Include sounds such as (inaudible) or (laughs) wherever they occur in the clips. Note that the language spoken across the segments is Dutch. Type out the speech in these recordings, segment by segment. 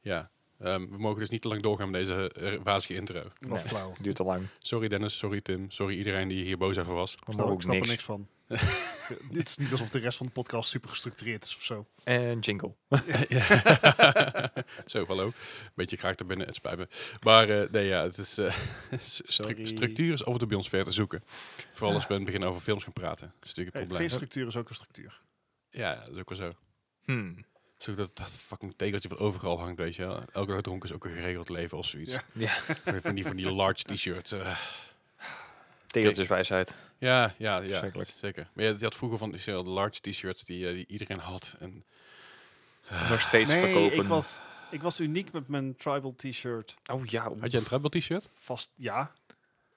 Ja. Ehm, we mogen dus niet te lang doorgaan met deze eh, wazige intro. Dat was Nee. flauw. Duurt te lang. Sorry Dennis, sorry Tim, sorry iedereen die hier boos over was. Ik ook snap, ik snap er niks. (laughs) niks van. (laughs) Het is niet alsof de rest van de podcast super gestructureerd is of zo. En jingle. (laughs) Ja. (laughs) Zo, hallo. Beetje graag daar binnen, het spijt me. Maar eh, nee, ja, het is... eh, (laughs) s- stru- Sorry. structuur is altijd bij ons ver te zoeken. Vooral als we in het begin over films gaan praten. Dat is natuurlijk Hey, het geen probleem. structuur is ook een structuur. Ja, dat is ook wel zo. Hmm. Zo dat, dat fucking tegeltje van overal hangt, weet je wel. Elke dag dronken is ook een geregeld leven of zoiets. Ja. Ja. Van die, van die large t-shirts. eh. Tegeltjeswijsheid. Ja, ja, ja. Verschrikkelijk. Zeker. Maar ja, je had vroeger van die heel large t-shirts die, eh, die iedereen had. En Nog steeds nee, verkopen. Ik was, ik was uniek met mijn tribal t-shirt. Oh ja. had jij een tribal t-shirt? Vast, ja. Oh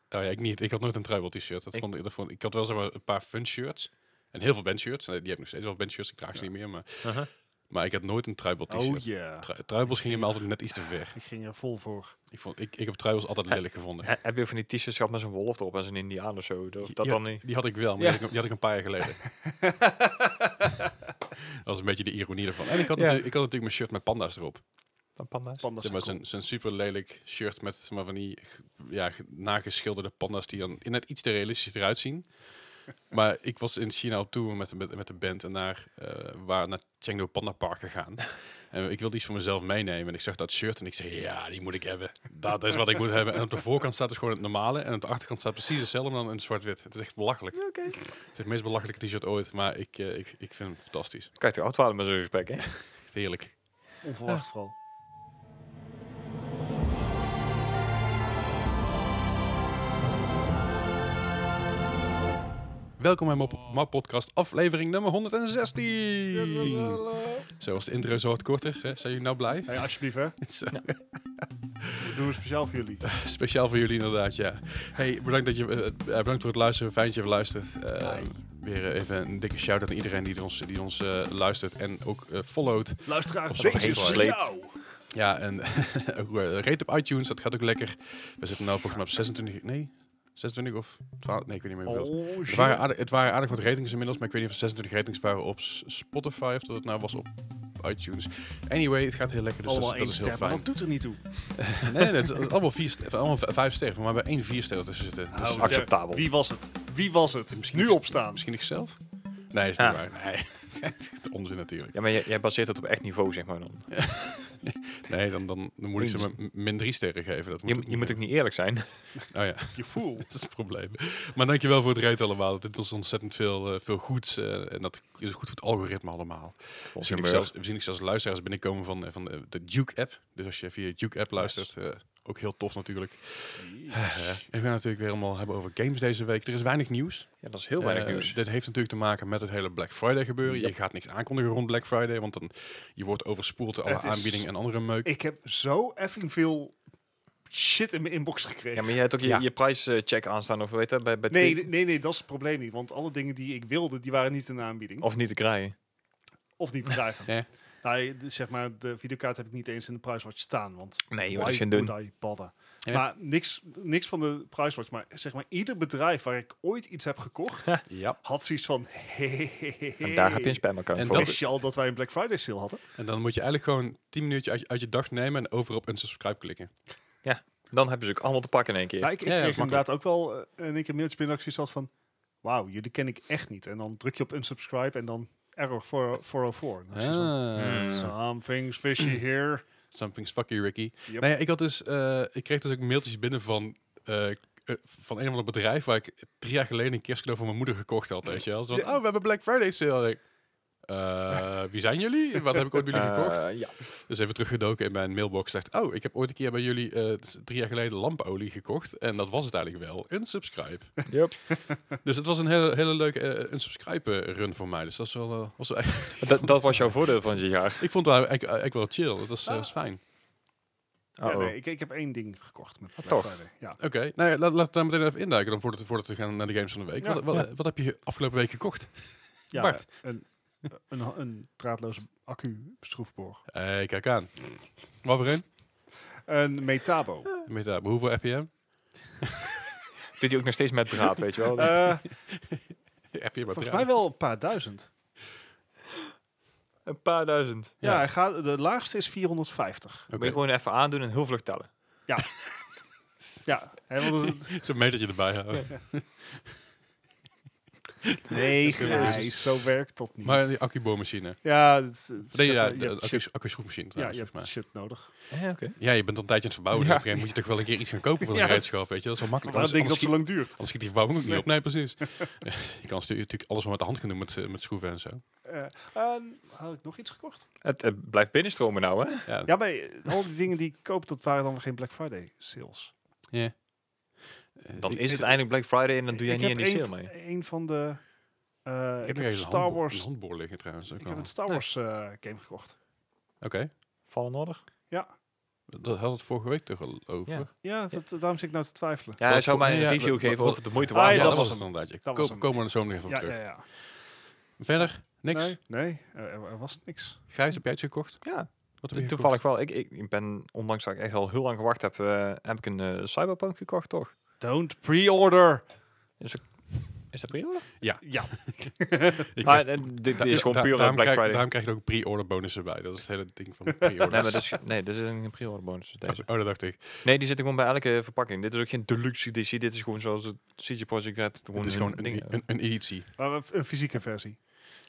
ja, ik niet. Ik had nooit een tribal t-shirt. Dat Ik- vond, ik- dat vond, ik had wel zeg maar, een paar fun shirts. En heel veel bandshirts. Nee, die heb ik nog steeds wel bandshirts. Ik draag ze Ja. niet meer. Maar, Aha. maar ik had nooit een tribal t-shirt. Oh ja. Tri- tribals gingen me altijd net iets te ver. Ik ging er vol (laughs) voor. Ik, vond, ik, ik heb tribals altijd Hè? lelijk gevonden. He- Heb je van die t-shirts gehad met zo'n wolf erop en zo'n indiaan of zo? Dat, dat Ja, dan niet? Die had ik wel, maar Ja. die, had ik, die had ik een paar jaar geleden. dat was een beetje de ironie ervan. En ik had, Ja. natuurlijk, ik had natuurlijk mijn shirt met panda's erop. Dan panda's? Pandas Zeg zijn maar, zijn, cool. zijn super lelijk shirt met zeg maar, van die ge- ja, ge- nageschilderde panda's die dan net iets te realistisch eruit zien. Maar ik was in China op tour met, met, met de band en daar eh waar naar Chengdu Panda Park gegaan. En ik wilde iets voor mezelf meenemen. En ik zag dat shirt en ik zei, ja, die moet ik hebben. Dat is wat ik moet hebben. En op de voorkant staat dus gewoon het normale. En op de achterkant staat precies hetzelfde, maar dan in zwart-wit. Het is echt belachelijk. Oké. Het is het meest belachelijke t-shirt ooit. Maar ik, eh, ik, ik vind hem fantastisch. Kijk, te oud waren met zo'n gesprek, hè? Echt heerlijk. Onverwacht vooral. Welkom bij Mop Map Podcast, aflevering nummer 116. Zo was de intro zo wat korter. hè? Zijn jullie nou blij? (laughs) Hey, alsjeblieft hè. Zo, Dat doen we speciaal voor jullie. Speciaal voor jullie inderdaad, ja. Hey, bedankt, dat je, eh, eh, bedankt voor het luisteren. Fijn dat je even luistert. Eh, weer eh, even een dikke shout-out aan iedereen die ons, die ons eh, luistert en ook eh, followt. Luisteraar, Op deze zo'n is voor sleet. jou. Ja, en (laughs) ook eh, rate op iTunes, dat gaat ook lekker. We zitten nou volgens mij op 26, nee, 26 of 12, nee, ik weet niet meer hoeveel. Oh, Het waren, shit. aardig, het waren aardig wat ratings inmiddels, maar ik weet niet of er 26 ratings waren op S- Spotify of dat het nou was op iTunes. Anyway, het gaat heel lekker, dus dat, Allemaal is- dat is één heel ster, maar fijn. dat doet er niet toe. Nee, nee, nee, het is het is allemaal, vier ster- allemaal v- vijf sterren, maar we hebben één vier sterren tussen zitten. Dus Hou Acceptabel. Wie was het? Wie was het? Misschien nu is- opstaan. misschien ik zelf? Nee, is niet Ah. waar. Nee, (laughs) onzin natuurlijk. Ja, maar jij, jij baseert het op echt niveau, zeg maar dan. Nee, dan, dan, dan moet ik ze maar m- min drie sterren geven. Dat moet Je, je moet ook niet eerlijk zijn. niet. Oh ja. Je (laughs) voel. Dat is het probleem. Maar dankjewel voor het raten allemaal. Dit was ontzettend veel, eh, veel goeds. eh, en dat is goed voor het algoritme allemaal. We zien, ook zelfs, we zien ook zelfs luisteraars binnenkomen van, eh, van de, de Duke-app. Dus als je via de Duke-app luistert, eh, ook heel tof natuurlijk. Eh, en we gaan natuurlijk weer allemaal hebben over games deze week. Er is weinig nieuws. Ja, dat is heel weinig Eh, nieuws. Dit heeft natuurlijk te maken met het hele Black Friday gebeuren. Je Yep. gaat niks aankondigen rond Black Friday, want dan, je wordt overspoeld door alle Het is- aanbiedingen en andere meuk. Ik heb zo effing veel shit in mijn inbox gekregen. Ja, maar jij hebt ook je, Ja. je prijscheck aanstaan of weet je, bij, bij nee, Tri- nee, nee, dat is het probleem niet. Want alle dingen die ik wilde, die waren niet in de aanbieding. Of, Of niet te krijgen. niet te krijgen. (laughs) Ja. Nou, de- zeg maar, de videokaart heb ik niet eens in de prijswatch staan. Want Nee, why dat is geen would dun. I bother? Ja. Maar niks, niks van de prijswatch. Maar zeg maar, ieder bedrijf waar ik ooit iets heb gekocht, (laughs) Ja. had zoiets van... (laughs) Hey, En daar heb je een spamaccount En voor. dat- Wist je al dat wij een Black Friday sale hadden? En dan moet je eigenlijk gewoon 10 minuutjes uit, je- uit je dag nemen en over op unsubscribe klikken. Dan hebben ze ook allemaal te pakken in één keer. Ja, Nou, ik, ik Ja, ja, kreeg dat is inderdaad ook wel eh, in één keer mailtjes binnen dat ik zoiets had van... Wauw, jullie ken ik echt niet. En dan druk je op unsubscribe en dan error 4- 404. En dan is het zo, Ah. Mm. Hmm. Something's fishy here. Something's fucky Ricky. Yep. Nou ja, ik, had dus, eh, ik kreeg dus ook mailtjes binnen van, eh, k- eh, van een of ander bedrijf waar ik drie jaar geleden een kerstcadeau voor mijn moeder gekocht had. Weet je wel. Zo van, Ja. oh, we hebben Black Friday sale. Ik, eh, wie zijn jullie? Wat heb ik ooit bij jullie Eh, gekocht? ja. Dus even teruggedoken in mijn mailbox. Dacht, oh, ik heb ooit een keer bij jullie eh, s- drie jaar geleden lampolie gekocht. En dat was het eigenlijk wel. Unsubscribe. Yup. dus het was een hele, hele leuke eh, unsubscribe eh, run voor mij. Dus dat was wel, eh, was wel echt- dat, dat was jouw voordeel van dit jaar. ik vond het eigenlijk, eigenlijk wel chill. Dat was, Ah. eh, was fijn. Ja, Uh-oh. nee, ik, ik heb één ding gekocht Ah, met Black toch. Friday. Ja. Oké, nou ja, laat, laten we daar meteen even induiken dan voordat, voordat we gaan naar de games van de week. Ja. wat, wat, Ja. wat heb je afgelopen week gekocht? Ja, Bart. Een, een, een draadloze accu-schroefboor. Eh, kijk aan. Wat voor een? Een Metabo. Met, eh, hoeveel (laughs) FPM? Doet hij ook nog steeds met draad, weet (laughs) je wel. Eh, FPM volgens mij wel een paar duizend. Een paar duizend. Ja, Ja. hij gaat, de laagste is 450. Oké. Moet je gewoon even aandoen en heel vlug tellen. Ja, hè, (laughs) want het, Het is een metertje erbij houden. (laughs) nee, Jezus. Gijs, zo werkt dat niet. Maar die accuboormachine. ja, het, het- Nee, ja, je hebt de shit- accu- accu-schroefmachine ja, trouwens, je volgens hebt mij. shit nodig. Ja, oké. Ja, je bent al een tijdje aan het verbouwen. Dus Ja. op een gegeven moment moet je toch wel een keer iets gaan kopen voor een (laughs) Ja, dat gereedschap. Weet je? Dat is wel makkelijk. Waarom Anders, denk ik dat anders, schiet, het zo lang duurt? anders schiet die verbouwing ook niet op. Nee, precies. (laughs) je kan stu- natuurlijk alles wel met de hand gaan doen met, eh, met schroeven en zo. Eh, ehm, had ik nog iets gekocht? Het, het blijft binnenstromen nou, hè? Ja, Ja, maar eh, al die dingen die ik koop, dat waren dan weer geen Black Friday sales. eh, Dan ik- is het eindelijk Black Friday en dan doe jij Ik niet aan heb die een sale v- mee. Een van de... eh, Ik ik heb heb, hier eens een Star handboor- een Wars. handboor liggen trouwens. ook Ik al. heb een Oké, Star Wars eh, game gekocht. Vallen nodig? dat had het vorige week toch al over. Ja. Ja, dat, daarom zit ik nou te twijfelen. Ja, Wat hij zou voor- mij een ja, review wat- geven wat- of het de moeite Ah, waard ja, ja, dat, was. dat was het was inderdaad. Dat Kom, was hem. komen we er zo nog even op Ja, terug. ja, ja. Verder? Niks? Nee, nee er, er- er was niks. Gijs, heb jij iets gekocht? Ja, Wat heb je to- gekocht? toevallig wel. Ik, ik, ik ben, ondanks dat ik echt al heel lang gewacht heb, eh, heb ik een eh, Cyberpunk gekocht, toch? Don't pre-order. Is dat prima? (laughs) Ja. Ik Ah, heb- en dit Da- is gewoon da- daarom puur Black krijg, Friday. Daarom krijg je ook pre-order bonussen bij. Dat is het hele ding (laughs) van Nee, (laughs) maar pre-orders. dat is, nee, dit is een pre-order bonus. dus Deze. Oh, dat dacht ik. Nee, die zitten gewoon bij elke verpakking. Dit is ook geen deluxe editie. Dit is gewoon zoals het CG Project Red. Het is gewoon ding. een, een, een editie. Maar een f- een fysieke versie.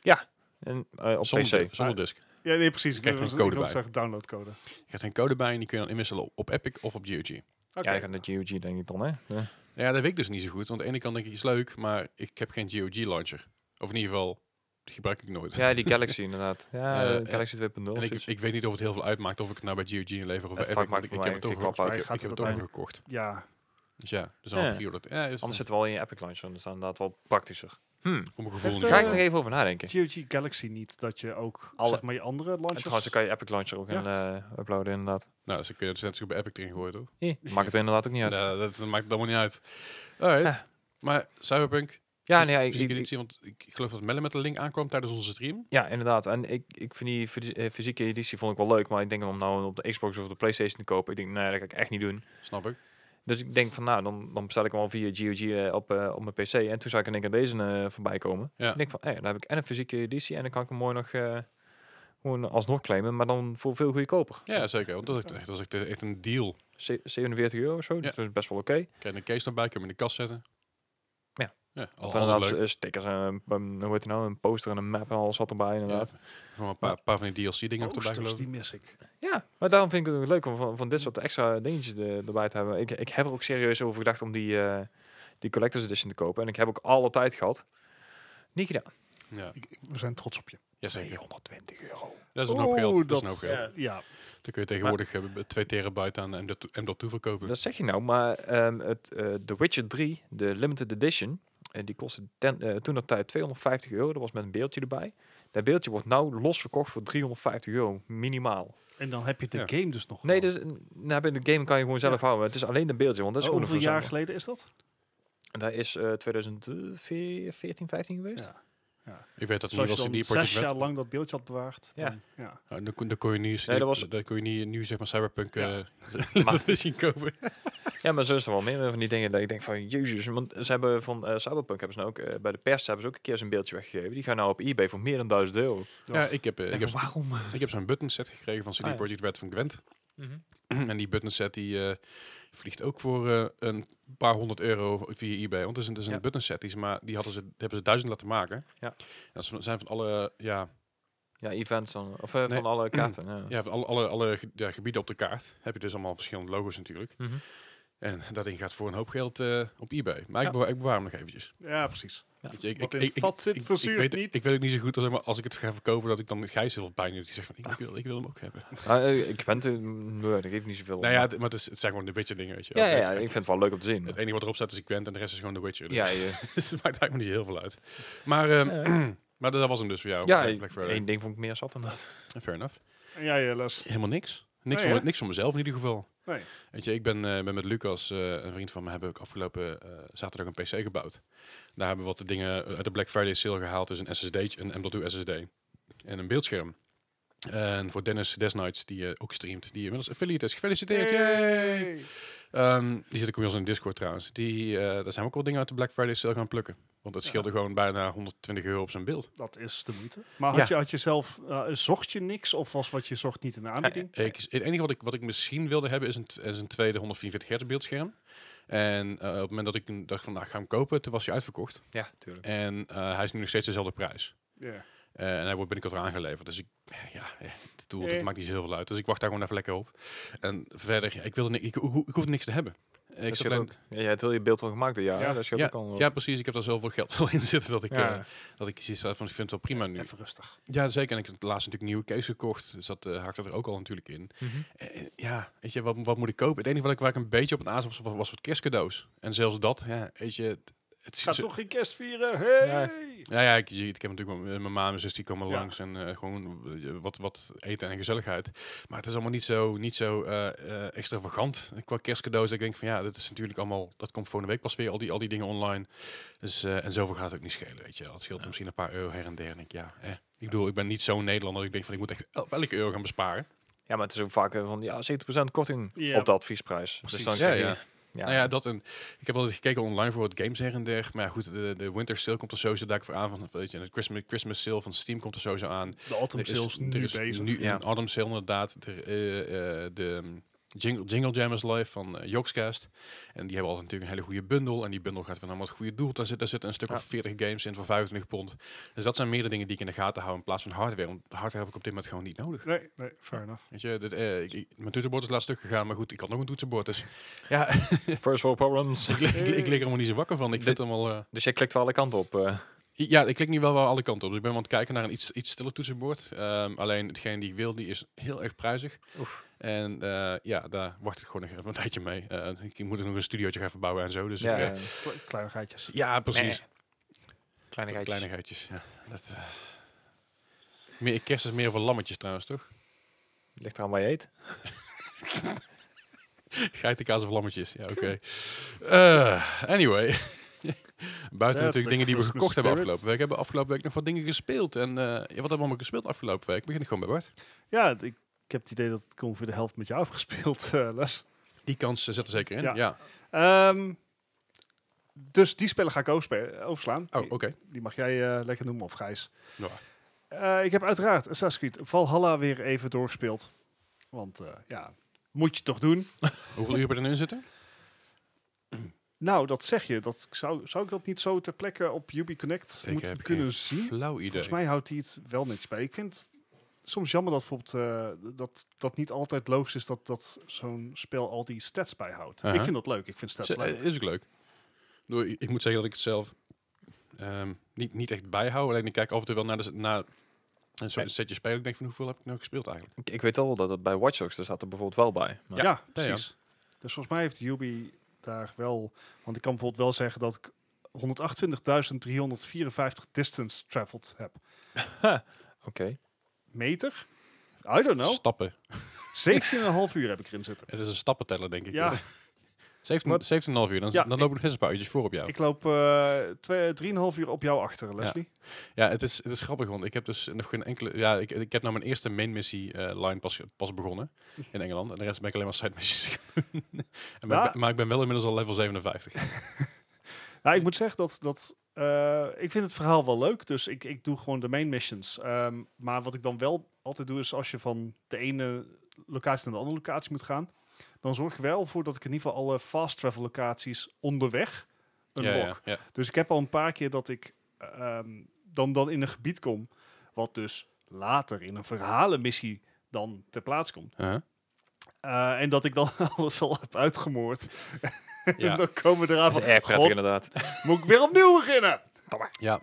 En, eh, op Zonder, PC. zonder disk. Ja, nee, precies. Ik krijgt wil- er ik een code wil bij. zeggen downloadcode. Je krijgt een code bij en die kun je dan inwisselen op, op Epic of op GOG. Ja, Oké. ik ga naar GOG denk ik dan, hè? Ja. Ja, dat weet ik dus niet zo goed. Want aan de ene kant denk ik, is leuk, maar ik heb geen GOG-launcher. Of in ieder geval, die gebruik ik nooit. Ja, die Galaxy inderdaad. Ja, Eh, de en- Galaxy 2.0. en ik, zoiets. ik weet niet of het heel veel uitmaakt of ik het nou bij GOG inlever of bij Het Epic. vak want maakt Ik, voor ik heb mij het geen overgekocht. klap uit. Ik, Gaat ik heb het het uiteindelijk- overgekocht. ja. Dus ja, dat is al Ja. een pre-order. Ja, is Anders zit het wel in je Epic Launcher. dus Dan staan inderdaad wel praktischer. Hmm. voor mijn gevoel Heeft, niet. Ga ik Eh, nog even over nadenken. GOG Galaxy niet dat je ook Alle- zeg maar je andere En launchers... trouwens, dan kan je Epic Launcher ook Ja. in, eh, uploaden inderdaad. Nou, dus ik kun je het net zo goed bij Epic erin gooien, toch? Ja. Maakt het inderdaad ook niet uit. Ja, Ja, dat, dat maakt het allemaal niet uit. Alright. Maar Cyberpunk, nee, ja, ik, fysieke ik- editie, want ik ik geloof dat Melle met de link aankwam tijdens onze stream. ja, inderdaad. En ik, ik vind die fys- eh, fysieke editie vond ik wel leuk. Maar ik denk om nou op de Xbox of de Playstation te kopen. Ik denk, nee, dat ga ik echt niet doen. Snap ik. Dus ik denk van, nou, dan, dan bestel ik hem al via GOG eh, op, eh, op mijn PC. En toen zag ik in één keer deze eh, voorbij komen. Ja. En ik denk van, hé, dan heb ik en een fysieke editie. En dan kan ik hem mooi nog... eh, gewoon alsnog claimen, maar dan voor veel goedkoper. Ja, zeker. Want dat is echt, dat is echt, echt een deal. Ze- 47 euro of zo, dus Ja. dat is best wel oké. Krijg je een case erbij, kun je hem in de kast zetten. Ja. Ja, al, Want altijd inderdaad, leuk. eh, stickers en een- een, hoe heet het nou, een poster en een map en alles zat erbij inderdaad. Ja. Voor een paar, paar van die DLC-dingen ook erbij Posters, geloof ik. Oh, die mis ik. Ja. maar daarom vind ik het ook leuk om van, van dit soort extra dingetjes er- erbij te hebben. Ik, ik heb er ook serieus over gedacht om die, eh, die Collector's Edition te kopen. En ik heb ook alle tijd gehad. Niet gedaan. Ja, Ik- ik- We zijn trots op je. jazeker. 220 euro. Dat is een hoop Oh, geld. Dat is een hoop ja. geld. ja. Dan kun je tegenwoordig eh, 2 terabyte aan M.2 verkopen. Dat zeg je nou, maar ehm, het, eh, The Witcher 3, de Limited Edition, eh, die kostte ten- eh, toen dat tijd 250 euro. Dat was met een beeldje erbij. Dat beeldje wordt nou los verkocht voor 350 euro minimaal. En dan heb je de Ja. game dus nog. Nee, gewoon. dus n- nou, bij de game kan je gewoon zelf houden. Het is alleen een beeldje, want dat is Oh, gewoon hoeveel een jaar jaar. geleden is dat? Dat is eh 2014, 15 geweest. Ja. Ik weet dat Dus niet als je was dan die zes project jaar werd. lang dat beeldje had bewaard. Ja. Dan, ja. Nou, Dan kon, dan kon je nu, Nee, dat was- dan kon je niet nu zeg maar Cyberpunk Ja. (laughs) eh (laughs) laten zien kopen. Ja, maar zo is er wel meer van die dingen dat ik denk van, jezus. Want ze hebben van eh, Cyberpunk hebben ze nou ook, eh, bij de pers hebben ze ook een keer zijn beeldje weggegeven. Die gaan nou op eBay voor meer dan 1000 euro. Ja, ik heb, eh, ik Denk heb, (laughs) van, waarom? ik heb zo'n button set gekregen van CD Ah, ja. Projekt Red van (clears throat) Gwent. Mhm. En die button set die eh, vliegt ook voor eh, een paar honderd euro via eBay. Want het is een, het is een Ja. button set, die, is maar, die hadden ze, hebben ze duizend laten maken. Ja. En dat zijn- zijn van alle, eh, ja, Ja, events dan. Of eh, Nee. van (clears throat) alle kaarten. ja. ja, van alle, alle, alle ge- ja, gebieden op de kaart. Heb je dus allemaal verschillende logo's natuurlijk. (clears throat) Mhm. En dat ding gaat voor een hoop geld eh, op eBay. Maar Ja. ik, bewaar, ik bewaar hem nog eventjes. ja, precies. Weet je, ik, Wat in het vat zit, verzuurt weet, niet. Ik weet ook niet zo goed als, maar als ik het ga verkopen, dat ik dan Gijs heel veel pijn doe. Die zegt van, ik, ik wil, ik wil hem ook hebben. Ah, eh, ik ben te... Nee, dat geeft niet zoveel. om. nou ja, d- maar het, is, het zijn gewoon de beetje dingen, weet je. ja, wel. ja, Het- ja, ik vind het wel leuk om te zien. Het enige wat erop staat is Gwent en de rest is gewoon The Witcher. Dus ja, je, (laughs) dus het maakt eigenlijk maar niet heel veel uit. Maar, ehm, (clears throat) maar dat was hem dus voor jou. Eh. ja Black- Black Friday. één ding vond ik meer zat dan dat. Fair enough. En jij, eh, Les. Helemaal niks. Niks, Nee, van, hè? niks van mezelf in ieder geval. Nee. Weet je, ik ben, eh, ben met Lucas, eh, een vriend van me, hebben we afgelopen eh, zaterdag een PC gebouwd. Daar hebben we wat dingen eh, uit de Black Friday sale gehaald. Dus een SSD, een M.2 SSD en een beeldscherm. En voor Dennis Desnights, die eh, ook streamt, die inmiddels affiliate is. Gefeliciteerd! yay! Yay. Ehm, die zit ook bij ons in Discord trouwens. Die, eh, daar zijn we ook wel dingen uit de Black Friday sale gaan plukken. Want het Ja. scheelde gewoon bijna 120 euro op zijn beeld. Dat is de moeite. Maar had, Ja. je, had je zelf, eh, zocht je niks of was wat je zocht niet in de aanbieding? Ik, het enige wat ik, wat ik misschien wilde hebben is een, t- is een tweede 144 hertz beeldscherm. En eh, op het moment dat ik een- dacht van nou, ik ga hem kopen, toen was hij uitverkocht. Ja, tuurlijk. En eh, hij is nu nog steeds dezelfde prijs. Ja. Eh, en hij wordt binnenkort weer aangeleverd. Dus ik, ja, eh, het doel, Eh. dat maakt niet zo heel veel uit. Dus ik wacht daar gewoon even lekker op. En verder, ik, wilde, ni- ik, ho- ik hoef niks te hebben. Eh, Ik Ik zat zit alleen- ook. Ja, jij hebt heel je beeld al gemaakt dit jaar. Ja. Ja, dat scheelt ook al. ja, precies. Ik heb daar zoveel geld al in zitten dat ik, Ja. eh, dat ik zoiets had van, ik vind het wel prima nu. Even rustig. Ja, zeker. En ik heb laatst natuurlijk een nieuwe case gekocht. Dus dat eh haakte er ook al natuurlijk in. Mhm. Eh, eh, ja, weet je, wat, wat moet ik kopen? Het enige wat ik, waar ik een beetje op het aas was, was, was wat kerstcadeaus. En zelfs dat, ja, weet je... Het, het is- Ga toch geen kerst vieren? Hey! ja, ja ik, je- ik heb natuurlijk eh, mijn, mijn ma en mijn zus die komen Ja. langs en eh, gewoon eh, wat, wat eten en gezelligheid. Maar het is allemaal niet zo, niet zo eh, eh, extravagant qua kerstcadeaus. Dat ik denk van ja, dat is natuurlijk allemaal, dat komt volgende week pas weer, al die, al die dingen online. Dus, eh, en zoveel gaat het ook niet schelen, weet je. wel. Het scheelt misschien een paar euro her en der. En ik, ja, eh. Ik bedoel, ik ben niet zo'n Nederlander. dat Ik denk van, ik moet echt el- elke euro gaan besparen. Ja, maar het is ook vaak eh, van ja, 70% korting Ja. op de adviesprijs. Precies. Dus dan Ja, krijg je- ja. ja. Nou ja, dat en ik heb altijd gekeken online voor wat games her en der. Maar ja, goed, de, de winter sale komt er sowieso daar voor aan. Van, weet je, en de Christmas, Christmas sale van Steam komt er sowieso aan. De autumn Er is- sales nu er is bezig. Nu, Ja. een Autumn Sale inderdaad. Er, eh, eh, de mm, Jingle, Jingle Jam is live van eh, Jokscast. En die hebben altijd natuurlijk een hele goede bundel. En die bundel gaat weer naar wat goede doel. Daar zit, daar zitten een stuk Ja. of 40 games in voor 25 pond. Dus dat zijn meerdere dingen die ik in de gaten hou in plaats van hardware. Want hardware heb ik op dit moment gewoon niet nodig. Nee, nee, fair enough. Weet je, dit, eh, ik- ik- mijn toetsenbord is laatst stuk gegaan, maar goed, ik had nog een toetsenbord. Dus ja, (laughs) First world problems. ik, lig- ik, lig- ik lig er helemaal niet zo wakker van. Ik vind Dit- het allemaal... eh, Dus jij klikt wel alle kanten op. eh. Ja, ik klik nu wel wel alle kanten op. Dus ik ben wel aan het kijken naar een iets, iets stiller toetsenbord. Ehm, alleen hetgeen die ik wil, die is heel erg prijzig. Oef. En eh, ja, daar wacht ik gewoon nog even een tijdje mee. Eh, ik moet er nog een studiootje gaan verbouwen en zo. Dus ja, ik, eh, eh, Kle- Kleinigheidjes. ja, precies. kleinigheidjes. Kleinigheidjes. Ja. Dat, eh. meer, kerst is meer voor lammetjes trouwens, toch? Ligt eraan waar je eet. Geitenkaas of lammetjes. Ja, oké. Eh, anyway. (laughs) Buiten That's the natuurlijk dingen die we Christmas gekocht hebben spirit. afgelopen week. Hebben we afgelopen week nog wat dingen gespeeld. En eh, ja, wat hebben we allemaal gespeeld afgelopen week? Begin ik gewoon bij Bart. Ja, d- ik, ik heb het idee dat ik ongeveer de helft met jou (laughs) heb gespeeld, eh, Les. Die kans eh, zit er zeker in. Ja. Ja. Ehm, dus die spellen ga ik overspe- overslaan. Oh, Die- oké. Nou. Die mag jij eh, lekker noemen, of Gijs. Ja. Eh, ik heb uiteraard Assassin's Creed Valhalla weer even doorgespeeld. Want eh, ja, moet je toch doen? Hoeveel uur heb je erin zitten? Nou, dat zeg je. Dat zou, zou ik dat niet zo ter plekke op UbiConnect Ik moeten heb kunnen geen zien? Flauw idee. Volgens mij houdt hij het wel netjes bij. Ik vind het soms jammer dat bijvoorbeeld eh, dat, dat niet altijd logisch is dat, dat zo'n spel al die stats bijhoudt. Aha. Ik vind dat leuk. Ik vind stats Is- leuk. eh, Is ook leuk. Ik bedoel, Ik ik moet zeggen dat ik het zelf ehm, niet, niet echt bijhoud. Alleen ik kijk af en toe wel naar, de, s- naar een soort setje spelen. Ik denk van hoeveel heb ik nou gespeeld eigenlijk? Ik, ik weet wel dat het bij Watch Dogs, daar staat er bijvoorbeeld wel bij. Maar Ja, Ja, precies. Dus volgens mij heeft Ubi daar wel... Want ik kan bijvoorbeeld wel zeggen dat ik 128.354 distance traveled heb. Oké. Meter? I don't know. Stappen. 17,5 uur heb ik erin zitten. Het is een stappenteller denk ik. Ja, 17 Wat? 17,5 uur. Dan, Ja, dan loop ik nog eens een paar uurtjes voor op jou. ik loop eh, twee- 3,5 uur op jou achter, Leslie. Ja, het is, het is grappig, want ik heb dus nog geen enkele... Ja, ik, ik heb nou mijn eerste main missie eh, line pas, pas begonnen in Engeland. En de rest ben ik alleen maar side missies gaan doen. (laughs) en ben ik Ja. be- Maar ik ben wel inmiddels al level 57. (laughs) Nou, ik moet zeggen dat... dat eh, ik vind het verhaal wel leuk, dus ik, ik doe gewoon de main missions. Ehm, maar wat ik dan wel altijd doe, is als je van de ene locatie naar de andere locatie moet gaan, dan zorg ik wel voor dat ik in ieder geval alle fast travel locaties onderweg een ja, lok. ja, ja. Dus ik heb al een paar keer dat ik ehm, dan, dan in een gebied kom, wat dus later in een verhalenmissie dan ter plaatse komt. Uh-huh. Eh, en dat ik dan (laughs) alles al heb uitgemoord. Ja. (laughs) en dan komen we eraan Dat van, is erg prettig "God, inderdaad. Mhm, moet ik weer opnieuw beginnen? Ja,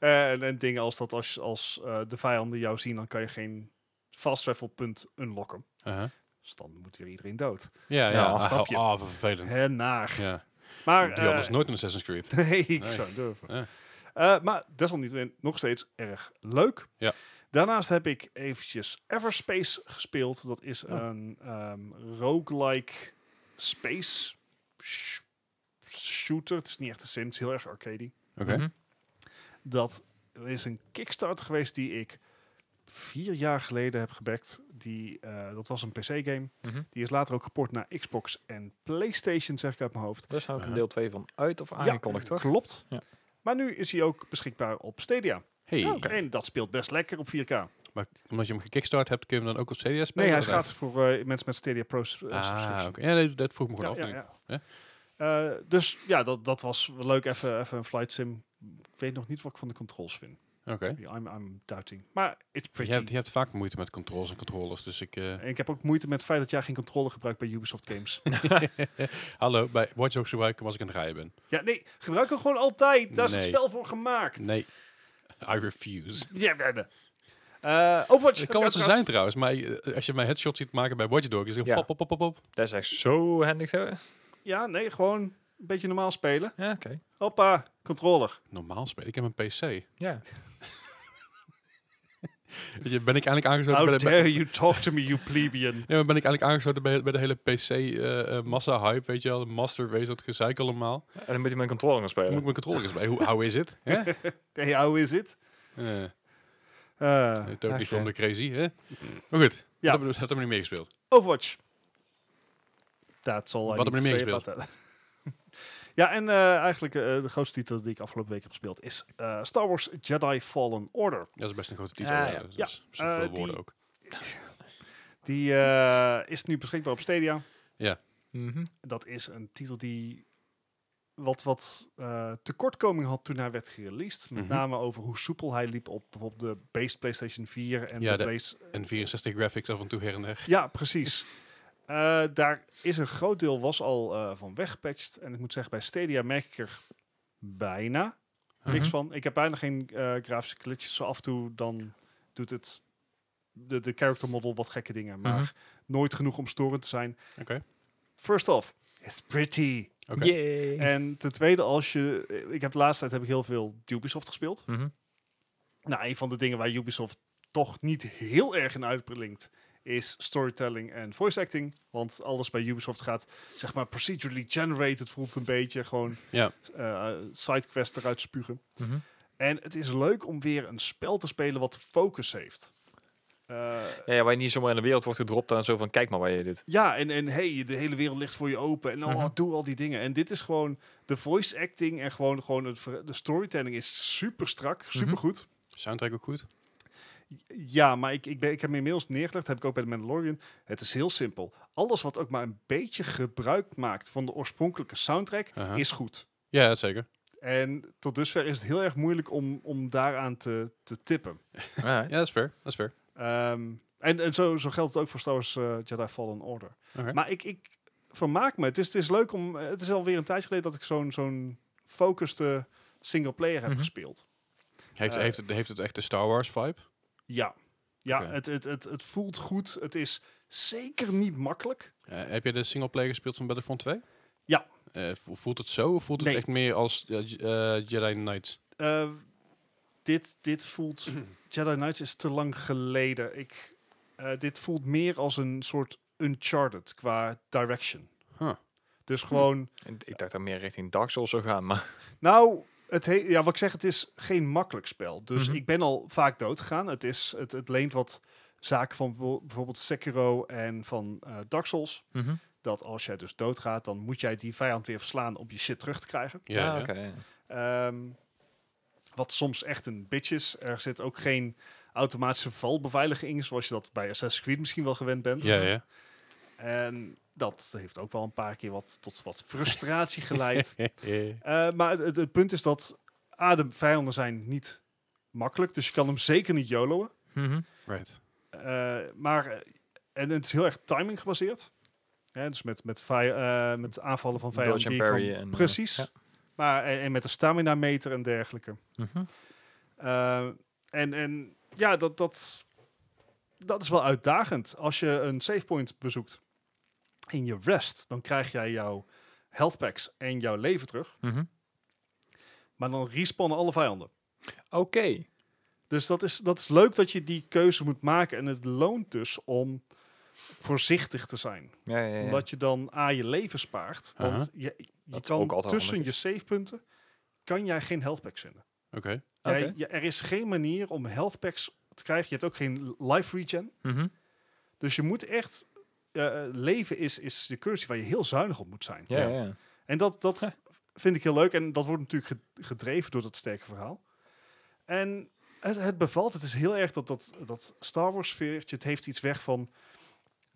Eh, en, en dingen als dat als, als eh, de vijanden jou zien, dan kan je geen fast travel punt unlocken. uh-huh. Dus dan moet weer iedereen dood. ja, ja. Ja, Ah, snap je. ah, vervelend. Hè, naar. Ja. Maar, Die hadden eh, ze nooit een Assassin's Creed. (laughs) Nee, ik Nee. zou het durven. Ja. Eh, maar desalniettemin nog steeds erg leuk. Ja. Daarnaast heb ik eventjes Everspace gespeeld. Dat Oh. is een ehm, roguelike space sh- shooter. Het is niet echt een sim, het is heel erg arcade. Oké. Mhm. Dat is een kickstart geweest die ik vier jaar geleden heb gebackt. Die, eh, dat was een PC-game. Mhm. Die is later ook geport naar Xbox en PlayStation, zeg ik uit mijn hoofd. Daar is nou ook een Ja. deel 2 van uit of aangekondigd, toch? Klopt. Ja. Maar nu is hij ook beschikbaar op Stadia. Hey, Oké. En dat speelt best lekker op 4K. maar omdat je hem gekickstart hebt, kun je hem dan ook op CD spelen? Nee, hij is Of- gratis voor eh, mensen met Stadia Pro s- eh, Ah, subscription. oké. Ja, nee, dat vroeg me gewoon af. Ja, denk ik. ja, ja. Eh, dus ja, dat, dat was wel leuk. Even, even een flight sim. Ik weet nog niet wat ik van de controls vind. Oké. I'm, I'm doubting. Maar it's Je pretty. hebt, je hebt vaak moeite met controls en controllers, dus ik... eh, En ik heb ook moeite met het feit dat jij geen controller gebruikt bij Ubisoft games. (laughs) (laughs) Hallo, bij Watch Dogs gebruiken als ik aan het rijden ben. ja, nee, gebruik hem gewoon altijd. Daar is het Nee. spel voor gemaakt. Nee, I (laughs) refuse. Ja, we hebben. Eh Overwatch. Het heb kan ik wat ze uiteraard- zijn trouwens, maar eh, als je mij headshot ziet maken bij Watch Dogs, is het Ja. pop, pop, pop, pop, pop. Dat is echt zo handig, hè? Ja, nee, gewoon een beetje normaal spelen. Ja, oké. Hoppa, (laughs) controller. Normaal spelen, ik heb een PC. Ja. Weet je, ben ik eigenlijk aangesloten bij How de... bij- dare you talk to me, you plebeian. Nee, maar ben ik eigenlijk aangesloten bij, bij de hele eh, PC-massa-hype, weet je wel. De master race, dat gezeik allemaal. En dan moet je mijn controller gaan Dan moet spelen. ik mijn controller eens bij. Hoe how is (laughs) it? hè? Hey, how is it? Eh, Ah, Eh, Totally Ach, from ja. the crazy, hè? Maar goed, ja. Ja. dat, hebben- dat hebben we niet meegespeeld. Overwatch. That's all I Wat need hebben to we say meer about that. (laughs) ja, en eh, eigenlijk eh, de grootste titel die ik afgelopen week heb gespeeld is eh, Star Wars Jedi Fallen Order. Dat is best een grote titel. Ja, Ja, ja. Dat is Ja, best wel eh, veel die- woorden ook. Die eh, is nu beschikbaar op Stadia. Mhm. Dat is een titel die wat, wat eh, tekortkoming had toen hij werd gereleased. Met Mhm. name over hoe soepel hij liep op bijvoorbeeld de base PlayStation 4 en Ja, de, de- base... En 64 graphics af en toe her en der. Ja, precies. Eh, daar is een groot deel was al eh, van weggepatcht. En ik moet zeggen, bij Stadia merk ik er bijna niks Mhm. van. Ik heb bijna geen eh, grafische glitches. Zo af en toe dan doet het de, de character model wat gekke dingen. Maar nooit genoeg om storend te zijn. Oké. First off, it's pretty. Oké. Yay. En ten tweede, als je... Ik heb de laatste tijd heb ik heel veel Ubisoft gespeeld. Mhm. Nou, een van de dingen waar Ubisoft toch niet heel erg in uitblinkt, is storytelling en voice acting. Want alles bij Ubisoft gaat, zeg maar, procedurally generated voelt een beetje gewoon Ja. eh, sidequests eruit spugen. Mhm. En het is leuk om weer een spel te spelen wat focus heeft. Eh, Ja, ja, waar je niet zomaar in de wereld wordt gedropt en zo van, kijk maar waar je dit... ja, en, en hey, de hele wereld ligt voor je open. En oh, Mhm. doe al die dingen. En dit is gewoon de voice acting en gewoon, gewoon het ver- de storytelling is super strak, super goed. Soundtrack ook goed. Ja, maar ik, ik, ben, ik heb me inmiddels neergelegd, heb ik ook bij de Mandalorian. Het is heel simpel. Alles wat ook maar een beetje gebruik maakt van de oorspronkelijke soundtrack, Aha. is goed. Ja, dat zeker. En tot dusver is het heel erg moeilijk om, om daaraan te, te tippen. Ja, dat is fair. Dat is fair. Ehm, en en zo, zo geldt het ook voor Star Wars eh, Jedi Fallen Order. Oké. Maar ik, ik vermaak me. Het is, het is leuk om... eh, Het is alweer een tijdje geleden dat ik zo'n zo'n focuste singleplayer heb Mhm. gespeeld. Heeft, eh, heeft, het, heeft het echt de Star Wars vibe? Ja. Ja, Oké. het, het, het, het voelt goed. Het is zeker niet makkelijk. Eh, heb je de singleplayer gespeeld van Battlefront 2? Ja. Eh, vo- voelt het zo of voelt het Nee. echt meer als eh, J- eh, Jedi Knights? Eh, dit, dit voelt. (clears throat) Jedi Knights is te lang geleden. Ik, eh, dit voelt meer als een soort Uncharted qua direction. Huh. Dus gewoon. En Ik dacht dat meer richting Dark Souls zou gaan, maar... Nou, het he- ja, wat ik zeg, het is geen makkelijk spel. Dus Mhm. ik ben al vaak dood gegaan. Het, is, het, het leent wat zaken van bijvo- bijvoorbeeld Sekiro en van eh, Dark Souls. Mhm. Dat als jij dus doodgaat, dan moet jij die vijand weer verslaan om je shit terug te krijgen. Ja, ja. Ah, oké, ja. Ehm, wat soms echt een bitch is. Er zit ook geen automatische valbeveiliging in, zoals je dat bij Assassin's Creed misschien wel gewend bent. ja, ja. En dat heeft ook wel een paar keer wat, tot wat (laughs) frustratie geleid. Eh, maar het- het, het punt is dat A, de vijanden zijn niet makkelijk, dus je kan hem zeker niet YOLO'en. Mhm. Right. Eh, maar, eh, en het is heel erg timing gebaseerd. Hè, dus met, met, vij- eh, met aanvallen van vijanden Dodge die en je kan- parry en, eh, Precies. ja. Maar, en, en met de stamina meter en dergelijke. Mhm. Eh, en, en ja, dat, dat, dat is wel uitdagend. Als je een savepoint bezoekt in je rest, dan krijg jij jouw health packs en jouw leven terug. Mhm. Maar dan respawnen alle vijanden. Oké. Dus dat is, dat is leuk dat je die keuze moet maken. En het loont dus om voorzichtig te zijn. Ja, ja, ja. Omdat je dan A, je leven spaart. Want je, je Dat is ook kan altijd tussen handig. je savepunten kan jij geen health packs vinden. Oké. Jij- Oké. je- er is geen manier om health packs te krijgen. Je hebt ook geen life regen. Mhm. Dus je moet echt... eh, leven is, is de currency waar je heel zuinig op moet zijn. ja, Ja. ja. ja. En dat, dat Ja. vind ik heel leuk. En dat wordt natuurlijk ge- gedreven door dat sterke verhaal. En het, het bevalt. Het is heel erg dat, dat, dat Star Wars sfeertje. Het heeft iets weg van...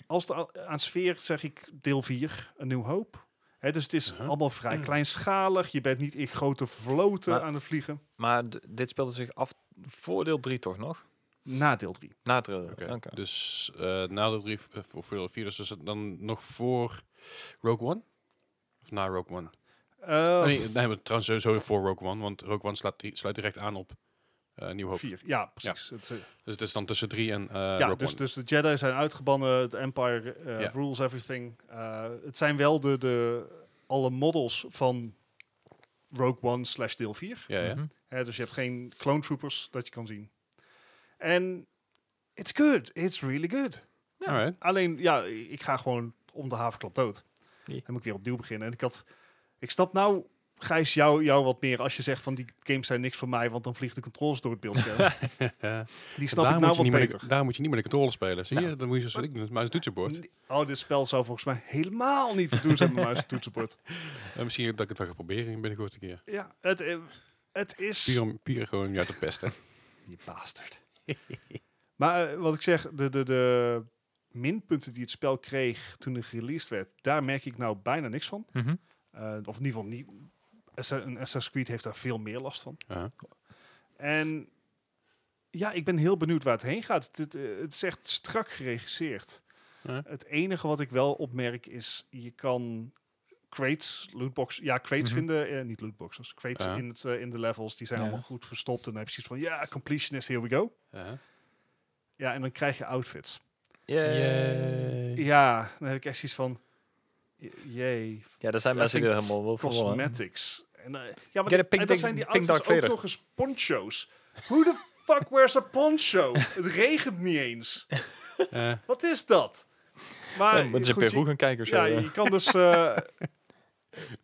Als het a- aan sfeer zeg ik deel 4, een nieuw hoop. Hè, dus het is Uh-huh. allemaal vrij kleinschalig. Je bent niet in grote vloten Maar- aan het vliegen. Maar d- dit speelde zich af voor deel 3 toch nog? Na deel 3. Na deel Oké, 3. dus eh na de brief eh, voor Furious 4, dus is het dan nog voor Rogue One? Of na Rogue One? Eh Ah, nee, nee, maar trouwens sowieso voor Rogue One, want Rogue One slaat, die, sluit direct aan op eh Nieuw Hoop. 4, ja, precies. Het, eh, Dus het is dan tussen 3 en eh ja, Rogue dus, One. dus de Jedi zijn uitgebannen, het Empire eh, Ja. rules everything. Eh, het zijn wel de, de alle models van Rogue One slash deel 4. ja, Mhm. ja. Hè, dus je hebt geen clone troopers dat je kan zien. En it's good, it's really good. Ja. Alright. Alleen, ja, ik ga gewoon om de havenklap dood. Nee. Dan moet ik weer opnieuw beginnen. En ik had, ik snap nou, Gijs, jou, jou wat meer als je zegt van die games zijn niks voor mij, want dan vliegen de controls door het beeldscherm. die snap daar ik moet nou je wat niet beter. Nou. Met, de- daar moet je niet met de controle spelen. Zie je? Dan moet je zoals Maar- ik doe, met mijn toetsenbord. Nee, Oh, dit spel zou volgens mij helemaal niet te doen zijn met muis en toetsenbord. Eh, misschien dat ik het wel ga proberen binnenkort een keer. (laughs) Ja, het, eh, het is... Puur, om- puur gewoon om jou te (laughs) pesten. Je bastard. maar eh, wat ik zeg, de, de, de minpunten die het spel kreeg toen het released werd, daar merk ik nou bijna niks van. Mhm. Eh, of in ieder geval niet. Assa- Een Assassin's Creed heeft daar veel meer last van. Ja. En ja, ik ben heel benieuwd waar het heen gaat. Het, het, eh, het is echt strak geregisseerd. Ja. Het enige wat ik wel opmerk is, je kan crates, lootboxes, ja, crates Mhm. vinden, eh, niet lootboxes, crates Ja. in, het, eh, in de levels, die zijn Ja. allemaal goed verstopt. En dan heb je zoiets van, ja, completionist, here we go. Ja. Ja, en dan krijg je outfits. Yay. Ja, dan heb ik echt zoiets van, j- jee, Ja, er zijn Ja, mensen die ik er helemaal wel voor wollen. cosmetics. En, eh, ja, maar Get a die- pink en dick- dan zijn die pink outfits ook Darth Vader. nog eens poncho's. Who the fuck wears a poncho? het regent niet eens. Eh, Wat is dat? Maar Ja, Mensen in Ah, goed, Peru je, gaan kijken of zo. ja, ja. je kan dus, eh,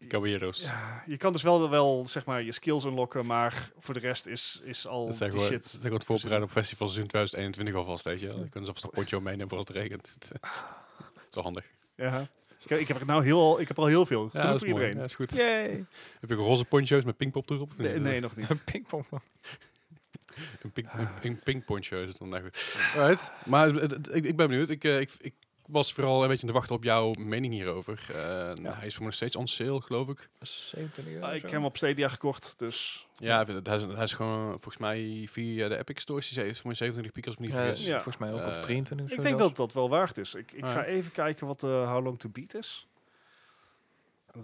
caballeros. je kan dus wel, wel zeg maar, je skills unlocken, maar voor de rest is, is al Dat die zijn gewoon, dat shit. zijn gewoon het voorbereiden op festival seizoen 2021 alvast, weet je wel. Dan kunnen ze alvast een potje meenemen voor als het regent. (laughs) Dat is wel handig. Ja. Ik, heb- ik heb er nou heel, ik heb er al heel veel. Goed dat is voor mooi. iedereen. Ja, is goed. Yay. (laughs) Heb je roze poncho's met pingpop erop? Of nee, niet? nee, nog (laughs) niet. Pingpong. Een, ping, een, Ah. een pingponcho is het dan eigenlijk. Alright. Maar het- het- ik, ik ben benieuwd. Ik, eh, ik, ik was vooral een beetje aan het wachten op jouw mening hierover. Eh, Hij is voor me nog steeds on sale, geloof ik. 27 euro. Ah, ik zo. heb hem op Stadia gekocht, dus Ja, hij is, hij is gewoon volgens mij via de Epic Store. is Hij heeft voor mij 27 piek als ik me niet Ja, dus vergis. ja. Volgens mij ook of Eh, 23 of ik zo denk zelfs. dat dat wel waard is. Ik, ik Ah, ja. ga even kijken wat de How Long To Beat is.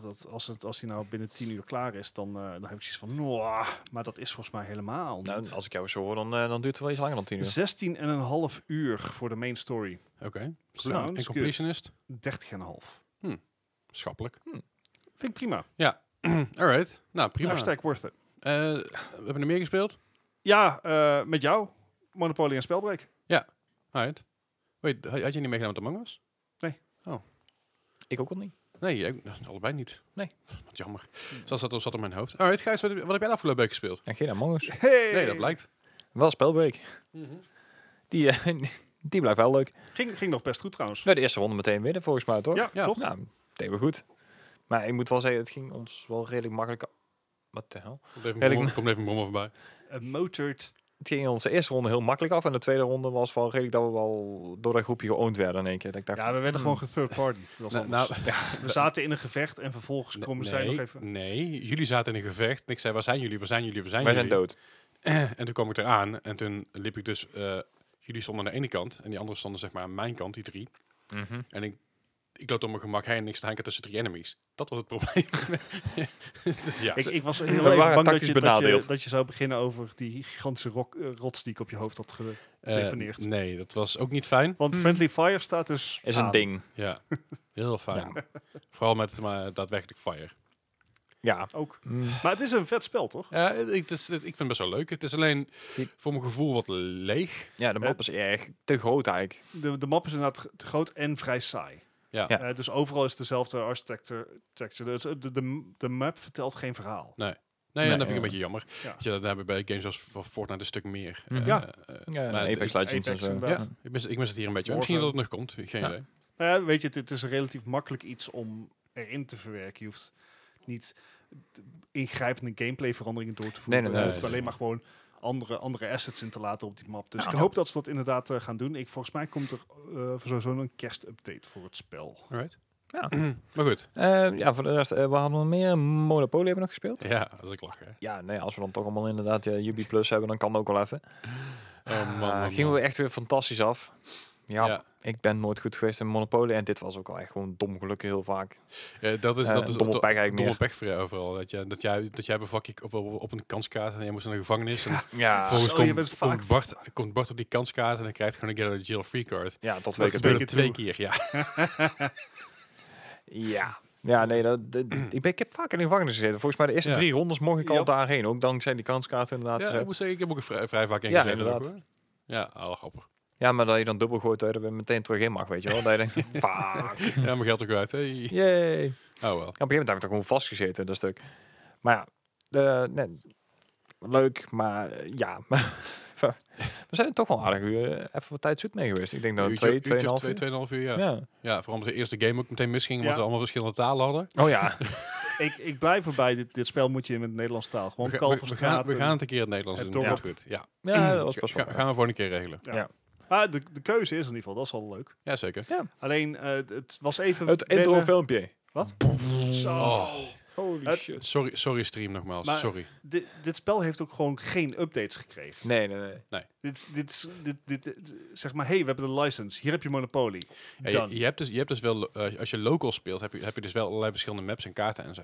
Dat als, het, als die nou binnen 10 uur klaar is, dan, eh, dan heb ik zoiets van, "Mwah." maar dat is volgens mij helemaal niet. Nou, als ik jou zo hoor, dan, eh, dan duurt het wel iets langer dan 10 uur. 16 en een half uur voor de main story. Oké. nou, Sounds En good. completionist? 30 en een half. Schappelijk. (clears throat) Vind ik prima. Alright. Nou, prima. Hashtag worth it. Eh, we hebben er meer gespeeld. Ja, eh, met jou. Monopoly en Spelbreak. Alright. Wait, had had je niet meegedaan met Among Us? Ik ook al niet. Nee, ik- allebei niet. Nee. Wat jammer. Zoals dat zat op mijn hoofd. Alright, Gijs, wat, wat heb jij de afgelopen week gespeeld? En geen Among Us. Hey! Nee, dat blijkt. Wel spelbreak. Mhm. Die, eh, (laughs) die blijft wel leuk. Ging, ging nog best goed trouwens. Nou, de eerste ronde meteen winnen, volgens mij, toch? Ja, Ja. klopt. Nou, deden we goed. Maar ik moet wel zeggen, het ging ons wel redelijk makkelijk... a- Wat de hel? Komt even, Ja, een ik- brommer- komt even een brommer voorbij. A motored. Het ging in onze eerste ronde heel makkelijk af. En de tweede ronde was wel redelijk dat we wel door dat groepje geoond werden in één keer. Dat ik dacht, Ja, we werden hmm. gewoon gethird party. Dat was Nou, anders. nou, (laughs) we zaten in een gevecht en vervolgens komen zij nog nee, even... nee, jullie zaten in een gevecht. En ik zei, waar zijn jullie, waar zijn jullie, waar zijn wij zijn jullie? dood. (laughs) En toen kwam ik eraan. En toen liep ik dus... eh, jullie stonden aan de ene kant. En die anderen stonden zeg maar aan mijn kant, die drie. En ik, ik loop op mijn gemak heen en ik sta een keer tussen drie enemies. Dat was het probleem. (laughs) dus ja. Ik, ze- (clears throat) ik was heel waren even bang dat tactisch je, dat, je, benadeeld. dat je zou beginnen over die gigantische rok, eh, rots die ik op je hoofd had ge... eh, gedeponeerd. nee, dat was ook niet fijn. Want Hmm. Friendly Fire staat dus Is een aan. ding. Ja, heel fijn. Vooral met maar, daadwerkelijk fire. Ja. Ook. Mm. Maar het is een vet spel, toch? Ja, ik, het is- het- ik vind het best wel leuk. Het is alleen Die- voor mijn gevoel wat leeg. Ja, de map is erg te groot eigenlijk. De, de map is inderdaad g- te groot en vrij saai. Ja. Ja. Eh, dus overal is dezelfde architecture. architecture. Dus, eh, De, de, de map vertelt geen verhaal. Nee. Nee, Nee, en dat vind ik ja. een beetje jammer. Ja. Weet je, dat hebben we bij games als Fortnite een stuk meer. Mhm. Eh, Ja. eh, Ja, en maar ik- Apex Apex Legends en zo. inderdaad. Ja. Ik mis, ik mis het hier een beetje. Maar Misschien dat het nog komt. Geen Ja. idee. Nou ja, weet je, het, het is relatief makkelijk iets om erin te verwerken. Je hoeft niet d- ingrijpende gameplayveranderingen door te voeren. Nee, nee, nee, je hoeft nee. alleen maar gewoon andere, andere assets in te laten op die map. Dus Ja. ik hoop dat ze dat inderdaad eh, gaan doen. Ik, volgens mij komt er eh, sowieso een kerstupdate voor het spel. Alright. Ja. (clears throat) maar goed. Eh, ja, voor de rest, eh, we hadden nog meer Monopoly hebben we nog gespeeld. Ja, als ik lach. Hè. Oh, Ja, nee, als we dan toch allemaal inderdaad ja, UB Plus hebben, dan kan dat ook wel even. Oh man, Ah, man, man. gingen we echt weer fantastisch af. Ja, Ja. ik ben nooit goed geweest in Monopoly en dit was ook al echt gewoon dom gelukkig heel vaak. Ja, dat is, Eh, Dus dat is domme do- pech eigenlijk domme meer. pech voor jou overal. Dat, je, dat, jij, dat jij bevak op, op, op een kanskaart en jij moest naar de gevangenis. En Ja, Volgens- vervolgens Zo, komt, je bent komt vaak- Bart, komt Bart op die kanskaart en dan krijgt gewoon een Get Out of Jail Free card. ja tot Dat twee keer toe. gebeurde keer twee toe. keer, ja. Ja. Ja, nee, dat, (clears throat) dat- ik, ben, ik heb vaak in de gevangenis gezeten. Volgens mij de eerste Ja. drie rondes mocht ik al Ja. daarheen. Ook dankzij die kanskaarten inderdaad. Dus, eh, ja Ja, ik moet zeggen, ik heb ook een vrij, vrij vaak in Ja, gezeten ook, inderdaad. hoor. Ja, al grappig. ja, maar dat je dan dubbel gooit, dat je er meteen terug in mag, weet je wel. Dat je denkt, (laughs) Fuck. ja, (laughs) mijn geld ook uit. Hey. yay. Oh wel. Ja, op een gegeven moment heb ik toch gewoon vastgezeten, dat stuk. Maar ja, eh, nee, leuk, maar eh, ja. (laughs) we zijn er toch wel aardig uur, eh, even wat tijd zoet mee geweest. Ik denk dat Een we uurtje- Nou, twee, uurtje of tweeënhalf twee, uur. tweeënhalf uur, ja. Ja. Ja, vooral omdat de eerste game ook meteen misging, omdat Ja. we allemaal verschillende talen hadden. Oh ja, ik, ik blijf erbij. Dit, dit spel moet je in het Nederlands taal. Gewoon we, ga- we, we gaan, Kalverstraat. we gaan het een keer in het Nederlands en doen. Komt dorp. goed. Ja. (clears throat) ja dat was pas Ga- wel. gaan we voor een keer regelen. Ja. Ja. Maar de, de keuze is in ieder geval, dat is al leuk. Jazeker. Alleen, eh, het- het was even... Het wennen. intro filmpje. Wat? Zo. Oh. Holy Het- shit. Sorry, sorry stream nogmaals. Maar- sorry. Di- dit spel heeft ook gewoon geen updates gekregen. Nee, nee, nee. Dit, dit, is- dit, dit, dit- zeg maar, hey, we hebben de license, hier heb je Monopoly. Ja, Dan. je, je hebt dus, je hebt dus wel, eh, als je local speelt, heb je, heb je dus wel allerlei verschillende maps en kaarten en zo.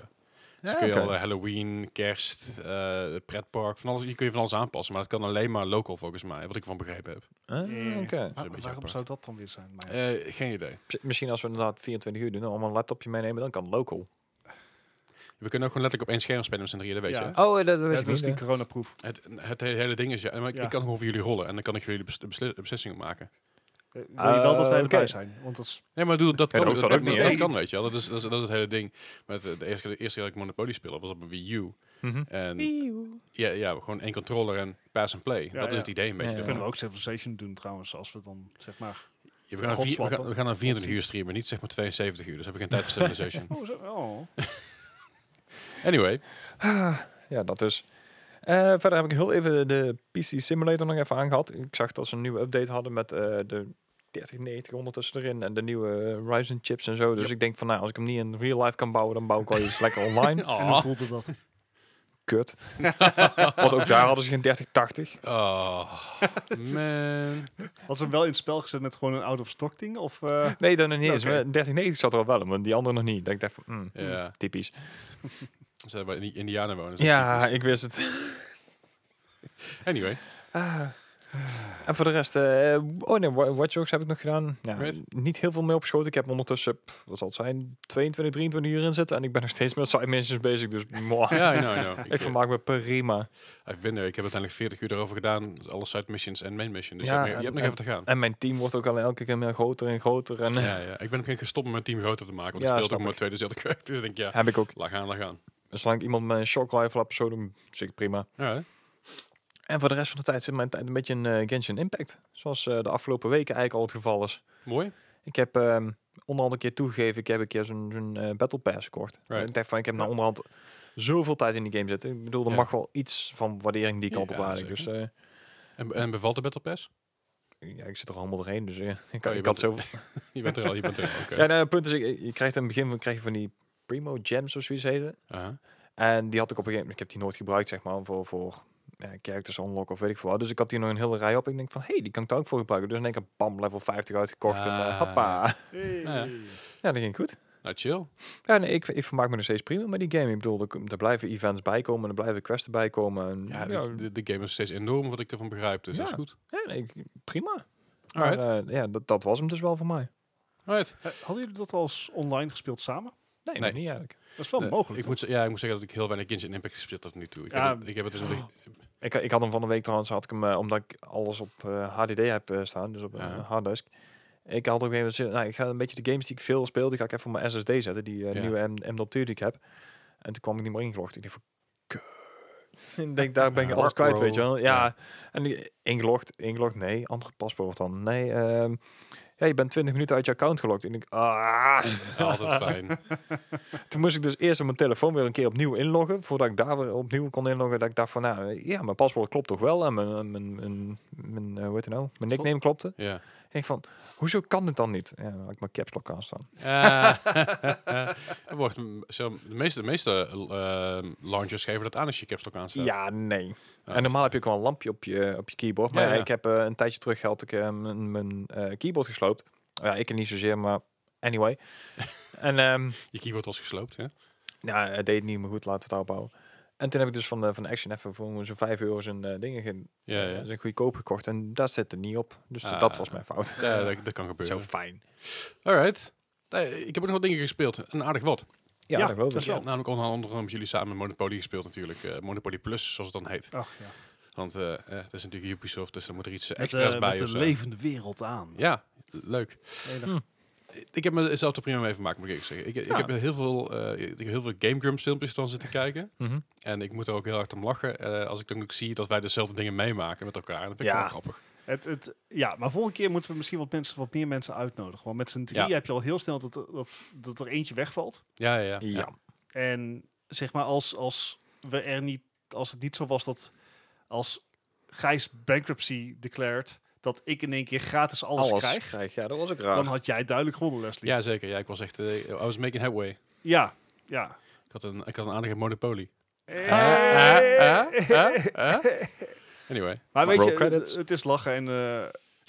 Dus Ja, kun je oké. al eh, Halloween, kerst, eh, pretpark, van alles, je kun je van alles aanpassen. Maar dat kan alleen maar local volgens mij, wat ik ervan begrepen heb. Ah, Eh. oké. een Waar- beetje waarom apart. zou dat dan weer zijn? Maar, Eh, geen idee. Pst, Misschien als we inderdaad 24 uur doen, allemaal een laptopje meenemen, dan kan local. We kunnen ook gewoon letterlijk op één scherm spelen met z'n drieën, dat weet Ja. je. hè? Oh, dat, dat Ja, weet het is ik die niet. coronaproof. Eh, Het, het he- hele ding is, ja, maar ik, Ja. ik kan gewoon voor jullie rollen en dan kan ik voor jullie bes- besli- beslissingen maken. Eh, wil je wel dat wij Eh, erbij oké. zijn? Want dat is, Nee, maar doe, dat Ja, kan dus dat hoeft dan ook niet, hè? dat kan, weet je wel. Dat is, dat is, dat is het hele ding. Met eh, de, eerste, keer- de eerste keer dat ik Monopoly speelde was op een Wii U. Mhm. En ja, ja, gewoon één controller en pass and play. dat is ja. het idee een beetje. Ja, ja. ervan. kunnen we ook Civilization doen trouwens, als we dan, zeg maar... Ja, we, gaan een vier- we, Godswap, gaan, we gaan een 24 uur streamen, niet zeg maar 72 uur. Dus heb ik (laughs) geen tijd voor Civilization. Oh, zo, (laughs) oh. Anyway, Ja, dat dus. Eh, verder heb ik heel even de PC Simulator nog even aangehad. Ik zag dat ze een nieuwe update hadden met eh, de 3090 ondertussen erin en de nieuwe Ryzen chips en zo. Dus ik denk van nou, als ik hem niet in real life kan bouwen, dan bouw ik wel (laughs) iets lekker online. En hoe oh, voelde dat? (laughs) Kut. Want ook daar hadden ze geen 3080. oh, (laughs) man. Had ze hem wel in het spel gezet met gewoon een out-of-stock ding? Of, eh, Nee, dan nog niet eens. Oké. Maar 3090 zat er wel wel, maar die andere nog niet. Dat ik dacht van, mm, Ja, typisch. ze hebben in Indiana wonen. dus Ja, typisch. ik wist het. Anyway, Ah. En voor de rest, eh, oh nee, Wa- Watch Dogs heb ik nog gedaan. Ja, Right. Niet heel veel mee opgeschoten. Ik heb ondertussen, pff, wat zal het zijn, 22, 23 uur in zitten. En ik ben nog steeds met side missions (laughs) bezig, dus mwah. ja, I know, I know. (laughs) ik eh, vermaak me prima. I've been there. Ik heb uiteindelijk 40 uur erover gedaan. dus Alle side missions en main mission. Dus Ja, je hebt, nog- je hebt en- nog even te gaan. En mijn team wordt ook al elke keer meer groter en groter. En eh, Ja, ja. Ik ben ook gestopt om mijn team groter te maken. Want Ja, ik speelde snap ook maar ik. twee dezelfde (laughs) kwijt. Dus ik denk, ja, heb ik ook. laat gaan, laat gaan. Zolang ik iemand met een shock rifle laat zo doen, zeker prima. Ja, hè? En voor de rest van de tijd zit mijn tijd een beetje in eh, Genshin Impact. Zoals eh, de afgelopen weken eigenlijk al het geval is. mooi. Ik heb ehm, onderhand een keer toegegeven, ik heb een keer zo'n zo'n, eh, Battle Pass gekocht. Right. Ik dacht van, ik heb Ja. nou onderhand zoveel tijd in die game zitten. Ik bedoel, er Ja. mag wel iets van waardering die kant op Ja, eigenlijk. Dus En, en bevalt de Battle Pass? eh, ja, ik zit er allemaal doorheen, dus eh, (laughs) ik, Oh, je ik had bent- zoveel... Je bent er al, je bent er al. Oké. (laughs) Ja, nou, het punt is, ik- je krijgt in het begin van, krijg je van die Primo Gems of zoiets heette. Aha. En die had ik op een gegeven moment, ik heb die nooit gebruikt, zeg maar, voor, voor eh, characters unlock of weet ik veel wat. Dus ik had hier nog een hele rij op. Ik denk van, hey, die kan ik daar ook voor gebruiken. Dus in één keer, bam, level 50 uitgekocht. En eh, Ah. hoppa. hey. ja. Ja, dat ging goed. Nou, chill. Ja, nee, ik, ik vermaak me nog steeds prima met die game. Ik bedoel, er, er blijven events bij komen, er blijven quests bij komen. En, Ja, ja, de, de, de game is steeds enorm, wat ik ervan begrijp. Dus dat Ja. is goed. ja, nee, ik- prima. Maar, Alright. eh, ja, dat, dat was hem dus wel voor mij. Alright. Eh, Hadden jullie dat al eens online gespeeld samen? Nee, nog Nee. niet eigenlijk. Dat is wel Nee, mogelijk. Eh, Ik moet, ze- ja, ik moet zeggen dat ik heel weinig Genshin Impact gespeeld heb tot nu toe. Ik, Ja. heb, het- ik heb het dus nog niet- (laughs) Ik, ik had hem van de week trouwens, had ik hem, eh, omdat ik alles op eh, HDD heb eh, staan, dus op een Ja. harddisk. Ik had ook even zin, nou, ik ga een beetje de games die ik veel speel, die ga ik even op mijn SSD zetten, die eh, Ja. nieuwe M- M.2 die ik heb. En toen kwam ik niet meer ingelogd. Ik dacht van, ik denk, daar ben Ja, je alles kwijt, weet je wel. Ja, Ja. en die- ingelogd, ingelogd, nee. Andere paspoort dan, nee. ehm, ja, je bent 20 minuten uit je account gelogd. En ik, ah. Altijd fijn. Toen moest ik dus eerst op mijn telefoon weer een keer opnieuw inloggen. Voordat ik daar weer opnieuw kon inloggen. Dat ik dacht van, nou, ja, mijn paswoord klopt toch wel. En mijn, mijn, mijn, mijn eh, hoe heet het nou? Mijn nickname klopte. En Ja. ik denk van, hoezo kan dit dan niet? Ja, dan had ik mijn caps lock aanstaan. (laughs) Eh, er wordt, m- zo, de meeste, de meeste eh, launchers geven dat aan als je caps lock aanstaat. Ja, nee. Oh, en normaal heb je ook wel een lampje op je, op je keyboard. Maar Ja, ja, ja. ik heb eh, een tijdje terug had ik eh, mijn, mijn eh, keyboard gesloopt. Ja, ik niet zozeer, maar anyway. en ehm Je keyboard was gesloopt, hè? nou, het deed niet meer goed, laten we het opbouwen. En toen heb ik dus van, de, van Action even voor zo'n 5 euro zijn eh, dingen ge- Ja, eh, ja. zijn goedkoop gekocht. En daar zit er niet op. Dus Ah. dat was mijn fout. Ja, dat, dat kan Zo gebeuren. fijn. Alright. Nee, ik heb ook nog wat dingen gespeeld. En aardig wat. Ja, Ja, dat wel. dat is Ja, wel. namelijk onder andere met jullie samen Monopoly gespeeld natuurlijk. Eh, Monopoly Plus, zoals het dan heet. Ach ja. Want eh, eh, het is natuurlijk Ubisoft, dus dan moet er iets eh, Met, extra's eh, bij met of de zo. levende wereld aan. Ja, leuk. Enig. Ik heb mezelf er prima mee vermaakt, moet ik eerlijk zeggen. Ik, Ja. ik heb heel veel, eh, ik heb heel veel Game Grumps filmpjes van zitten kijken. Mhm. En ik moet er ook heel hard om lachen. eh, als ik dan ook zie dat wij dezelfde dingen meemaken met elkaar. Dat vind ik Ja. wel grappig. Het, het, ja, maar volgende keer moeten we misschien wat, mensen, wat meer mensen uitnodigen. Want met z'n drie Ja. heb je al heel snel dat, dat, dat er eentje wegvalt. Ja, ja, ja. Ja. En zeg maar, als, als, we er niet, als het niet zo was dat als Gijs bankruptcy declared, dat ik in één keer gratis alles, Alles krijg, krijg. Ja, dat was ook raar. dan had jij duidelijk gewonnen, Leslie. Ja, zeker. Ja, ik was echt, eh, I was making headway. ja. ja. Ik had een, ik had een aardige Monopoly. Hey. Eh, eh, eh, eh. Anyway. Maar weet Roll je, credits. het, het is lachen en eh,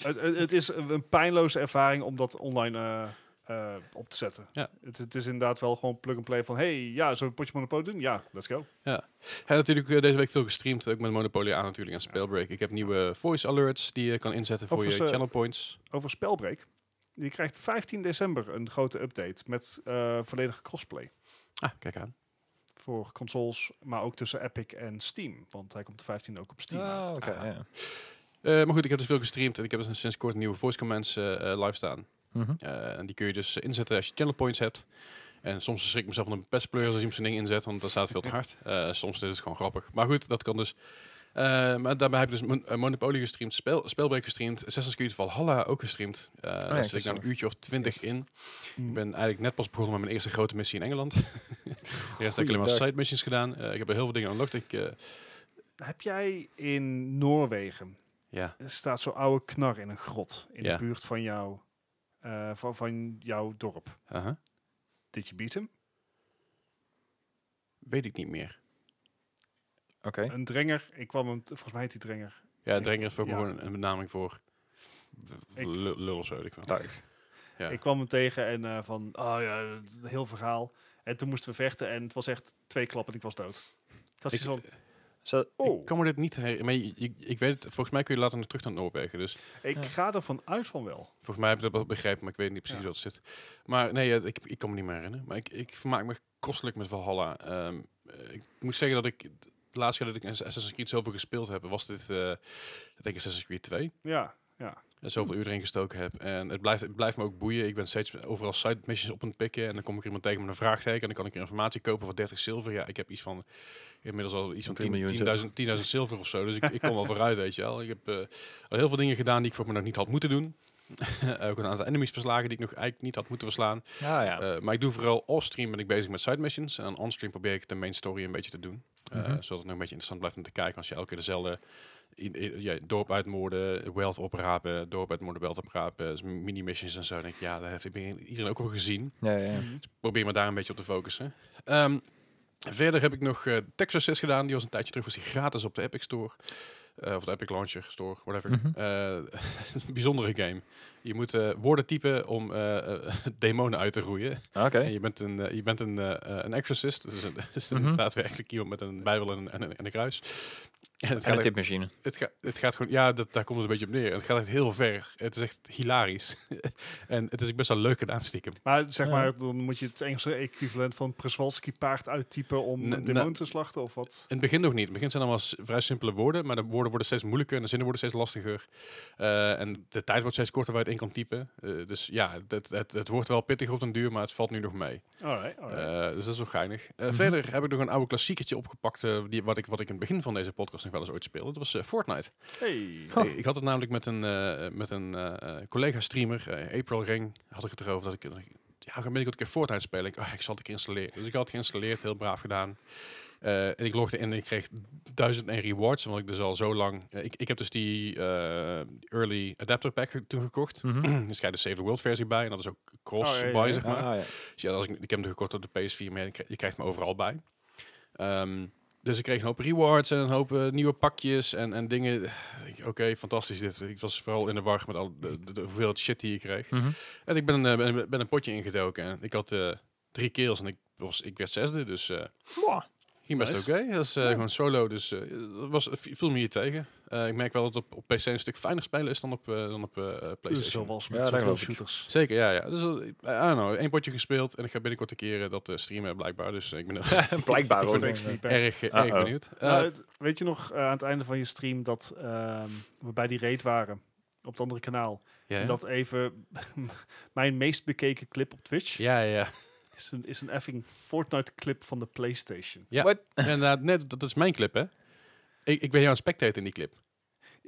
het, het- het is een pijnloze ervaring om dat online eh, eh, op te zetten. Ja. Het, het is inderdaad wel gewoon plug-and-play van, hey, ja, zullen we potje monopolie doen? Ja, let's go. Ja, natuurlijk eh, deze week veel gestreamd, ook met Monopoly aan natuurlijk en Spellbreak. Ik heb nieuwe voice alerts die je kan inzetten voor je Overigens, eh, channel points. Over spelbreak. Je krijgt 15 december een grote update met eh, volledige crossplay. Ah, kijk aan. Voor consoles, maar ook tussen Epic en Steam. Want hij komt de 15 ook op Steam uit. Ah, oké, Ah. ja. Eh, maar goed, ik heb dus veel gestreamd en ik heb dus sinds kort nieuwe voice commands eh, eh, live staan. Mhm. Eh, en die kun je dus eh, inzetten als je channel points hebt. En soms schrik ik mezelf van een pestpleur als iemand zijn ding inzet, want dat staat veel te (laughs) hard. Eh, soms is het gewoon grappig. Maar goed, dat kan dus. Eh, maar daarbij heb ik dus Mon- eh, Monopoly gestreamd, spel, Spellbreak gestreamd, Assassin's Creed Valhalla ook gestreamd. Ah Eh daar zit ik nou gezellig. een uurtje of twintig in. Ik Mm. ben eigenlijk net pas begonnen met mijn eerste grote missie in Engeland. (laughs) De rest heb ik alleen maar Goeiedag. side missions gedaan. Eh, ik heb er heel veel dingen unlocked. Ik, eh, Heb jij in Noorwegen, ja, er staat zo'n oude knar in een grot. In Ja. de buurt van, jou, eh, van, van jouw dorp. aha. Did you beat him? weet ik niet meer. Oké. Een drenger. Ik kwam hem, volgens mij heet die drenger. Ja, Ik- Drenger is voor ja. gewoon een benaming voor w- w- Ik- lul lul of zo. weet Ik wel. Tuig. Ja. Ik kwam hem tegen en eh, van, oh ja, het is een heel verhaal. En toen moesten we vechten en het was echt twee klappen en ik was dood. Ik was Ik- hier zo'n, Zo- Ik oh. kan me dit niet herinneren. Maar je- je- ik weet het, volgens mij kun je later nog terug naar Noorwegen. Dus Ik Ja. ga ervan uit van wel. volgens mij heb ik dat wel begrepen, maar ik weet niet precies Ja. wat het zit. Maar nee, eh, ik, ik kan me niet meer herinneren. Maar ik, ik vermaak me kostelijk met Valhalla. Ehm, eh, ik moet zeggen dat ik de laatste keer dat ik Assassin's Creed zoveel gespeeld heb, was dit, eh, ik denk Assassin's Creed 2. Ja, en zoveel uur erin gestoken heb. En het blijft, het blijft me ook boeien. Ik ben steeds overal side missions op aan het pikken. En dan kom ik iemand tegen met een vraagteken. En dan kan ik er informatie kopen voor 30 zilver. Ja, ik heb iets van inmiddels al iets van 10 10 miljoen 10.000 10.000 zilver of zo. Dus ik, ik kom al vooruit, weet je wel. Ik heb eh, al heel veel dingen gedaan die ik voor me nog niet had moeten doen. (laughs) ook een aantal enemies verslagen die ik nog eigenlijk niet had moeten verslaan. Ja, ja. Eh, maar ik doe vooral off-stream ben ik bezig met side missions. En on-stream probeer ik de main story een beetje te doen. Eh, Mhm. Zodat het nog een beetje interessant blijft om te kijken. Als je elke keer dezelfde i- i- ja, dorp uitmoorden, wealth oprapen, dorp uitmoorden, wealth oprapen, dus mini-missions en zo. Dan denk ik, ja, dat heeft iedereen iedereen ook al gezien. ja, ja, ja. Mhm. Probeer me daar een beetje op te focussen. Ehm, verder heb ik nog eh Texas 6 gedaan. Die was een tijdje terug, was die gratis op de Epic Store. Eh, of de Epic Launcher Store, whatever. Mhm. Eh, (laughs) een bijzondere game. Je moet eh, woorden typen om eh, eh, (laughs) demonen uit te roeien. Oké. En je bent een, eh, je bent een, eh, eh, een exorcist, dus een, (laughs) dus een Mhm. daadwerkelijk iemand met een bijbel en, een- en, een- en een kruis. En het, En gaat, de echt- tipmachine. het, gaat, het gaat gewoon, ja, dat, daar komt het een beetje op neer. Het gaat echt heel ver. Het is echt hilarisch. (laughs) en het is ook best wel leuk gedaan stiekem. Maar zeg Ja. maar, dan moet je het Engelse equivalent van Przewalski paard uittypen om N- een demon nou- te slachten of wat. In het begin nog niet. In het begin zijn allemaal s- vrij simpele woorden, maar de woorden worden steeds moeilijker en de zinnen worden steeds lastiger. Eh, en de tijd wordt steeds korter waar je het in kan typen. Eh, dus ja, het, het, het wordt wel pittig op den duur, maar het valt nu nog mee. Alright, alright. Eh, dus dat is wel geinig. Eh, Mhm. Verder heb ik nog een oude klassiekertje opgepakt, eh, die, wat, ik, wat ik in het begin van deze podcast nog wel eens ooit speelde. Dat was eh, Fortnite. hey. Oh. Ik, ik had het namelijk met een, eh, met een eh, eh, collega-streamer, eh, April Ring, had ik het erover dat ik... dat ik- ja, dan ben ik ook een keer Fortnite spelen. Ik, oh, ik zal het een keer installeren. Dus ik had het geïnstalleerd, heel braaf gedaan. Eh, en ik logde in en ik kreeg duizend en rewards, omdat ik dus al zo lang... eh, ik, ik heb dus die eh, Early Adapter Pack ge- toen gekocht. (clears throat) dus krijg je de Save the World versie bij. En dat is ook cross-buy, Mhm. Oh, ja, ja, ja. zeg maar. Ah, Mhm. ja. Dus ja, als ik, ik heb hem gekort op de PS4, maar je krijgt- je krijgt me overal bij. Ehm, dus ik kreeg een hoop rewards en een hoop eh, nieuwe pakjes en, en dingen. Ik- Oké, fantastisch dit. Ik was vooral in de war met al de, de, de hoeveelheid shit die ik kreeg. Mhm. En ik ben, eh, ben, ben een potje ingedoken en ik had eh, drie kills en ik, was, ik werd zesde, dus... eh, Mwah. Ging best Nice. oké. Dat is eh, Ja. gewoon solo, dus eh, dat was, viel me hier tegen. Eh, ik merk wel dat op, op PC een stuk fijner spelen is dan op, eh, dan op eh, PlayStation. Zoals Dus Ja, met dat zoveel geloof ik. shooters. Zeker, ja. ja. Dus, eh, I don't know, één potje gespeeld en ik ga binnenkort een keer eh, dat eh, streamen blijkbaar. Dus eh, ik ben (laughs) er- (laughs) (laughs) Blijkbaar That ook. makes me back. erg, eh, erg Uh-oh. benieuwd. Eh, Nou, het- weet je nog eh, aan het einde van je stream dat ehm, we bij die raid waren op het andere kanaal? ja, En ja. dat even (laughs) mijn meest bekeken clip op Twitch ja, ja, (laughs) ja. is, een, is een effing Fortnite clip van de (laughs) PlayStation. Ja. What? Inderdaad, net, dat is mijn clip, hè. Ik, ik ben jou een spectator in die clip.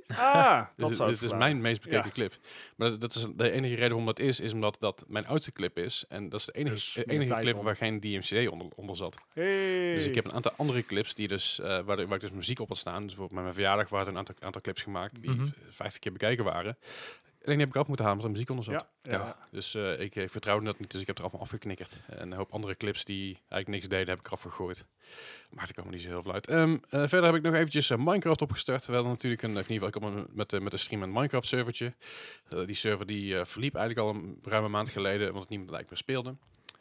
Ah, Dus het- dat zou het het is verklaren. mijn meest bekeken Ja. clip. Maar dat, dat is de enige reden waarom dat is, is omdat dat mijn oudste clip is. En dat is de enige, Dus eh, meer enige tijd clip om. waar geen DMCA onder, onder zat. Hey. Dus ik heb een aantal andere clips die dus, eh, waar, de- waar ik dus muziek op had staan. Dus bijvoorbeeld met mijn verjaardag waren er een aantal, aantal clips gemaakt die Mhm. 50 keer bekeken waren. Alleen die heb ik af moeten halen omdat er muziek onder zat. ja, ja. Ja. Dus eh, ik, ik vertrouwde dat niet, dus ik heb er allemaal afgeknikkerd. En een hoop andere clips die eigenlijk niks deden, heb ik eraf gegooid. Maar dat kwam me niet zo heel veel uit. Ehm, eh, verder heb ik nog eventjes eh, Minecraft opgestart. We hadden natuurlijk een, of in ieder geval, ik kwam met, de met een stream een Minecraft-servertje. Eh, die server die eh, verliep eigenlijk al een ruime maand geleden, want niemand eigenlijk meer speelde.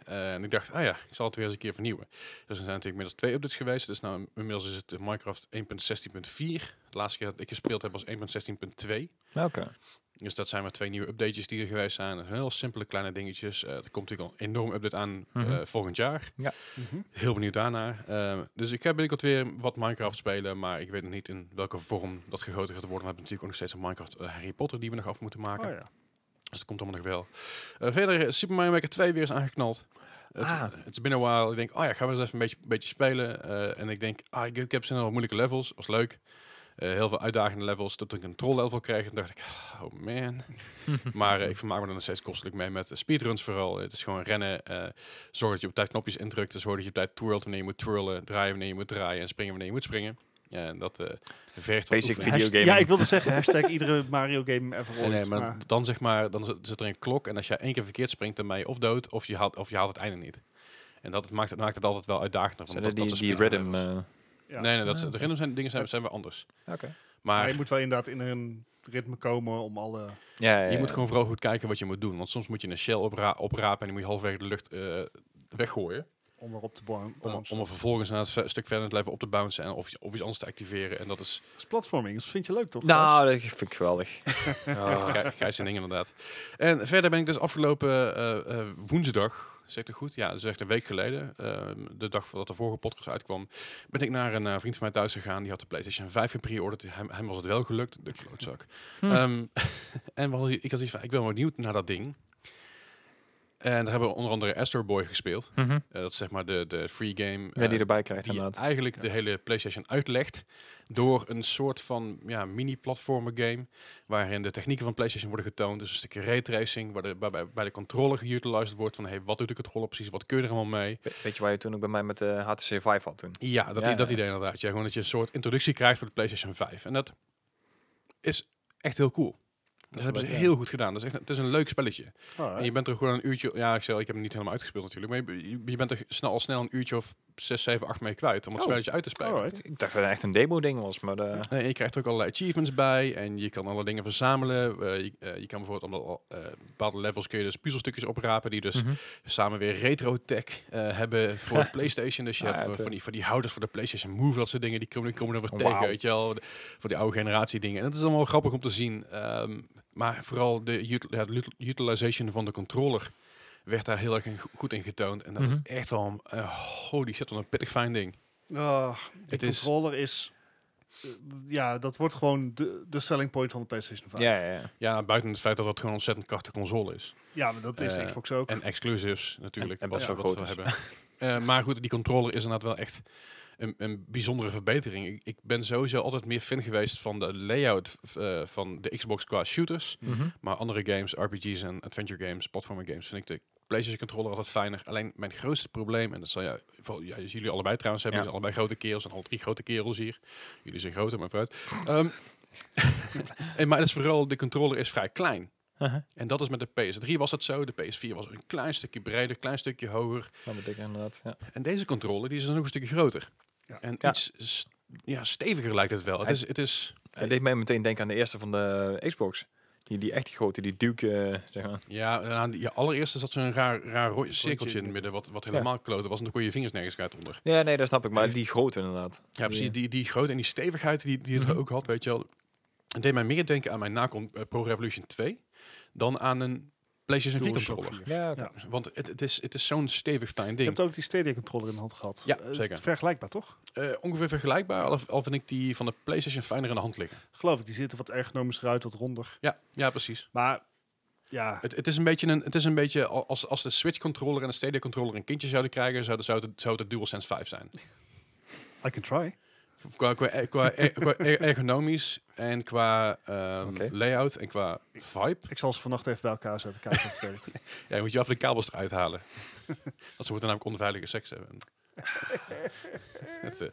Eh, en ik dacht, ah ja, ik zal het weer eens een keer vernieuwen. Dus er zijn natuurlijk inmiddels twee updates geweest. Dus nou, inmiddels is het eh, Minecraft 1.16.4. De laatste keer dat ik gespeeld heb was 1.16.2. Nou, Oké. Dus dat zijn maar twee nieuwe updates die er geweest zijn. Heel simpele kleine dingetjes. Eh, er komt natuurlijk al een enorm update aan eh, Mhm. volgend jaar. Mhm. Heel benieuwd daarnaar. Eh, dus ik ga binnenkort weer wat Minecraft spelen. Maar ik weet nog niet in welke vorm dat gegoten gaat worden. We hebben natuurlijk ook nog steeds een Minecraft eh, Harry Potter die we nog af moeten maken. Oh, ja. Dus dat komt allemaal nog wel. Eh, verder, eh, Super Mario Maker 2 weer is aangeknald. Het eh, Ah. het is binnen een while. Ik denk, oh ja, gaan we eens even een beetje, beetje spelen. Eh, en ik denk, ah, ik, ik heb zin in wat moeilijke levels. Was leuk. Eh, heel veel uitdagende levels. Tot ik een troll level kreeg. En dacht ik, oh man. maar eh, ik vermaak me er nog steeds kostelijk mee met eh, speedruns vooral. het is gewoon rennen. eh zorg dat je op tijd knopjes indrukt. Dus Zorg dat je op tijd twirlt wanneer je moet twirlen. Draaien wanneer je moet draaien. En springen wanneer je moet springen. Ja, en dat eh vergt wat oefening. Basic Videogaming. Hasht- Ja, ik wilde zeggen, hashtag iedere Mario game ever Nee, ooit. nee, maar, maar- dan zeg maar, dan zit- zit er een klok en als jij één keer verkeerd springt, dan ben je of dood of je haalt, of je haalt het einde niet. En dat maakt het, maakt het altijd wel uitdagender. want Zijn dat, er die, dat is die speedrun rhythm... levels. eh, ja. Nee, nee, dat, is- Ah, de oké. random zijn, dingen zijn, Dat- zijn wel anders. Oké. Maar Maar je moet wel inderdaad in een ritme komen om alle... Ja, ja, je ja. moet gewoon vooral goed kijken wat je moet doen. Want soms moet je een shell opra- oprapen en die moet je halverwege de lucht eh, weggooien. om erop te bouwen. Om, om er vervolgens naar het ve- stuk verder in het leven op te bouncen en of iets, of iets anders te activeren. En dat is Dat is Dus platforming, dat vind je leuk toch? Nou, dat vind ik (laughs) geweldig. Ah. Oh. Gij, grijs en ding inderdaad. En verder ben ik dus afgelopen eh, eh, woensdag, zegt het goed, ja, dat is echt een week geleden, ehm, de dag voordat de vorige podcast uitkwam, ben ik naar een eh, vriend van mij thuis gegaan. Die had de PlayStation 5 gepreorderd. Hem, hem was het wel gelukt, de klootzak. Hm. Ehm, (laughs) en we hadden- ik had iets van, ik ben wel benieuwd naar dat ding. En daar hebben we onder andere Astro Boy gespeeld. mhm. Eh, dat is zeg maar de, de free game. Ja, die eh, erbij krijgt die inderdaad. eigenlijk Ja. de hele PlayStation uitlegt door een soort van ja, mini-platformer game waarin de technieken van PlayStation worden getoond. Dus een stukje raytracing, waar de, waarbij bij de controller geutilised wordt van hey, wat doet de controller precies, wat kun je er allemaal mee. We- Weet je waar je toen ook bij mij met eh, de HTC Vive had toen? Ja, dat, Ja, i- dat ja. idee inderdaad. Ja, gewoon dat je een soort introductie krijgt voor de PlayStation 5. En dat is echt heel cool. Dat hebben ze leuk, ja. heel goed gedaan. Dat is echt, het is een leuk spelletje. En je Alright. bent er gewoon een uurtje... Ja, ik, zei, ik heb hem niet helemaal uitgespeeld natuurlijk. Maar je, je- je bent er snel, al snel een uurtje of 6, 7, 8 mee kwijt om het Oh. spelletje uit te spelen. Alright. Ik dacht dat het echt een demo-ding was, maar eh, de, Nee, Eh, je krijgt ook allerlei achievements bij en je kan alle dingen verzamelen. Eh, je, eh, je kan bijvoorbeeld om de, eh, bepaalde levels kun je dus puzzelstukjes oprapen die dus Mhm. samen weer retro tech eh, hebben voor (laughs) de PlayStation. Dus je Ah, hebt ja, voor- het, van die, van die houders voor de PlayStation Move, dat soort dingen, die komen, die komen er weer Wauw. tegen, weet je wel. De- voor die oude generatie dingen. En dat is allemaal grappig om te zien. Ehm, maar vooral de, ut- ja, de ut- utilization van de controller werd daar heel erg in- goed in getoond. En dat Mhm. is echt wel, een- eh, holy shit, wat een pittig fijn ding. Ah, de Het is- controller is... eh, ja, dat wordt gewoon de, de selling point van de PlayStation 5. Ja, ja, ja. Ja, buiten het feit dat dat gewoon een ontzettend krachtige console is. Ja, maar dat is Eh, Xbox ook. En exclusives natuurlijk. En- en wat best we- wel wat we groot (laughs) hebben. Eh, maar goed, die controller is inderdaad wel echt een, een bijzondere verbetering. Ik, ik ben sowieso altijd meer fan geweest van de layout eh, van de Xbox qua shooters. Mhm. Maar andere games, RPG's en adventure games, platformer games, vind ik de PlayStation controller altijd fijner. Alleen mijn grootste probleem, en dat zal jij, vooral, ja, jullie allebei trouwens hebben, Ja. zijn allebei grote kerels en al drie grote kerels hier. Jullie zijn groter, maar vooruit. Ehm, (laughs) en, maar het is vooral, de controller is vrij klein. Haha. En dat is met de PS3 was dat zo. De PS4 was een klein stukje breder, klein stukje hoger. Dat betekent inderdaad. Ja. En deze controller die is dan nog een stukje groter. Ja. En Ja. iets s- ja, steviger lijkt het wel. Het Hij- is, het is Het deed mij meteen denken aan de eerste van de eh, Xbox. Die, die echt grote, die Duke, eh, zeg maar. ja, aan die- ja, allereerst zat zo'n raar, raar ro- cirkeltje in ja. het midden, wat, wat helemaal kloten was. En dan kon je je vingers nergens uit onder. Ja, nee, dat snap ik. Maar die grote inderdaad. Ja, precies. Die- Die, die grootte en die stevigheid die, die het Mhm. ook had, weet je wel. Het deed mij meer denken aan mijn Nacon eh, Pro Revolution 2 dan aan een PlayStation 4 controller. Ja, Ja. Want het, het is, het is zo'n stevig fijn Je ding. hebt ook die Stadia controller in de hand gehad. Ja, Eh, zeker. Vergelijkbaar, toch? Eh, ongeveer vergelijkbaar, al, al vind ik die van de PlayStation fijner in de hand liggen. Geloof ik, die zitten wat ergonomisch eruit, wat ronder. Ja, ja precies. Maar ja, Het, het, is een beetje een, het is een beetje al- als, als de Switch controller en de Stadia controller een kindje zouden krijgen, zou, de- zou, het, zou het de DualSense 5 zijn. I can try. Qua, qua, eh, qua, eh, qua (laughs) er- ergonomisch en qua ehm, Oké. layout en qua vibe. Ik zal ze vannacht even bij elkaar zetten, kijken of (laughs) het werkt. Ja, je moet je af en de kabels eruit halen. (laughs) Want ze moeten namelijk onveilige seks (laughs) hebben. Het,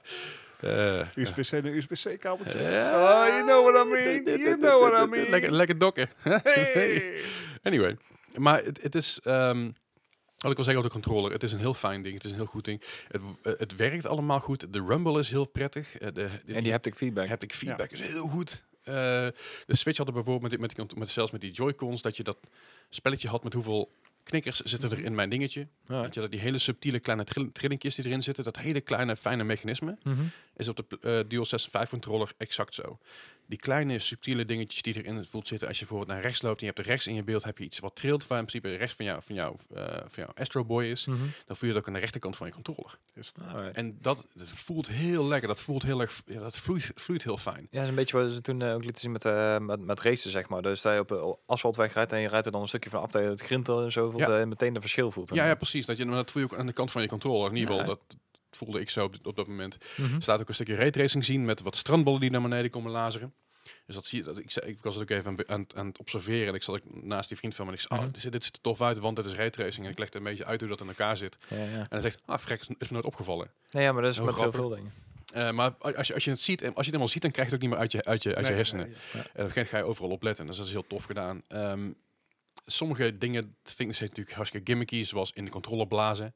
eh, eh, USB-C naar USB-C kabeltje. Ja. Oh, you know what I (laughs) mean. You know what I mean. Lekker, lekker dokken. Hey. Anyway, maar het, het is... ehm, wat ik wil zeggen over de controller, het is een heel fijn ding, het is een heel goed ding. Het, eh, het werkt allemaal goed, de rumble is heel prettig. eh, de, de- En die haptic feedback. haptic feedback is heel goed. Eh, de Switch hadden bijvoorbeeld met, die- met, die cont- met, zelfs met die Joy-Cons dat je dat spelletje had met hoeveel knikkers zitten er in mijn dingetje. Ja. Dat je dat die hele subtiele kleine trill- trillingjes die erin zitten, dat hele kleine fijne mechanisme, Mhm. is op de pl- eh DualSense 5 controller exact zo. Die kleine subtiele dingetjes die erin voelt zitten, als je bijvoorbeeld naar rechts loopt en je hebt er rechts in je beeld, heb je iets wat trilt, waar in principe rechts van jou, van jou, eh, van jou Astro Boy is, Mhm. dan voel je dat ook aan de rechterkant van je controller. Alright. En dat, dat voelt heel lekker, dat voelt heel erg, ja, dat vloeit, vloeit heel fijn. Ja, dat is een beetje wat ze toen eh, ook lieten zien met, eh met, met racen, zeg maar. Dus dat je op eh, asfaltweg rijdt en je rijdt er dan een stukje van af dat je het grint en zo voelt, Ja. dat je meteen een verschil voelt. Ja, ja, precies. Dat, je, maar dat voel je ook aan de kant van je controller. In ieder geval, Ja. dat dat voelde ik zo op, op dat moment. Er Mhm. laat ook een stukje raytracing zien met wat strandballen die naar beneden komen lazeren. Dus dat zie je. Dat, ik, zei- ik was het ook even aan, be- aan, het- aan het observeren. En ik zat ook naast die vriend van me. En ik zei, Mhm. oh, dit, ziet- dit ziet er tof uit, want dit is raytracing. En ik legde een beetje uit hoe dat in elkaar zit. En Ja, ja. hij zegt, ah, vrek, is, is me nooit opgevallen. Nee, ja, maar dat is Heel met heel grappig. veel dingen. Eh, maar a- als je, als je het ziet, en als je het helemaal ziet, dan krijg je het ook niet meer uit je, uit je, uit je hersenen. Nee, nee. En op een gegeven moment ga je overal op letten. Dus dat is heel tof gedaan. Ehm, sommige dingen dat vind ik nog steeds natuurlijk hartstikke gimmicky. Zoals in de controller blazen.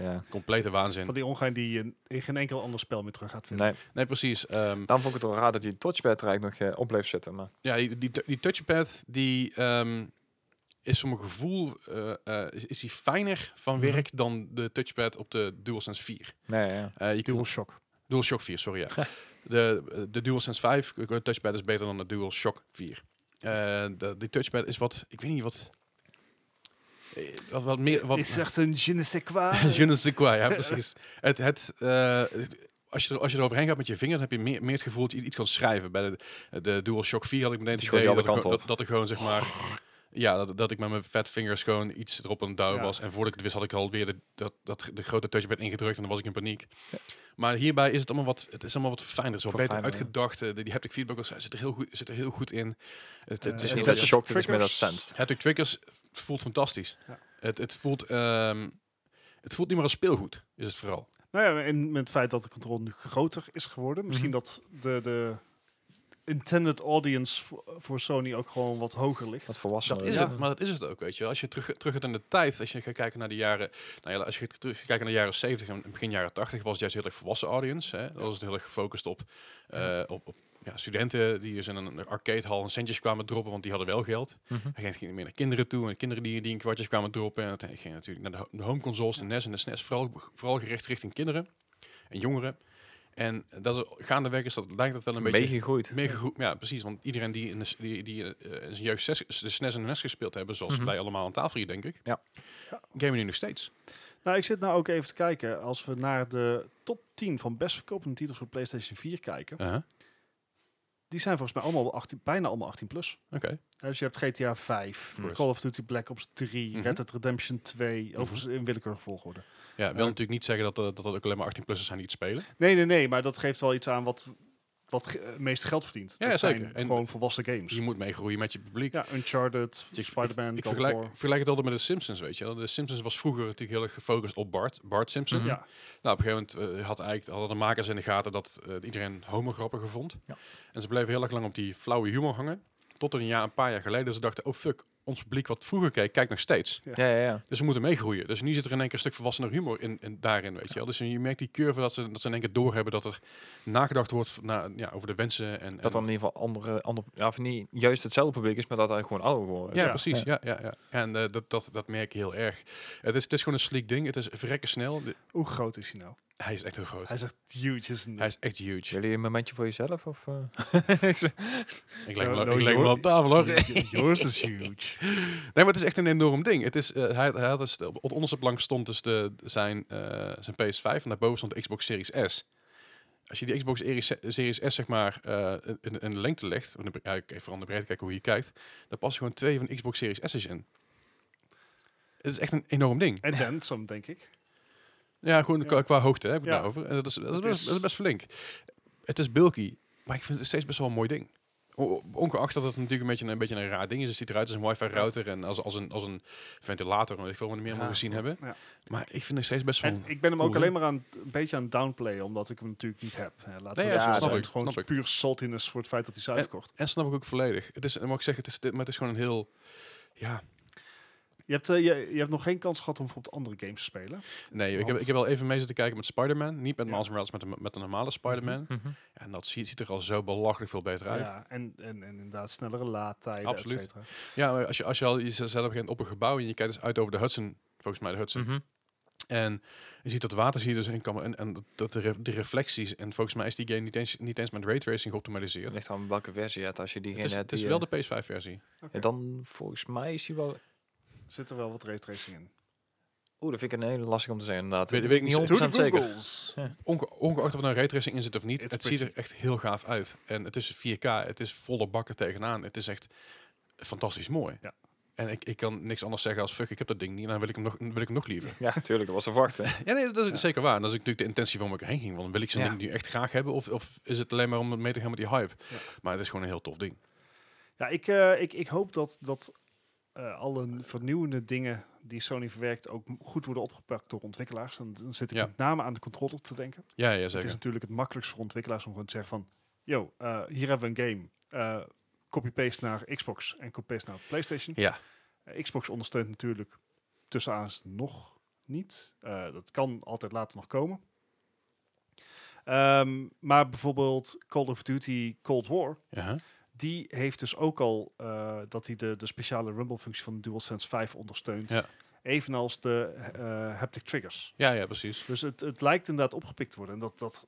Ja. Complete waanzin. Van die ongein die je in geen enkel ander spel meer terug gaat vinden. Nee, Nee, precies. Ehm, daarom vond ik het wel raar dat die touchpad er eigenlijk nog eh, op bleef zitten. Maar ja, die, die, die touchpad, die ehm, is voor mijn gevoel eh, eh, is, is die fijner van Mhm. werk dan de touchpad op de DualSense 4. nee, ja, ja. Eh je kunt, DualShock. DualShock 4, sorry. Ja. de, de DualSense 5 eh, touchpad is beter dan de DualShock 4. Eh de, die touchpad is wat, ik weet niet wat, eh, wat, wat meer, wat, Is echt een je ne sais quoi. (laughs) Je ne sais (laughs) quoi, ja, precies. het, het, eh, het- als, je er, als je er overheen gaat met je vinger, dan heb je meer, meer het gevoel dat je iets kan schrijven. Bij de, de DualShock 4 had ik meteen het Die idee gooit je dat, alle ik gewoon- kanten dat, op. dat er gewoon, zeg maar... Ja, dat, dat ik met mijn fat fingers gewoon iets erop aan het duwen Ja. was. En voordat ik het wist, had ik alweer de, dat, dat, de grote touchpad ingedrukt en dan was ik in paniek. Maar hierbij is het allemaal wat, het is allemaal wat fijner. Het is wat Wat beter fijner, ja. uitgedacht. eh, Die, die haptic feedback was- zit er heel goed, zit er heel goed in. Het, het Eh, Het is is heel niet erg- dat je shocked, het is meer dat het triggers. sensed. Haptic Triggers voelt fantastisch. Ja. Het, het, voelt, ehm, het voelt niet meer als speelgoed, is het vooral. Nou ja, en met het feit dat de controle nu groter is geworden, misschien Mhm. dat de, de intended audience voor, voor Sony ook gewoon wat hoger ligt. Dat volwassen. Dat is het, maar dat is het ook, weet je. wel. Als je terug, terug gaat in de tijd, als je gaat kijken naar de jaren... Nou ja, als je terug gaat kijken naar de jaren 70 en begin jaren 80... was het juist heel erg volwassen audience. Hè? Dat was het heel erg gefocust op, eh, op, op ja, studenten die dus in een arcadehal en centjes kwamen droppen... want die hadden wel geld. Mhm. Hij ging- ging meer naar kinderen toe en kinderen die, die in kwartjes kwamen droppen. En uiteindelijk ging natuurlijk naar de, ho- de home consoles, de NES en de SNES, vooral, vooral gericht richting kinderen en jongeren. En dat is, gaandeweg is dat, lijkt dat wel een beetje... Meegegroeid. Meer gegroe- ja, precies. Want iedereen die in, de, s- die, die, eh, in zijn jeugd SNES de SNES en de NES gespeeld hebben, zoals Mhm. wij allemaal aan tafel hier, denk ik, Ja. Ja. gamen nu nog steeds. Nou, ik zit nou ook even te kijken, als we naar de top 10 van best verkopende titels voor PlayStation 4 kijken, Uh-huh. die zijn volgens mij allemaal 18, bijna allemaal 18 plus. Oké. Ja, Dus je hebt GTA 5, Yes. Call of Duty Black Ops 3, Mhm. Red Dead Redemption 2, overigens in willekeurige volgorde. Ja, wil natuurlijk niet zeggen dat, eh, dat dat ook alleen maar 18-plussers zijn die het spelen. Nee, nee, nee, maar dat geeft wel iets aan wat, wat ge- het meeste geld verdient. Ja, dat zijn zeker. En- gewoon volwassen games. Je moet meegroeien met je publiek. Ja, Uncharted, Dus ik- Spider-Man, Ik, ik God of vergelijk, War. ik vergelijk het altijd met de Simpsons, weet je wel. De Simpsons was vroeger natuurlijk heel erg gefocust op Bart, Bart Simpson. Mhm. Ja, Nou, op een gegeven moment eh, had eigenlijk, hadden de makers in de gaten dat eh, iedereen homograppige vond. Ja. En ze bleven heel erg lang op die flauwe humor hangen. Tot een, jaar, een paar jaar geleden ze dachten, oh fuck, ons publiek wat vroeger keek, kijkt nog steeds. Ja, ja, ja. Dus we moeten meegroeien. Dus nu zit er in één keer een stuk volwassener humor in, in, daarin, weet je wel. Dus je merkt die curve dat ze, dat ze in één keer doorhebben dat er nagedacht wordt van, nou, ja, over de wensen. En, Dat en- dan in ieder geval andere, ander, ja, of niet juist hetzelfde publiek is, maar dat hij gewoon ouder geworden is. Ja, Ja. precies. Ja, ja, ja. En eh, dat, dat, dat merk je heel erg. Het is, het is gewoon een sleek ding. Het is verrekken snel. De- hoe groot is hij nou? hij is echt heel groot. Hij is echt huge, is Hij is echt huge. Jullie een momentje voor jezelf? Of, eh? Ik leg Nou, hem wel- nou, ik leg hem wel joh. op tafel hoor. Yours is huge. Nee, maar het is echt een enorm ding. Het is, eh, hij, hij had dus, op het onderste plank stond dus de, zijn, eh, zijn PS5 en daarboven stond de Xbox Series S. Als je die Xbox Series Series S zeg maar eh, in, in de lengte legt, of de, bre- ja, ik even aan de breedte kijken hoe je kijkt, dan passen gewoon twee van de Xbox Series S's in. Het is echt een enorm ding. En Dansom, denk ik. Ja, gewoon Ja. qua, qua hoogte hè, heb ik Ja. het daarover. En dat is, dat, is Het best, is- dat is best flink. Het is bulky, maar ik vind het steeds best wel een mooi ding. O- Ongeacht dat het natuurlijk een beetje een, een, beetje een raar ding is. Het ziet eruit als een wifi router en als, als, een, als een ventilator. want Ik wil er meer mogen Ja. gezien hebben. Ja. Maar ik vind het steeds best wel... En ik ben hem ook cool, alleen maar aan, een beetje aan het downplayen, omdat ik hem natuurlijk niet heb. Eh, Laten Nee, we ja, dat snap zo zeggen. ik, Het is gewoon snap ik. puur saltiness voor het feit dat hij is uitverkocht. En snap ik ook volledig. Het is, en mag ik zeggen, het is, dit- maar het is gewoon een heel... Ja, Je hebt, eh, je, je hebt nog geen kans gehad om bijvoorbeeld andere games te spelen. nee, ik heb, Want- ik heb wel even mee zitten kijken met Spider-Man. Niet met Ja. Mhm. Miles Morales, met de, met de normale Spider-Man. Mhm. En dat ziet, ziet er al zo belachelijk veel beter uit. Ja, en, en, en inderdaad snellere laadtijden, Absoluut. et cetera. Ja, maar als je, als je al jezelf begint op een gebouw en je kijkt dus uit over de Hudson, volgens mij de Hudson. Mhm. En je ziet dat water zie je dus in kan en, en dat- dat de, re- de reflecties. En volgens mij is die game niet eens, niet eens met raytracing geoptimaliseerd. Het ligt aan welke versie je hebt. Als je diegene het is, hebt het is die, wel eh, de PS5-versie. Oké. ja, Dan volgens mij is hij wel... Zit er wel wat raytracing in. Oeh, dat vind ik een hele lastig om te zeggen inderdaad. Weet- Ik weet ik ben niet. niet Doe 100% zeker. Onge, ongeacht of er een raytracing in zit of niet, It's het ziet er echt heel gaaf uit. En het is 4K, het is volle bakken tegenaan. Het is echt fantastisch mooi. Ja. En ik, ik kan niks anders zeggen als fuck, ik heb dat ding niet. En dan wil ik hem nog, wil ik hem nog liever. Ja, tuurlijk. Dat was te verwachten. (laughs) Ja, nee, dat is Ja. zeker waar. En dat is natuurlijk de intentie waarom ik heen ging. Want wil ik zo'n Ja. ding nu echt graag hebben? Of, of is het alleen maar om mee te gaan met die hype? Ja. Maar het is gewoon een heel tof ding. Ja, ik, eh, ik, ik hoop dat, dat eh, alle vernieuwende dingen die Sony verwerkt ook m- goed worden opgepakt door ontwikkelaars. Dan, dan zit ik Ja. met name aan de controller te denken. Ja, ja Het is zeker. natuurlijk het makkelijkst voor ontwikkelaars om gewoon te zeggen van... Yo, eh, hier hebben we een game. Eh, copy-paste naar Xbox en copy-paste naar PlayStation. Ja. Eh, Xbox ondersteunt natuurlijk tussen aan's nog niet. Eh, dat kan altijd later nog komen. Ehm, maar bijvoorbeeld Call of Duty Cold War... Ja. Die heeft dus ook al eh, dat hij de, de speciale rumble-functie van de DualSense 5 ondersteunt. Ja. Evenals de eh, haptic triggers. Ja, ja, precies. Dus het, het lijkt inderdaad opgepikt te worden. En dat, dat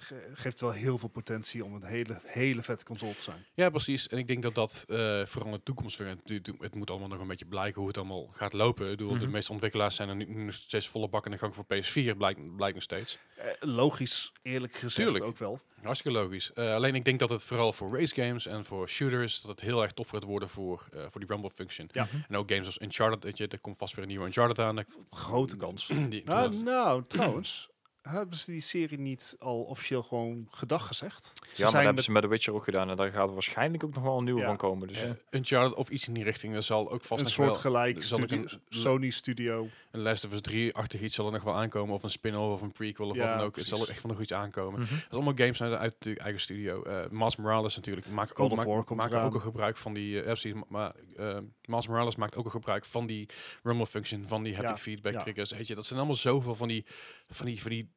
ge- geeft wel heel veel potentie om een hele, hele vette console te zijn. Ja, precies. En ik denk dat dat eh, vooral in de toekomst weer... Het, het- het moet allemaal nog een beetje blijken hoe het allemaal gaat lopen. Ik bedoel, de Mhm. meeste ontwikkelaars zijn er nu, nu nog steeds volle bak in de gang voor PS4, blijkt, blijkt nog steeds. Eh, logisch, eerlijk gezegd Tuurlijk. ook wel. Hartstikke logisch. Eh, alleen ik denk dat het vooral voor race games en voor shooters... dat het heel erg tof gaat worden voor, eh, voor die Rumble function. Ja. En ook games als Uncharted, weet je, er komt vast weer een nieuwe Uncharted aan. (clears throat) daar- Grote kans. die, Nou, nou, trouwens, (clears throat) hebben ze die serie niet al officieel gewoon gedag gezegd? Ze Ja, maar dat zijn hebben met- ze met The Witcher ook gedaan. En daar gaat er waarschijnlijk ook nog wel een nieuwe Ja. van komen. Dus Dus eh, een Uncharted of iets in die richting, er zal ook vast een nog wel- soortgelijk er zal ook studio, een- Sony studio. Een Last of Us 3-achtig iets zal er nog wel aankomen. Of een spin-off of een prequel of Ja, wat dan ook. Er precies. zal er echt wel nog iets aankomen. mhm. Het is allemaal games uit, uit de eigen studio. Eh Miles Morales natuurlijk. Maakt Call ook, of War maakt, komt maakt eraan. ook een gebruik van die... eh, ja, precies, ma- maar eh, Miles Morales maakt ook een gebruik van die rumble function. Van die haptic Ja, feedback ja. triggers. Weet je, dat zijn allemaal zoveel van die, van die, van die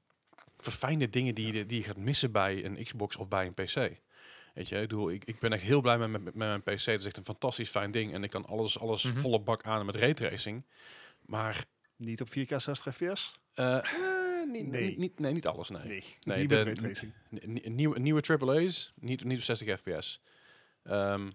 verfijnde dingen die, je, die je gaat missen bij een Xbox of bij een PC. Weet je, ik, bedoel, ik, ik ben echt heel blij met, met, met mijn PC. Het is echt een fantastisch fijn ding. En ik kan alles, alles Mhm. volle bak aan met raytracing. Maar Niet op 4K 60 fps? eh, eh, niet, Nee. Niet, niet, nee, niet alles, nee. Nee, Nee, niet de- met raytracing. N- n- Nieuwe, nieuwe AAA's, niet, niet op 60 fps. Ehm,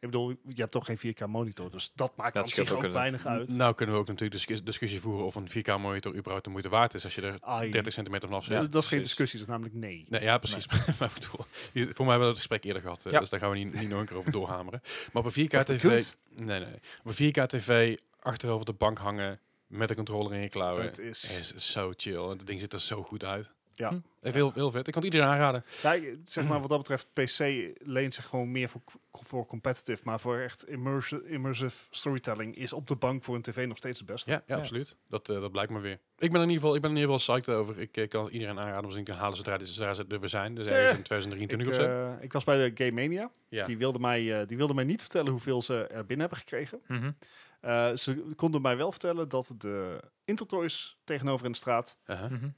Ik bedoel, je hebt toch geen 4K monitor, dus dat maakt Dat aan scheelt zich ook ook een- weinig uit. Nou kunnen we ook natuurlijk discus- discussie voeren of een 4K-monitor überhaupt de moeite waard is als je er Ai, 30 centimeter vanaf zit. dat is geen precies. discussie, dat is namelijk nee. Nee, ja, precies. (laughs) Maar ik bedoel, hier- voor mij hebben we dat gesprek eerder gehad, eh, Ja. dus daar gaan we niet, niet nog een keer over doorhameren. Maar op een 4K Dat TV... kunt. Nee, nee. Op een 4K TV achterover de bank hangen met de controller in je klauwen. Het is- is zo chill. En dat ding ziet er zo goed uit. Ja. Hm. Echt Heel, heel vet. Ik kan het iedereen aanraden. Ja, ik- zeg maar wat dat betreft, PC leent zich gewoon meer voor, voor competitive, maar voor echt immersive, immersive storytelling is op de bank voor een tv nog steeds het beste. Ja, ja, Ja. absoluut. Dat, eh, dat blijkt maar weer. Ik ben in ieder geval, ik ben in ieder geval psyched over. Ik eh, kan het iedereen aanraden om ze een keer te halen zodra, dit- zodra ze er weer zijn. Dus Eh, ergens in 2023 ik, of zo. eh, ik was bij de Game Mania. Ja. Die, wilde mij, eh, die wilde mij niet vertellen hoeveel ze er binnen hebben gekregen. Mhm. Eh, ze konden mij wel vertellen dat de Intertoys tegenover in de straat Uh-huh. Mhm.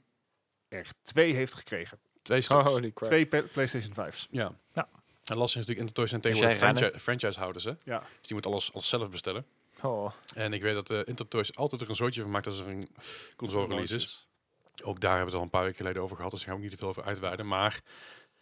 er twee heeft gekregen. Twee stuks. Holy crap. Twee Pe- PlayStation 5's. Ja. Ja. En lastig is natuurlijk Intertoys zijn Dus tegenwoordig jij rennen? franchi- franchisehouders. Hè? Ja. Dus die moet alles, alles zelf bestellen. Oh. En ik weet dat eh Intertoys altijd er een soortje van maakt als er een console release is. Ook daar hebben we het al een paar weken geleden over gehad. Dus daar gaan we ook niet te veel over uitweiden. Maar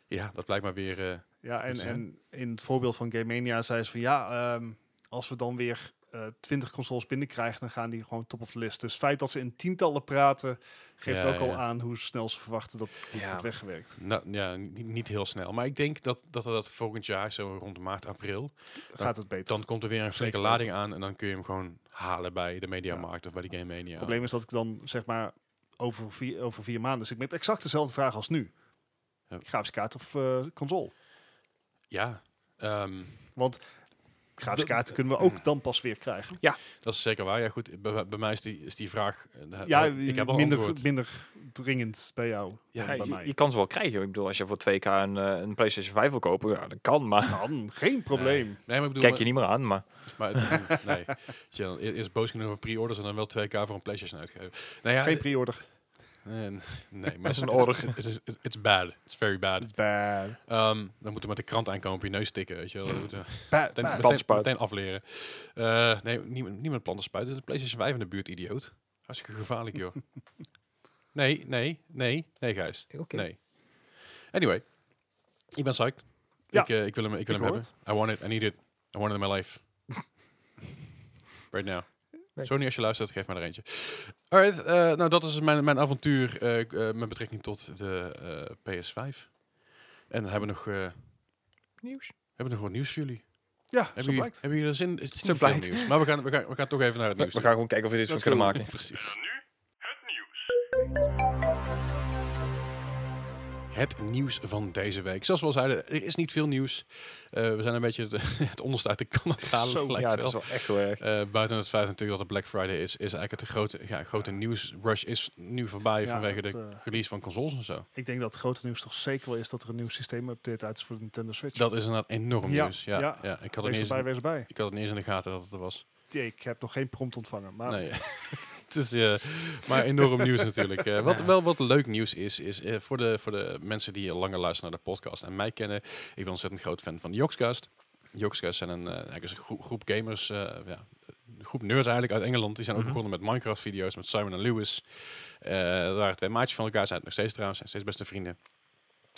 ja, dat blijkt maar weer... eh, Ja, en, Dus, hè? en in het voorbeeld van Game Mania zei ze van ja, ehm, als we dan weer eh, twintig consoles binnenkrijgen, dan gaan die gewoon top of the list. Dus het feit dat ze in tientallen praten, geeft Ja, ook al ja. aan hoe snel ze verwachten dat dit Ja. wordt weggewerkt. nou, ja, niet, niet heel snel. Maar ik denk dat dat, we dat volgend jaar, zo rond maart, april... Gaat het beter? Dan komt er weer een flinke Zeker weten. lading aan. En dan kun je hem gewoon halen bij de Mediamarkt of bij de Game Mania. Het probleem is dat ik dan zeg maar over vier, over vier maanden zit met exact dezelfde vraag als nu. Ja. Grafische kaart of eh, console? Ja. ehm, Grafische De- kaarten kunnen we ook dan pas weer krijgen. dat is zeker waar. Ja, goed. Bij, bij mij is die, is die vraag... eh, Ja, ik heb al minder, antwoord. minder dringend bij Ja, jou. dan Ja, bij je, mij. je kan ze wel krijgen. joh. Ik bedoel, als je voor 2K een, eh, een PlayStation 5 wil kopen, ja, dat kan, maar Kan, geen probleem. Nee, maar ik bedoel, eh, kijk je niet meer aan. Maar Maar (laughs) het- nee. Weet je wel, e- Eerst boos genoeg over pre-orders en dan wel 2K voor een PlayStation uitgeven. Nou Het ja, eh, is geen pre-order. nee, nee, maar het is is een een order. Het is it's bad. It's very bad. It's bad. Ehm, dan moeten we met de krant aankomen op je neus stikken, weet je (laughs) wel. Dat moeten we meteen, Bad, bad. meteen- Plantenspuit. meteen afleren. Eh, nee, niemand, niemand planten spuiten. Het is een PlayStation 5 in de buurt, idioot. Hartstikke gevaarlijk, joh. Nee, nee, nee, nee, Gijs. oké. Nee. Anyway, ik ben psyched. Ja. Ik, eh, ik wil hem, ik wil Ik hem hoor hebben. I want it, I need it. I want it in my life. right now. Lekker. Sony, als je luistert, geef mij er eentje. Alright, eh, nou dat is mijn, mijn avontuur eh, k- eh, met betrekking tot de eh, PS5. En dan hebben we nog, eh, hebben Nieuws. we nog wat nieuws voor jullie. Ja, Hebben zo jullie, blijkt. hebben jullie er zin? Het is Zo niet veel blijkt. nieuws, maar we gaan, we, gaan, we gaan toch even naar het We, nieuws. we gaan gewoon kijken of we dit van Let's kunnen go. maken. (laughs) Precies. Het nieuws van deze week. Zoals we al zeiden, er is niet veel nieuws. Eh, we zijn een beetje het, (laughs) het onderste uit de kan aan het halen, Zo, lijkt ja, het wel. is wel echt heel erg. Eh, buiten het feit natuurlijk dat het Black Friday is, is eigenlijk het grote, ja, grote nieuwsrush is nu voorbij Ja, vanwege dat, de eh, release van consoles en zo. ik denk dat het grote nieuws toch zeker wel is dat er een nieuw systeemupdate uit is voor de Nintendo Switch. Dat is inderdaad enorm Ja, nieuws. Ja, ja. ja. Ik, had wees het niet eens, erbij, wees erbij. ik had het niet eens in de gaten dat het er was. Tjee, Ik heb nog geen prompt ontvangen, maar (laughs) oh Nee. (laughs) Het is eh, maar enorm nieuws natuurlijk. Eh, wat Ja. wel wat leuk nieuws is, is eh, voor, de, voor de mensen die al langer luisteren naar de podcast en mij kennen. Ik ben ontzettend groot fan van de Jokscast. Jokscast zijn een, eh, eigenlijk is een groep, groep gamers, eh, ja, een groep nerds eigenlijk uit Engeland. Die zijn Mhm. ook begonnen met Minecraft-video's met Simon en Lewis. Eh daar waren twee maatjes van elkaar, zijn het nog steeds trouwens, zijn steeds beste vrienden.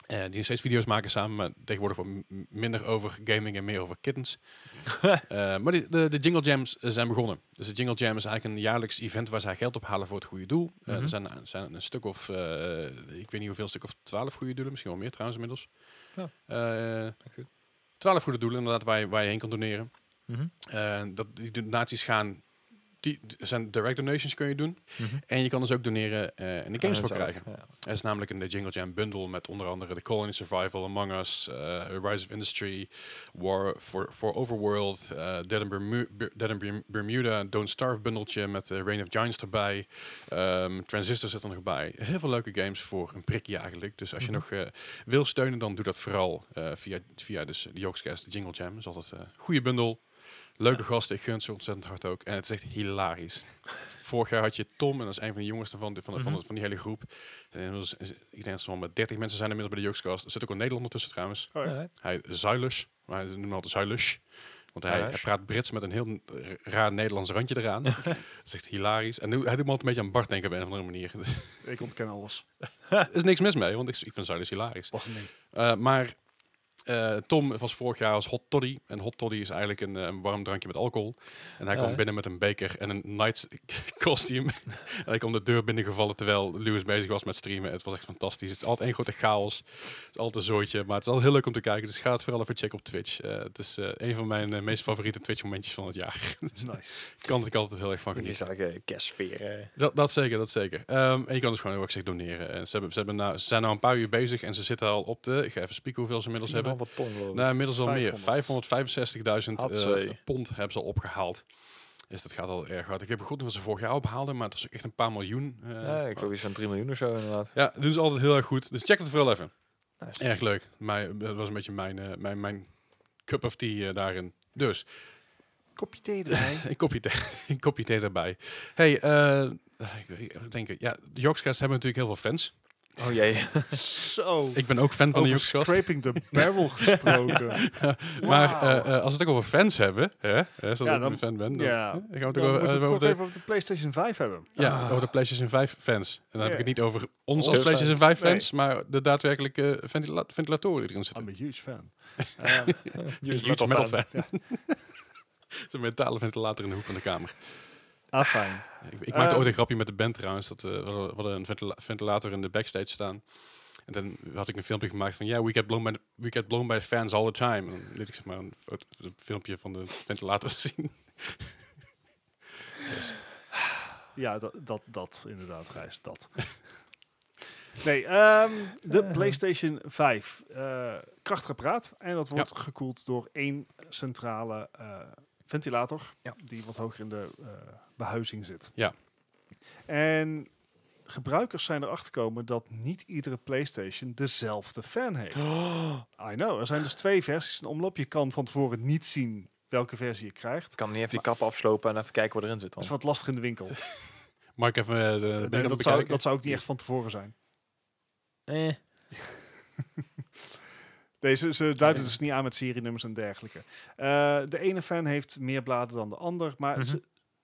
Eh, die nog steeds video's maken samen, maar tegenwoordig wat m- minder over gaming en meer over (laughs) kittens. Eh, maar die- de, de Jingle Jams eh, zijn begonnen. Dus de Jingle Jam is eigenlijk een jaarlijks event waar zij geld ophalen voor het goede doel. Eh, Mhm. Er zijn, zijn een stuk of, eh, ik weet niet hoeveel, een stuk of twaalf goede doelen, misschien wel meer trouwens inmiddels. Ja. Twaalf goed. goede doelen inderdaad waar je, waar je heen kan doneren. Mhm. Eh, dat, die donaties gaan, die d- zijn direct donations kun je doen. Mhm. En je kan dus ook doneren eh en de games Ah, voor dat is krijgen. wel- ja. Er is namelijk een de Jingle Jam bundle met onder andere The Colony Survival, Among Us, eh, Rise of Industry, War for, for Overworld, eh, Dead, and Bermu- Ber- Dead and Berm- Bermuda, Don't Starve bundeltje met eh, Reign of Giants erbij. Ehm, Transistor zit er nog bij. Heel veel leuke games voor een prikje eigenlijk. Dus als je Mhm. nog eh, wil steunen, dan doe dat vooral eh, via, via dus de Jokescast, de Jingle Jam. Dat is altijd eh, een goede bundel. Leuke gasten, ik gun ze ontzettend hard ook. En het is echt hilarisch. Vorig jaar had je Tom, en dat is een van de jongsten van, de, van, de- van, de- Mhm. van die hele groep. En inmiddels is- ik denk dat ze wel met 30 mensen zijn inmiddels bij de Jokescast. Er zit ook een Nederlander tussen trouwens. Oh, echt? Alright. Hij Zuilus, maar hij noemt hem altijd Zuilus. Want hij, hij Zuilus. praat Brits met een heel n- r- raar Nederlands randje eraan. (laughs) Dat is echt hilarisch. En nu, hij doet me altijd een beetje aan Bart denken op een of andere manier. (laughs) er ik ontken alles. is niks mis mee, want ik, ik vind Zuilus hilarisch. Was een ding. Eh, maar Eh, Tom was vorig jaar als hot toddy. En hot toddy is eigenlijk een, eh, een warm drankje met alcohol. En hij kwam Ja. binnen met een beker en een Knights (laughs) costume. en hij kwam de deur binnengevallen terwijl Lewis bezig was met streamen. Het was echt fantastisch. Het is altijd één grote chaos. Het is altijd een zooitje. Maar het is al heel leuk om te kijken. Dus ga het vooral even checken op Twitch. Eh, het is eh, een van mijn eh, meest favoriete Twitch momentjes van het jaar. (laughs) dus daar Nice. kan ik altijd heel erg van Die genieten. gezellige kerstsfeer. eh. Dat, dat zeker, dat zeker. Ehm, en je kan dus gewoon, heel ik zeg, doneren. En ze, hebben, ze, hebben nou, ze zijn nou een paar uur bezig en ze zitten al op de... Ik ga even spieken hoeveel ze inmiddels hebben. 4,5 ton geloof ik. Nou, inmiddels al 500. meer. 565.000 eh, Hatzee. pond hebben ze al opgehaald. Dus dat gaat al erg hard. Ik heb goed wat ze vorig jaar ophaalden, maar het was ook echt een paar miljoen. eh. ja, ik geloof iets van 3 miljoen of zo inderdaad. ja, doen ze altijd heel erg goed. Dus check het vooral even. Nice. Erg leuk. Maar dat was een beetje mijn, eh, mijn, mijn cup of tea eh, daarin. Dus, Kopje (laughs) thee erbij. een kopje thee, een kopje thee daarbij. hey, eh, ik weet- ik denk, ja, de Jokescast hebben natuurlijk heel veel fans. Oh jee. Zo. Ik ben ook fan van de Over Jokescast. (laughs) scraping the barrel gesproken. Maar Wauw. eh, eh, als we het ook over fans hebben, hè, hè, zoals Ja, ik dan- een fan ben, dan, ja. hè, gaan we het Nou, Dan ook moeten over, we over het toch de even over de PlayStation 5 hebben. Ja, Ah. over de PlayStation 5 fans. En dan heb ik het Ja. niet over ons als Onze PlayStation fans. 5 fans, maar de daadwerkelijke ventila- ventilatoren die erin zitten. I'm a huge fan. (laughs) Ehm, Een huge metal fan. fan. (laughs) Zo'n mentale ventilator in de hoek van de kamer. ah, fijn. Ik, ik maakte Eh. ooit een grapje met de band trouwens. Dat, eh, we hadden- we hadden een ventila- ventilator in de backstage staan. En dan had ik een filmpje gemaakt van... Ja, we get blown by, the- we get blown by fans all the time. En dan liet ik zeg maar een, foto- een filmpje van de ventilator (laughs) zien. Dus, Ja, dat, dat, dat inderdaad, Gijs, dat. (laughs) Nee, ehm, de PlayStation 5. eh krachtig apparaat. En dat wordt gekoeld door één centrale eh, ventilator. Ja. Die wat hoger in de eh, behuizing zit. Ja. En gebruikers zijn erachter gekomen dat niet iedere PlayStation dezelfde fan heeft. (gasps) I know, er zijn dus twee versies in omloop. Je kan van tevoren niet zien welke versie je krijgt. Ik kan niet even die kap afslopen en even kijken wat erin Dat zit dan. is wat lastig in de winkel. Mark, even eh, de, Nee, ding aan het dat, zou, bekijken. dat zou ook niet echt van tevoren zijn. Eh. Nee, ze, ze duiden Ja. dus niet aan met serienummers en dergelijke. Eh, de ene fan heeft meer bladen dan de ander, maar Mhm. ze,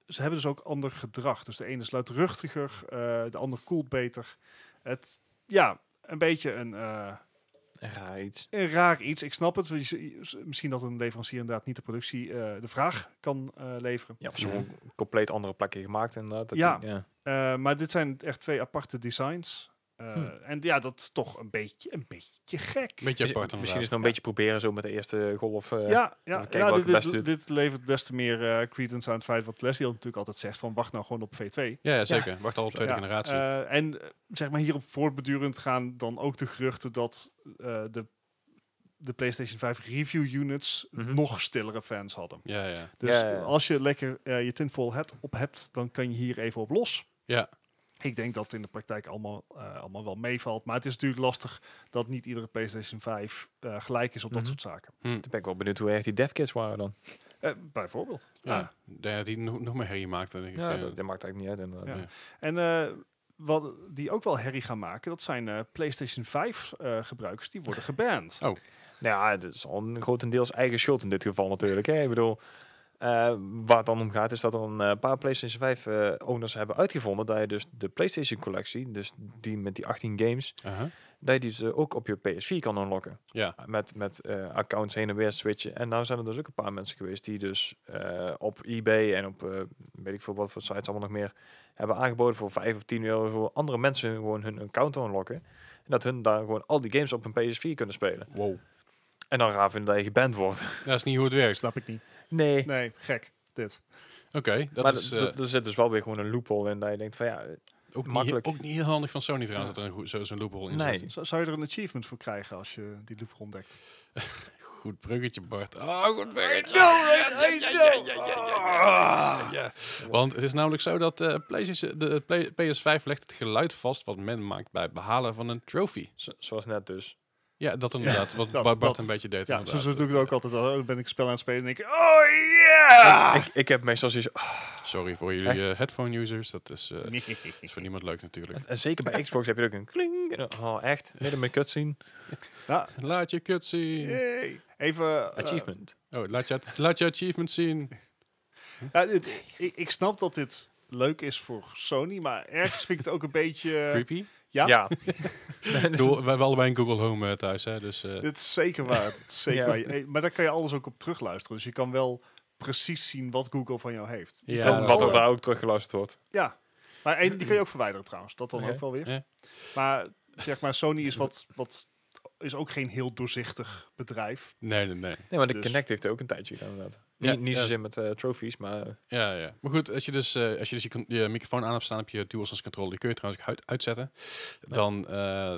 ze hebben dus ook ander gedrag. Dus de ene is luidruchtiger, eh, de ander koelt beter. Het, ja, een beetje een, eh, Raar iets. een raar iets. Ik snap het. want je- je- Misschien dat een leverancier inderdaad niet de productie, eh, de vraag kan eh, leveren. Ja, of ze gewoon een compleet andere plakje gemaakt inderdaad. dat Ja. die- ja. Eh, maar dit zijn echt twee aparte designs. Eh, Hm. En ja, dat is toch een beetje, een beetje gek. Beetje apart Misschien is het nog inderdaad. een beetje proberen zo met de eerste golf. eh, ja, we ja, kijken ja welke dit, het beste dit, dit levert des te meer eh, credence aan het feit wat Leslie natuurlijk altijd zegt van wacht nou gewoon op V2. Ja, ja, zeker. Wacht al op tweede Ja, generatie. eh, en eh, zeg maar hierop voortbedurend gaan dan ook de geruchten dat eh, de, de PlayStation 5 review units Mhm. nog stillere fans hadden. ja, ja. Dus Ja, ja, ja. als je lekker eh, je tinfoil hat op hebt, dan kan je hier even op los. Ja. Ik denk dat het in de praktijk allemaal, eh, allemaal wel meevalt. Maar het is natuurlijk lastig dat niet iedere PlayStation 5 eh, gelijk is op Mhm. dat soort zaken. Hm. Dan ben ik wel benieuwd hoe erg die devkits waren dan. Eh, bijvoorbeeld. Ja, Ja. ik denk dat die nog, nog meer herrie maakt. dan denk ik. eh. Ja, Ja. Dat, dat maakt eigenlijk niet uit inderdaad. Ja. En eh, wat die ook wel herrie gaan maken, dat zijn eh, PlayStation 5 eh, gebruikers die worden geband. Nou ja, het is al een grotendeels eigen schuld in dit geval natuurlijk. Hè? Ik bedoel, eh, waar het dan om gaat is dat er een eh, paar PlayStation 5 eh, owners hebben uitgevonden dat je dus de PlayStation collectie, dus die met die 18 games, Aha. dat je die dus ook op je PS4 kan unlocken. Uh-huh. Ja. Met, met eh, accounts heen en weer switchen. En nou zijn er dus ook een paar mensen geweest die dus eh, op eBay en op eh, weet ik veel wat voor sites allemaal nog meer hebben aangeboden voor 5 of 10 euro voor andere mensen gewoon hun account te unlocken. En dat hun daar gewoon al die games op hun PS4 kunnen spelen. Wow. En dan raar vinden dat je geband wordt. Dat is niet hoe het werkt. Snap ik niet. (laughs) Nee. Nee, gek. Dit. Oké, dat maar is d- eh, d- er zit dus wel weer gewoon een loophole in dat je denkt van ja, eh, ook, makkelijk. Niet, ook niet heel handig van Sony trouwens, dat er een goe- zo- zo'n loophole in nee. zit. Z- zou je er een achievement voor krijgen als je die loop ontdekt? Goed bruggetje, Bart. Oh, goed bruggetje. Ja, ja, ja, ja, ja, ja, ja. Ah. Want het is namelijk zo dat eh, PlayStation, de Play- PS5 legt het geluid vast wat men maakt bij het behalen van een trophy. zo- zoals net dus. Ja, dat inderdaad. wat dat- Bart dat. een beetje deed. Ja, zo, inderdaad. zo doe ik het ook altijd. Oh, dan ben ik een spel aan het spelen en denk ik, oh yeah! (laughs) Ik, ik heb meestal zoiets. ah, Sorry voor jullie Echt? eh, headphone users. Dat is, eh, is voor niemand leuk natuurlijk. en- en zeker bij Xbox heb je ook een kling. en dan, Oh, echt? Midden met cutscene. Nou, Laat je kut zien. yay. Even... eh, Achievement. Oh, laat je, laat je achievement zien. ja, dit- ik, ik snap dat dit leuk is voor Sony, maar ergens vind ik het ook een beetje... eh, Creepy. ja, ja. (laughs) Ik bedoel, we hebben allebei een Google Home eh, thuis, hè? Dus (laughs) eh, dat is zeker waar. Dat is zeker Ja. waar. Eh, Maar daar kan je alles ook op terugluisteren. Dus je kan wel precies zien wat Google van jou heeft. Je Ja, kan dat- wat alle- er daar ook teruggeluisterd wordt. Ja, maar en die kan je ook verwijderen trouwens. Dat dan Oké, ook wel weer. ja. Maar zeg maar, Sony (laughs) is wat, wat is ook geen heel doorzichtig bedrijf. nee, nee, nee. Nee, maar de Dus- Connect heeft er ook een tijdje gedaan inderdaad. Ja, niet niet ja, zozeer met eh trophies, maar... eh, Ja, ja. Maar goed, als je dus, eh, als je, dus je, con- je microfoon aan hebt staan op je DualSense controller, die kun je trouwens ook uit, uitzetten, dan, eh,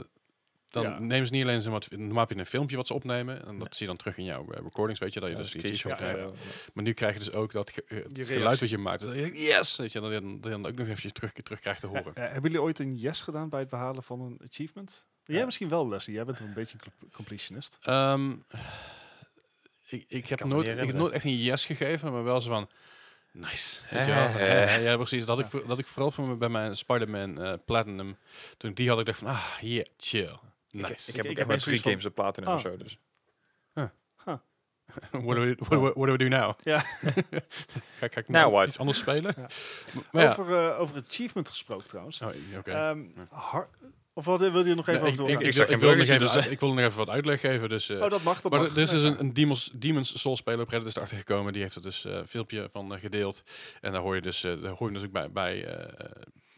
dan Ja. nemen ze niet alleen zomaar, normaal heb je een filmpje wat ze opnemen, en dat zie je dan terug in jouw eh, recordings, weet je, dat je ja, dus iets screenshot ja, screenshot en krijgt. zo. Maar nu krijg je dus ook dat ge- eh, Die het geluid reactie. wat je maakt, dat je, yes, weet je, dan, dan, dan ook nog eventjes terug, terug krijgt te horen. Eh, eh, hebben jullie ooit een yes gedaan bij het behalen van een achievement? Jij Ja. misschien wel, Leslie. Jij bent een beetje een cl- completionist. Ehm, ik, ik, heb kan me nooit, ik niet heb herinneren. nooit echt een yes gegeven, maar wel zo van, nice. Weet je Eh, wel? eh. Eh, ja, precies. Dat, Ja. ik, voor- dat ik vooral voor me- bij mijn Spider-Man eh, Platinum, toen ik die had, ik dacht van, ah, yeah, chill. Ik- Nice. Ik- Ik, heb ik ook heb echt maar echt drie zoiets van- games op platinum of Ah. zo, dus... (laughs) what, do we, what, do we- what do we do now? (laughs) Ja. ga, ik- ga ik Now nou what? iets anders spelen? Ja. Maar ja. Over, eh, over achievement gesproken trouwens. Oh, oké. Eh, Ehm, Ja. har- of wat, eh, wil je er nog even Nee, over ik, doorgaan? ik, ik, zag wil- ik geen wil nog bruggetje, even, dus, uit- ik wil nog even wat uitleg geven, dus... eh, oh, dat mag, dat Maar mag. er er is Nee, dus een, fijn. een Demons, Demons Soul speler op Reddit is erachter gekomen. Die heeft er dus eh, een filmpje van eh, gedeeld. En daar hoor je dus, eh, daar hoor je dus ook bij, bij, eh,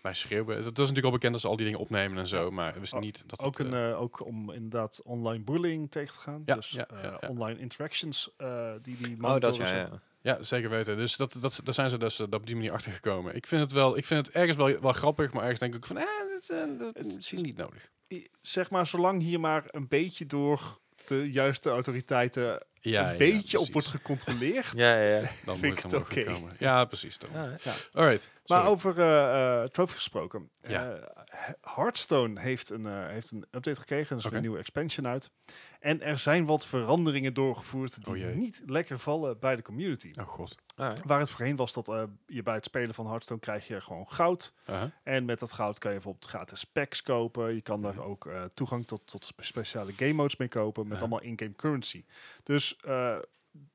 bij schreeuwen. Dat is natuurlijk al bekend dat ze al die dingen opnemen en zo. Maar we zien Oh, niet dat Ook, het, een, eh, eh, ook om inderdaad online bullying tegen te gaan. Ja, dus ja, eh, ja, ja. online interactions eh, die die Oh, monitoren dat ja, ze. ja. Ja, zeker weten. Dus dat, dat, daar zijn ze dus eh, dat op die manier achter gekomen. Ik vind het, wel, ik vind het ergens wel, wel grappig, maar ergens denk ik van... Eh, dat, eh, dat is misschien niet nodig. I- zeg maar, zolang hier maar een beetje door de juiste autoriteiten Ja, een ja, beetje op precies. wordt gecontroleerd. (laughs) Ja, ja, ja. Dan vind moet ik het het dan wel goed oké. komen. Ja, precies. Dan. Ja, Ja. Alright, Maar sorry. over eh eh Trophy gesproken. Ja. Eh, He- Hearthstone heeft een, eh, heeft een update gekregen. Er is Oké. een nieuwe expansion uit. En er zijn wat veranderingen doorgevoerd Oh die jee. niet lekker vallen bij de community. Oh god. Alright. Waar het voorheen was dat eh, je bij het spelen van Hearthstone krijg je gewoon goud. Uh-huh. En met dat goud kan je bijvoorbeeld gratis packs kopen. Je kan daar ook eh, toegang tot, tot spe- speciale game modes mee kopen. Met Ja. allemaal in-game currency. Dus eh,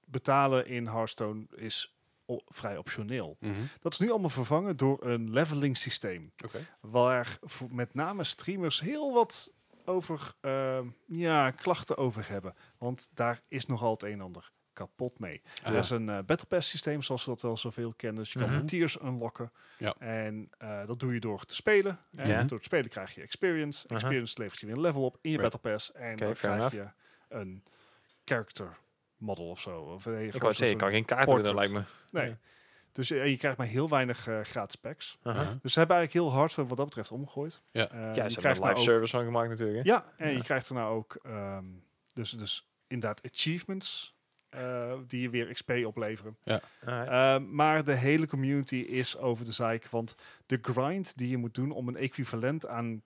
betalen in Hearthstone is o- vrij optioneel. Mhm. Dat is nu allemaal vervangen door een leveling systeem. Oké. Waar voor- met name streamers heel wat over eh, ja, klachten over hebben. Want daar is nogal het een en ander kapot mee. Er is Aha. een eh, Battle Pass systeem, zoals we dat wel zoveel kennen. Dus je kan Mhm. tiers unlocken. Ja. En eh, dat doe je door te spelen. En Ja. door te spelen krijg je experience. Aha. Experience levert je weer een level op in je Right. Battle Pass. En Oké, dan fair krijg je een character model of zo. Of, nee, Ik gewoon wou zo'n- zeggen, ik kan geen kaart winnen, portrait. lijkt me. Nee. Dus je, je krijgt maar heel weinig eh, gratis packs. Aha. Uh-huh. Dus ze hebben eigenlijk heel hard eh, wat dat betreft omgegooid. Ja. Eh, Ja, je ze krijgt hebben een nou live ook- service van gemaakt natuurlijk, hè? ja, en Ja. je krijgt er nou ook ehm, dus, dus inderdaad achievements eh, die je weer XP opleveren. Alright. Ehm, maar de hele community is over de zeik. Want de grind die je moet doen om een equivalent aan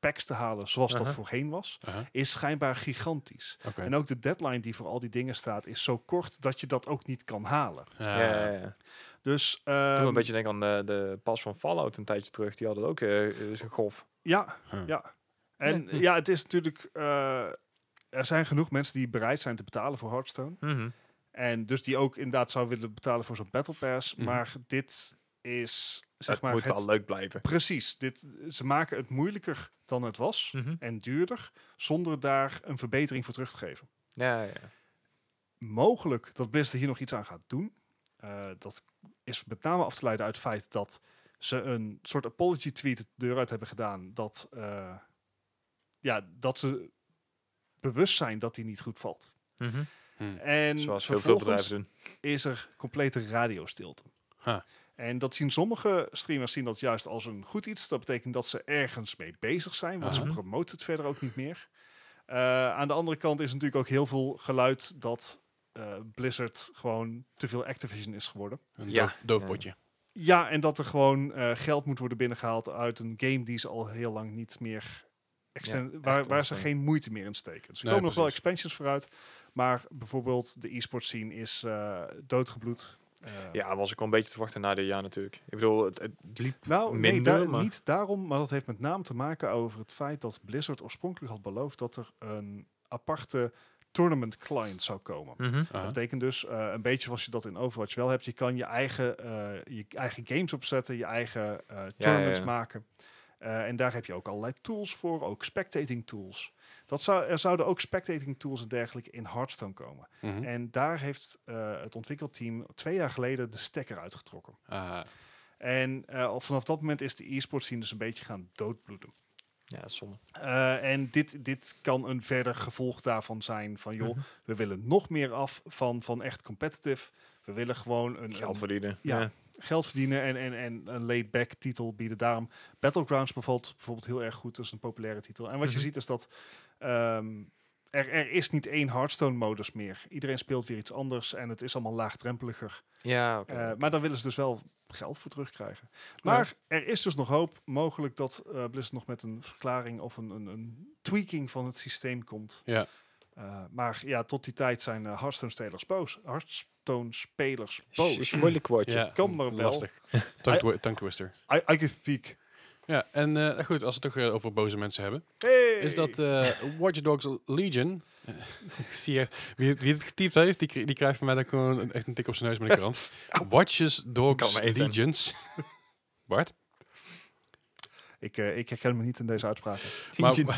packs te halen, zoals Aha. dat voorheen was, Aha. is schijnbaar gigantisch. Oké. En ook de deadline die voor al die dingen staat, is zo kort dat je dat ook niet kan halen. Ja, Ja, ja, ja. Dus Toen ehm, een beetje denken aan de, de pas van Fallout een tijdje terug. Die hadden ook eh, eh, zo'n golf. ja, Huh. ja. En ja, het is natuurlijk. eh, er zijn genoeg mensen die bereid zijn te betalen voor Hearthstone. Mhm. En dus die ook inderdaad zou willen betalen voor zo'n Battle Pass. Mhm. Maar dit is zeg Het maar moet het wel leuk blijven. Precies. Dit, ze maken het moeilijker dan het was Mhm. en duurder, zonder daar een verbetering voor terug te geven. Ja, ja. Mogelijk dat Blizzard hier nog iets aan gaat doen. Eh, dat is met name af te leiden uit het feit dat ze een soort apology tweet de deur uit hebben gedaan. Dat, eh, ja, dat ze bewust zijn dat die niet goed valt. Mhm. Hm. En Zoals heel veel vervolgens- bedrijven doen. is er complete radiostilte. Huh. En dat zien sommige streamers zien dat juist als een goed iets. Dat betekent dat ze ergens mee bezig zijn, want Aha. ze promoten het verder ook niet meer. Eh, aan de andere kant is natuurlijk ook heel veel geluid dat eh, Blizzard gewoon te veel Activision is geworden. Een Ja. doof, doof Ja. potje. Ja, en dat er gewoon eh, geld moet worden binnengehaald uit een game die ze al heel lang niet meer. extern- echt waar, waar ze ontstaan. geen moeite meer in steken. Dus er Nee, komen nog wel precies. expansions vooruit. Maar bijvoorbeeld de e-sport scene is eh, doodgebloed. Eh, Ja, was ik al een beetje te wachten na dit jaar natuurlijk. Ik bedoel, het, het liep... Nou, nee, Minder, daar- maar- niet daarom, maar dat heeft met name te maken over het feit dat Blizzard oorspronkelijk had beloofd dat er een aparte tournament client zou komen. Mhm. Aha. Dat betekent dus eh, een beetje zoals je dat in Overwatch wel hebt. Je kan je eigen, eh, je eigen games opzetten, je eigen eh, tournaments ja. maken. Eh, en daar heb je ook allerlei tools voor, ook spectating tools. Dat zou, er zouden ook spectating tools en dergelijke in Hearthstone komen. Hm. Mhm. En daar heeft eh, het ontwikkelteam twee jaar geleden de stekker uitgetrokken. Ah, En eh, al vanaf dat moment is de e-sport scene dus een beetje gaan doodbloeden. Ja, dat is zonde. Eh, en dit, dit kan een verder gevolg daarvan zijn van Mhm. joh, we willen nog meer af van, van echt competitive. We willen gewoon een, Geld een verdienen. ehm, ja. geld verdienen en, en, en een laid-back titel bieden. Daarom Battlegrounds bevalt bijvoorbeeld heel erg goed. Dat is een populaire titel. En wat Mhm. je ziet is dat ehm, er, er is niet één Hearthstone-modus meer. Iedereen speelt weer iets anders en het is allemaal laagdrempeliger. Ja, oké. Eh, maar daar willen ze dus wel geld voor terugkrijgen. Maar er is dus nog hoop. Mogelijk dat eh, Blizzard nog met een verklaring of een, een, een tweaking van het systeem komt. Ja. Eh, maar ja, tot die tijd zijn eh, Hearthstone-spelers boos. Hearthstone-spelers Sh- boos. Moeilijk woordje. ja, kan maar wel. Lastig. Tongue, twi- tongue twister. I, I can speak. Ja, en eh, nou goed, als we het toch eh, over boze mensen hebben. Hey! Is dat eh Watch Dogs Legion. Eh, (laughs) ik zie je, wie, het- wie het getypt heeft, die, kri- die krijgt van mij dan gewoon een, echt een tik op zijn neus met een (laughs) krant. Watches Kan Dogs maar één zijn. Legions. Bart? ik, eh, ik herken me niet in deze uitspraken. Maar (laughs) Wa-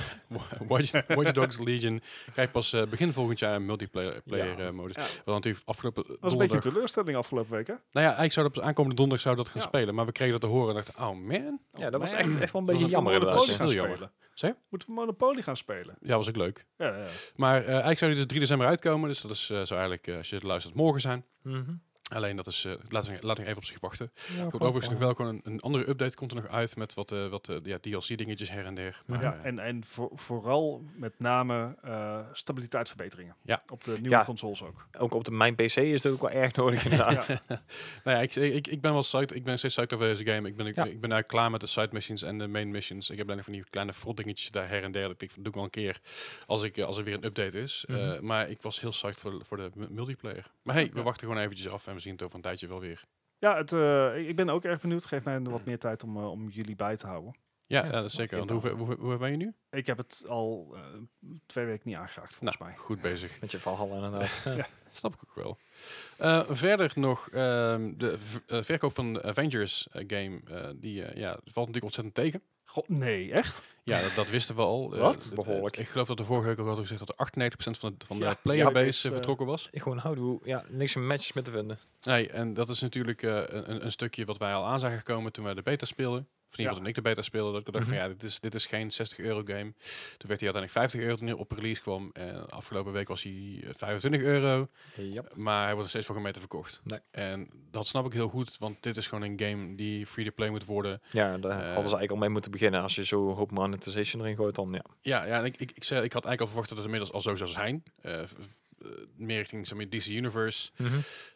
Watch, Watch Dogs Legion krijgt pas eh, begin volgend jaar een multiplayer player, Ja. eh, modus. Ja. Wat natuurlijk afgelopen Dat was een beetje een donderdag... teleurstelling afgelopen week, hè? Nou ja, eigenlijk zou dat op aankomende donderdag zou dat gaan Ja. spelen. Maar we kregen dat te horen en dachten, oh man. Ja, dat was man. echt, echt wel een Dat beetje was jammer een inderdaad. Monopoly is ja. gaan heel jammer. spelen. Zeg je? Moeten we Monopoly gaan spelen? Ja, was ook leuk. Ja, ja. Maar eh, eigenlijk zou die dus 3 december uitkomen. Dus dat is, eh, zou eigenlijk, eh, als je het luistert, morgen zijn. Mhm. Alleen dat is, eh, laat, ik- laat ik even op zich wachten. Ja, komt overigens nog wel gewoon een, een andere update komt er nog uit met wat, eh, wat eh, ja, DLC-dingetjes her en der. Maar, ja eh, (laughs) en, en voor- vooral met name eh, stabiliteitsverbeteringen. Ja. Op de nieuwe Ja. consoles ook. Ook op de Mijn PC is dat ook wel erg (laughs) nodig inderdaad. nou ja, (laughs) ik, ik, ik ben wel psyched. Ik ben steeds psyched over deze game. Ik ben, ik, Ja. ben eigenlijk klaar met de side missions en de main missions. Ik heb alleen nog van die kleine frotdingetjes daar her en der. Dat ik dat doe ik wel een keer als, ik, eh, als er weer een update is. Eh, Mhm. maar ik was heel psyched voor, de- voor de mu- multiplayer. Maar hey, we Ja. wachten gewoon eventjes af en we zien het over een tijdje wel weer. Ja, het, eh, ik- ik ben ook erg benieuwd. Geef mij Mm. wat meer tijd om, eh, om jullie bij te houden. Ja, Ja, ja, dat is zeker. Want prima. hoe, hoe, hoe, hoe ben je nu? Ik heb het al eh, twee weken niet aangeraakt, volgens mij. Goed bezig. Met je Valhalla inderdaad. (laughs) Snap ik ook wel. Eh, verder nog ehm, de v- eh, verkoop van de Avengers eh, game. eh, die eh, ja, valt natuurlijk ontzettend tegen. God, nee, echt? Ja, dat, dat wisten we al. Eh, Wat? d- d- Behoorlijk. Ik geloof dat de vorige week ook hadden gezegd dat er 98% van de, van de Ja, playerbase ja, dus, eh, eh, vertrokken was. (laughs) Ik gewoon houden hoe, ja, niks in matches met te vinden. Nee, en dat is natuurlijk eh, een, een stukje wat wij al aan zagen komen toen wij de beta speelden. Of in ieder geval Ja. toen ik de beta speelde. Dat ik dacht Mhm. van ja, dit is, dit is geen 60 euro game. Toen werd hij uiteindelijk 50 euro toen hij op release kwam. En afgelopen week was hij eh, 25 euro. Ja. Maar hij wordt er steeds voor gemeten verkocht. Nee. En dat snap ik heel goed, want dit is gewoon een game die free-to-play moet worden. Ja, daar Eh. hadden ze eigenlijk al mee moeten beginnen. Als je zo een hoop monetization erin gooit, dan ja. Ja, ja en ik, ik, ik, zei, ik had eigenlijk al verwacht dat het inmiddels al zo zou zijn. Eh, v- v- eh, meer richting zeg maar, DC Universe.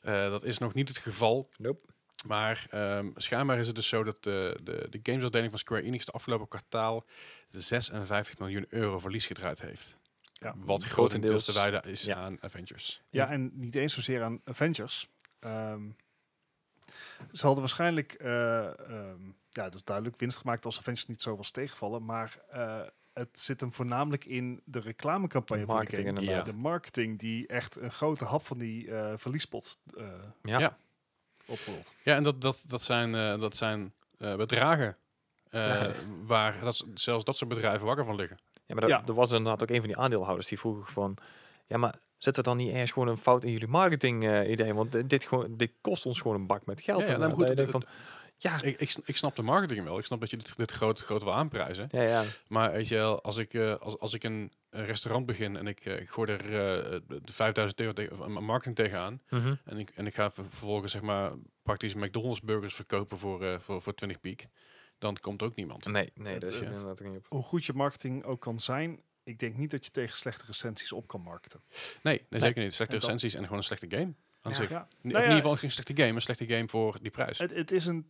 Eh, dat is nog niet het geval. Nope. Maar ehm, schijnbaar is het dus zo dat de, de, de gamesafdeling van Square Enix de afgelopen kwartaal 56 miljoen euro verlies gedraaid heeft. Ja. Wat Grotendeels, grotendeels te wijden is ja. aan Avengers. Ja, en niet eens zozeer aan Avengers. Ehm, ze hadden waarschijnlijk, eh, ehm, ja, dat is duidelijk, winst gemaakt als Avengers niet zo was tegenvallen. Maar eh, het zit hem voornamelijk in de reclamecampagne van de Marketing game. inderdaad. De marketing die echt een grote hap van die eh, verliespot eh Ja. Ja. oprolt. Ja, en dat, dat, dat zijn, eh, dat zijn eh, bedragen eh, Ja. waar dat, s- zelfs dat soort bedrijven wakker van liggen. Ja, maar dat, Ja. er was inderdaad ook een van die aandeelhouders die vroeg van... Ja, maar zet er dan niet ergens gewoon een fout in jullie marketing eh, idee? Want dit, dit gewoon, dit kost ons gewoon een bak met geld. Ja, ja, En nou, dan goed, denk je van, ja, Ik, ik, sn- ik snap de marketing wel. Ik snap dat je dit, dit groot, groot wil aanprijzen. ja, ja. Maar weet je wel, als ik, eh, als, als ik een een restaurant begin en ik, eh, ik gooi er eh, de 5000 euro tegen- aan marketing tegenaan. Mhm. En ik, en ik ga ver- vervolgens zeg maar praktisch McDonald's burgers verkopen voor, eh, voor, voor 20 piek. Dan komt ook niemand. Nee, nee, Het- dat is het- inderdaad ook niet op. Hoe goed je marketing ook kan zijn, ik denk niet dat je tegen slechte recensies op kan markten. Nee, nee, zeker niet. Slechte En dat- recensies en gewoon een slechte game. Aan Ja. zich. Ja. Of Nou ja. in ieder geval geen slechte game, een slechte game voor die prijs. Het, het, is een,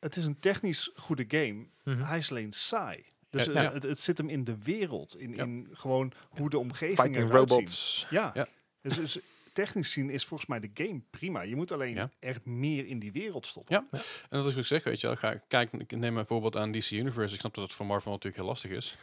het is een technisch goede game, Mhm. Hij is alleen saai. Dus Ja, eh, ja. Het, het zit hem in de wereld, in, Ja. in gewoon hoe de omgeving Fighting eruit robots. ziet. Ja. Ja. Dus, dus technisch zien is volgens mij de game prima. Je moet alleen Ja. er meer in die wereld stoppen. En dat is wat ik zeg, weet je wel. Ga, kijk, ik neem een voorbeeld aan DC Universe. Ik snap dat het voor Marvel natuurlijk heel lastig is.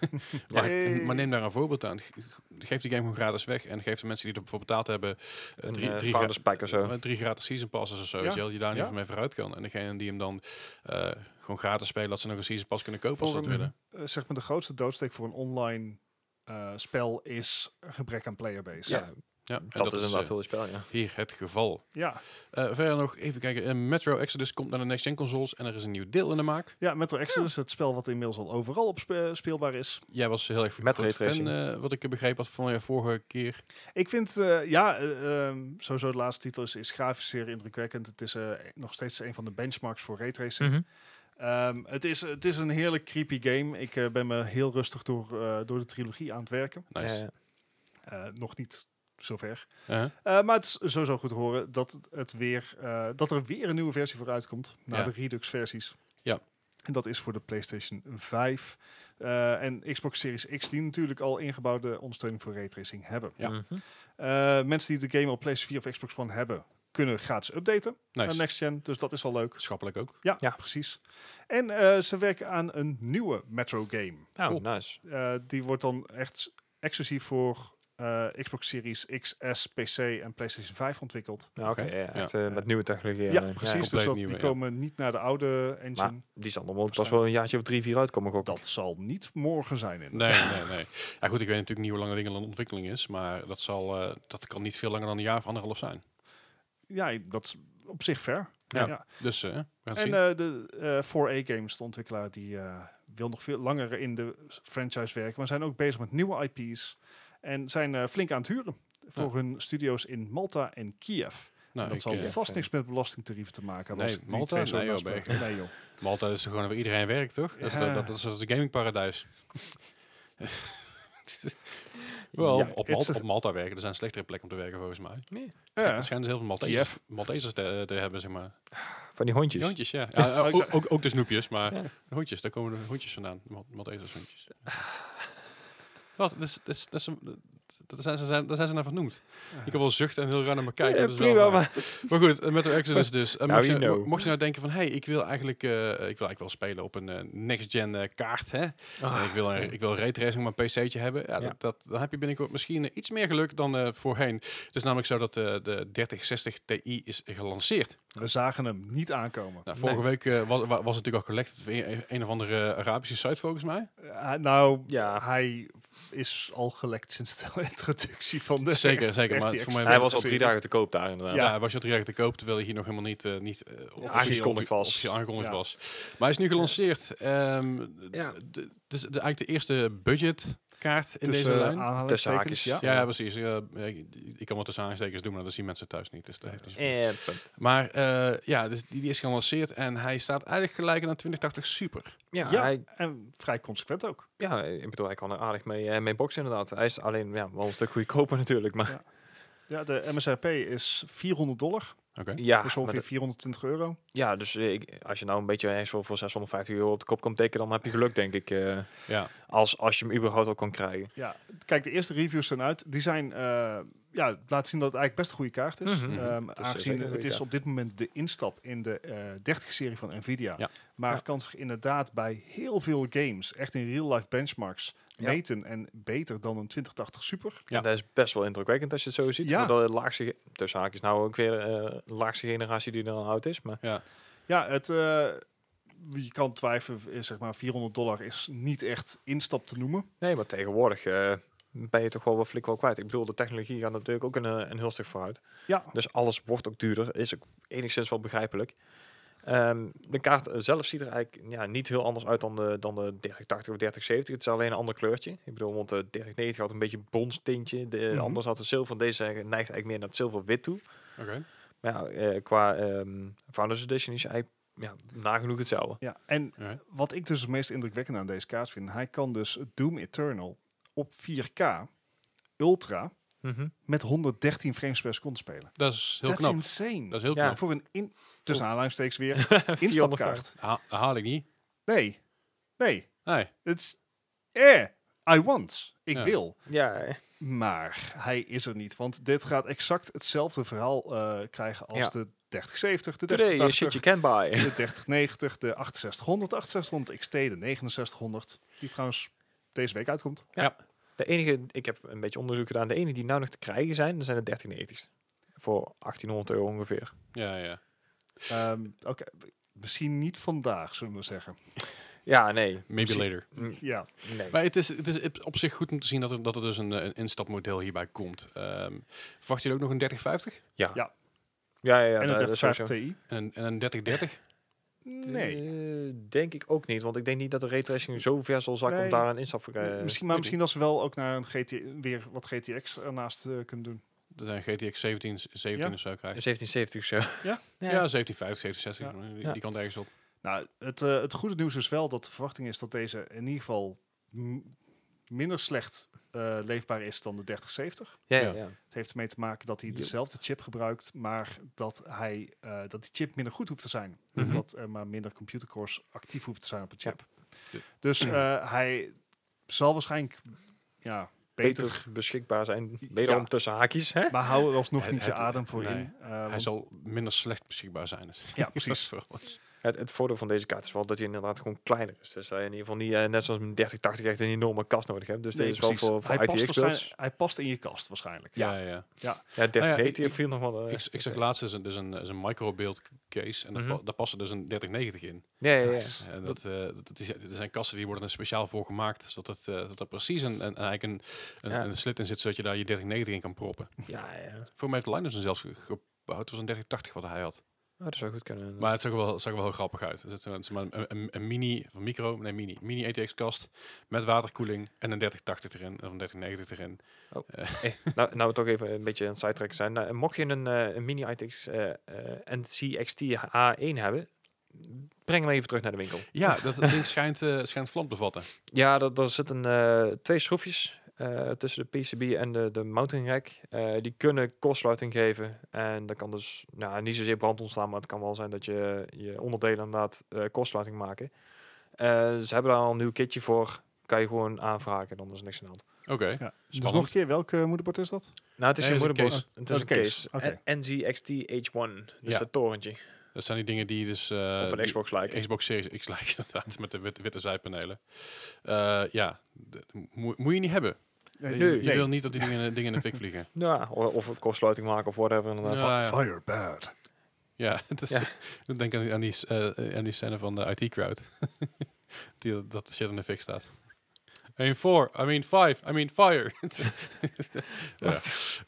maar, Hey. maar neem daar een voorbeeld aan. Ge- ge- Geef die game gewoon gratis weg. En geef de mensen die ervoor betaald hebben... eh, Een drie, eh, drie, gra- founders pack of zo. eh, drie gratis season passes of zo. Ja. weet je wel, dat je daar niet Ja. van mee vooruit kan. En degene die hem dan eh, gewoon gratis spelen... dat ze nog een season pass kunnen kopen als ze dat Voor een- willen. Eh, zeg maar de grootste doodsteek voor een online eh, spel is een gebrek aan playerbase. Ja, Ja, en dat, is eh, inderdaad heel het spel, ja. hier het geval. ja. Eh, verder nog, even kijken. Eh, Metro Exodus komt naar de next-gen consoles en er is een nieuw deel in de maak. ja Metro Exodus, het spel wat inmiddels al overal op spe- speelbaar is. Jij was heel erg Met groot fan, raytracing. eh, wat ik begreep had van je vorige keer. Ik vind, eh, ja, eh, ehm, sowieso de laatste titel is, is grafisch zeer indrukwekkend. Het is eh, nog steeds een van de benchmarks voor raytracing. Mhm. Ehm, het, is, het is een heerlijk creepy game. Ik eh, ben me heel rustig door, eh, door de trilogie aan het werken. Nice. Eh, Eh, nog niet zover. Eh, Eh, maar het is sowieso goed te horen dat, het weer, eh, dat er weer een nieuwe versie voor uitkomt. Na Ja. de Redux versies. Ja. En dat is voor de PlayStation 5. eh, en Xbox Series X die natuurlijk al ingebouwde ondersteuning voor raytracing hebben. Ja. mhm. Eh, mensen die de game op PlayStation 4 of Xbox One hebben, kunnen gratis updaten nice. naar Next Gen. Dus dat is al leuk. Schappelijk ook. Ja, Ja. precies. En eh, ze werken aan een nieuwe Metro game. Nou, Cool. nice. Eh, die wordt dan echt s- exclusief voor eh, Xbox Series XS, PC en PlayStation 5 ontwikkeld. Nou, oké, Oké, ja, echt eh, met nieuwe technologie. Ja, en, eh, precies. compleet dus dat, nieuwe, die ja. komen niet naar de oude engine. Maar die zal nog wel pas wel een jaartje of drie, vier uitkomen, gok ik. dat zal niet morgen zijn. (laughs) In. Nee, nee, nee. Ja, goed, ik weet natuurlijk niet hoe lang dat ding al in ontwikkeling is, maar dat, zal, eh, dat kan niet veel langer dan een jaar of anderhalf zijn. Ja, dat is op zich fair. Ja. Ja. Dus eh, we gaan het En zien. eh, de eh 4A Games, de ontwikkelaar, die eh, wil nog veel langer in de s- franchise werken, maar zijn ook bezig met nieuwe IP's en zijn eh, flink aan het huren voor Ja. hun studio's in Malta en Kiev. nou, dat ik, zal eh, vast niks met belastingtarieven te maken hebben. Nee, als die Malta? twee zo Nee, joh, naast elkaar- ben nee, joh. Malta is gewoon waar iedereen werkt, toch? Dat, is- Ja. dat, dat is het gamingparadijs. Wel, Ja, op, it's Malta, a- op Malta werken, er zijn slechtere plekken om te werken volgens mij. Nee. (laughs) Ja. Ja. Er schijnen dus heel veel Maltesers, Maltesers te, te hebben, zeg maar. Van die hondjes. Die hondjes, ja. ja Oh, ik ook, dacht- ook, ook de snoepjes, maar Ja. de hondjes, daar komen de hondjes vandaan. de Mal- Maltesers hondjes. Wat? Dat is, dat is, dat is een- dat zijn, ze- zijn, daar zijn ze naar vernoemd. Ik heb wel zucht en heel raar naar me kijken. Ja, dat is wel prima, waar. maar Maar goed, eh, met de Exodus dus. Eh, Now mocht, je, you know. mo- mocht je nou denken van, hey, ik wil eigenlijk, eh, ik wil eigenlijk wel spelen op een eh, next-gen eh, kaart, hè? En ik wil, een- ik wil raytracing op mijn pc'tje hebben. Ja, Ah, Ja. Dat, dat, dan heb je binnenkort misschien eh, iets meer geluk dan eh, voorheen. Het is namelijk zo dat eh, de 3060 Ti is gelanceerd. We zagen hem niet aankomen. Nou, vorige Nee. week eh, was, wa- was het natuurlijk al collected via een, een of andere eh, Arabische site volgens mij. Eh, nou, Ja. hij is al gelekt sinds de (laughs) introductie van de Zeker, (laughs) zeker, maar het RTX. voor mij- Hij was al drie Serie. dagen te koop daar, inderdaad. Ja, Ja. hij was je drie jaar te koop, terwijl hij hier nog helemaal niet, eh, niet eh, officieel- aangekondigd was. officieel aangekondigd Ja. was. Maar hij is nu gelanceerd. Ehm Ja. d- d- dus de, eigenlijk de eerste budgetkaart in Tussen deze lijn. aanhalingstekens, Tussen haakjes. Ja. ja, ja, precies. Eh, ik, ik kan wat tussen aanstekers doen, maar dat zien mensen thuis niet. Dus dat heeft niet zoveel. En punt. Maar eh, ja, dus die, die is gelanceerd en hij staat eigenlijk gelijk aan een 2080 Super. Ja, Ja. Hij, En vrij consequent ook. ja, ik bedoel, hij kan er aardig mee, eh, mee boksen, inderdaad. Hij is alleen ja, wel een stuk goedkoper (laughs) natuurlijk, maar Ja. Ja, de MSRP is 400 dollar. Oké. ja, dus Ah, maar ongeveer de- 420 euro. ja dus eh, ik, als je nou een beetje ergens voor, voor 650 euro op de kop kan tekenen, dan heb je geluk, denk ik. eh, Ja. als, als je hem überhaupt al kan krijgen. Ja, kijk, de eerste reviews zijn uit. Die zijn, eh, ja, laat zien dat het eigenlijk best een goede kaart is. Mhm. Ehm, Het is zeker aangezien een goede het is kaart. op dit moment de instap in de eh 30-serie van Nvidia. Ja. Maar Ja. kan zich inderdaad bij heel veel games, echt in real-life benchmarks, Ja. meten en beter dan een 2080 Super. Ja. En dat is best wel indrukwekkend als je het zo ziet. Ja. Ja. Dat de laagste, ge- tussen haakjes, nou ook weer eh, de laagste generatie die er dan oud is. Maar Ja, het, eh, je kan twijfelen, eh, zeg maar, 400 dollar is niet echt instap te noemen. nee, maar tegenwoordig eh, ben je toch wel wat flink wel kwijt. Ik bedoel, de technologie gaat natuurlijk ook een, eh, een heel stuk vooruit. Ja, Dus alles wordt ook duurder. Is ook enigszins wel begrijpelijk. Ehm, de kaart zelf ziet er eigenlijk ja, niet heel anders uit dan de, dan de 3080 of 3070. Het is alleen een ander kleurtje. Ik bedoel, want de 3090 had een beetje een brons tintje. De, Mhm. Anders had de zilver. Deze neigt eigenlijk meer naar het zilverwit toe. Oké. Maar ja, eh, qua ehm Founders Edition is hij eigenlijk ja, nagenoeg hetzelfde. ja. en Alright. wat ik dus het meest indrukwekkend aan deze kaart vind, hij kan dus Doom Eternal op 4K Ultra Mhm. met 113 frames per seconde spelen. Dat is heel Dat is knap. insane. Dat is heel Ja. knap. Voor een in, tussen (laughs) aanhalingstekens weer 400 instapkaart. Ha- haal ik niet. Nee, nee, Nee. het is eh, I want. Ik Ja. wil. Ja, eh, Maar hij is er niet, want dit gaat exact hetzelfde verhaal eh, krijgen als Ja. de 3070, de Today is 3080, shit you can buy. de 3090, de 6800, de 8600 XT, de 6900, die trouwens deze week uitkomt. De enige, ik heb een beetje onderzoek gedaan. De enige die nou nog te krijgen zijn, dat zijn de 3090's. Voor 1800 euro ongeveer. Ja, ja. Ehm, Oké, misschien niet vandaag, zullen we zeggen. Ja, nee. Maybe Misschien- later. Mm, Ja, Nee. Maar het is, het is op zich goed om te zien dat er, dat er dus een, eh, een instapmodel hierbij komt. Ehm verwacht je ook nog een 3050? Ja. Ja. Ja, ja, ja, en een dat- dat is 3050 sowieso. Ti? En, een- en een 3030? Nee. Eh, denk ik ook niet, want ik denk niet dat de raytracing zo ver zal zakken Nee. om daar een instap voor Eh, eh, misschien, maar weet misschien dat ze wel ook naar een GT, weer wat GTX ernaast eh, kunnen doen. Dat zijn GTX 17, 17 Ja. of zo krijgen. 1770 of zo. (laughs) Ja? Ja, 1750, 1760. Die, Ja. die kant ergens op. Nou, het, eh, het goede nieuws is wel dat de verwachting is dat deze in ieder geval m- minder slecht eh, leefbaar is dan de 3070. Ja, Ja. ja, ja. Het heeft ermee te maken dat hij Yes. dezelfde chip gebruikt, maar dat, hij, eh, dat die chip minder goed hoeft te zijn. Mhm. Omdat er maar minder computercores actief hoeven te zijn op een Ja. chip. Dus eh, hij zal waarschijnlijk ja, beter, Beter beschikbaar zijn. Wederom tussen haakjes, hè? (laughs) maar hou er alsnog Het- niet je het- adem voor nee. in. eh, Hij want- zal minder slecht beschikbaar zijn. Dus (laughs) Ja, dat precies. is wel wat. Het, het voordeel van deze kaart is wel dat hij inderdaad gewoon kleiner is. Dus dat je in ieder geval niet, eh, net zoals een 3080, echt een enorme kast nodig hebt. Dus Nee, dit is wel precies. voor, voor hij, past ITX waarschijnlijk- Nou builds. hij past in je kast waarschijnlijk. Ja, ja. ja. Ja, 3080 ik- viel nog wel... eh, Ik, ik zag laatst is een, dus een, is een microbeeld case en daar Mhm. pa- daar passen dus een 3090 in. ja, ja, ja. Nice. En dat, eh, dat, dat is, er zijn kassen die worden er speciaal voor gemaakt, zodat het, eh, dat er precies een, een, eigenlijk een, een, Ja. een slit in zit, zodat je daar je 3090 in kan proppen. ja, ja. Oh, Voor mij heeft Linus hem zelfs ge- gebouwd, het was een 3080 wat hij had. dat zou goed kunnen. Maar het zag er wel, zag er wel heel grappig uit. Het is een, het is maar een, een, een mini, of een micro, nee mini, mini ETX kast met waterkoeling en een 3080 erin, of een 3090 erin. nou, nou we toch even een beetje aan het sidetracken zijn. Nou, mocht je een, eh, een mini ITX eh eh, NCXT H1 hebben, breng hem even terug naar de winkel. (laughs) Ja, dat ding schijnt, eh, schijnt vlam te vatten. Ja, daar daar zitten eh, twee schroefjes eh, tussen de PCB en de, de mounting rack. Eh, die kunnen kortsluiting geven. En dat kan dus nou, niet zozeer brand ontstaan, maar het kan wel zijn dat je je onderdelen inderdaad eh kortsluiting maken. Eh, ze hebben daar al een nieuw kitje voor. Kan je gewoon aanvragen, dan is er niks aan de hand. Oké. Ja. Dus Spannend. nog een keer, welk eh, moederbord is dat? Nou, het is Nee, een het is een moederbord. Het is Oh, een de case. case. N- NZXT H1. Dus Ja. dat torentje. Dat zijn die dingen die dus... eh, op een die- Xbox lijken. Xbox Series X lijkt (laughs) inderdaad, met de wit- witte zijpanelen. Eh, ja, de- moe- moet je niet hebben. Nee, je je wil niet dat die dingen, in de- dingen in de fik vliegen. Ja, o- Nou, of een kortsluiting maken of whatever. Inderdaad. Ja, ja. Firebird. Ja, (laughs) het is, Ja. ik denk aan die, aan, die, s- eh, aan die scène van de IT-crowd. (laughs) die dat- dat shit in de fik staat. I mean four, I mean five, I mean fire. (laughs) ja,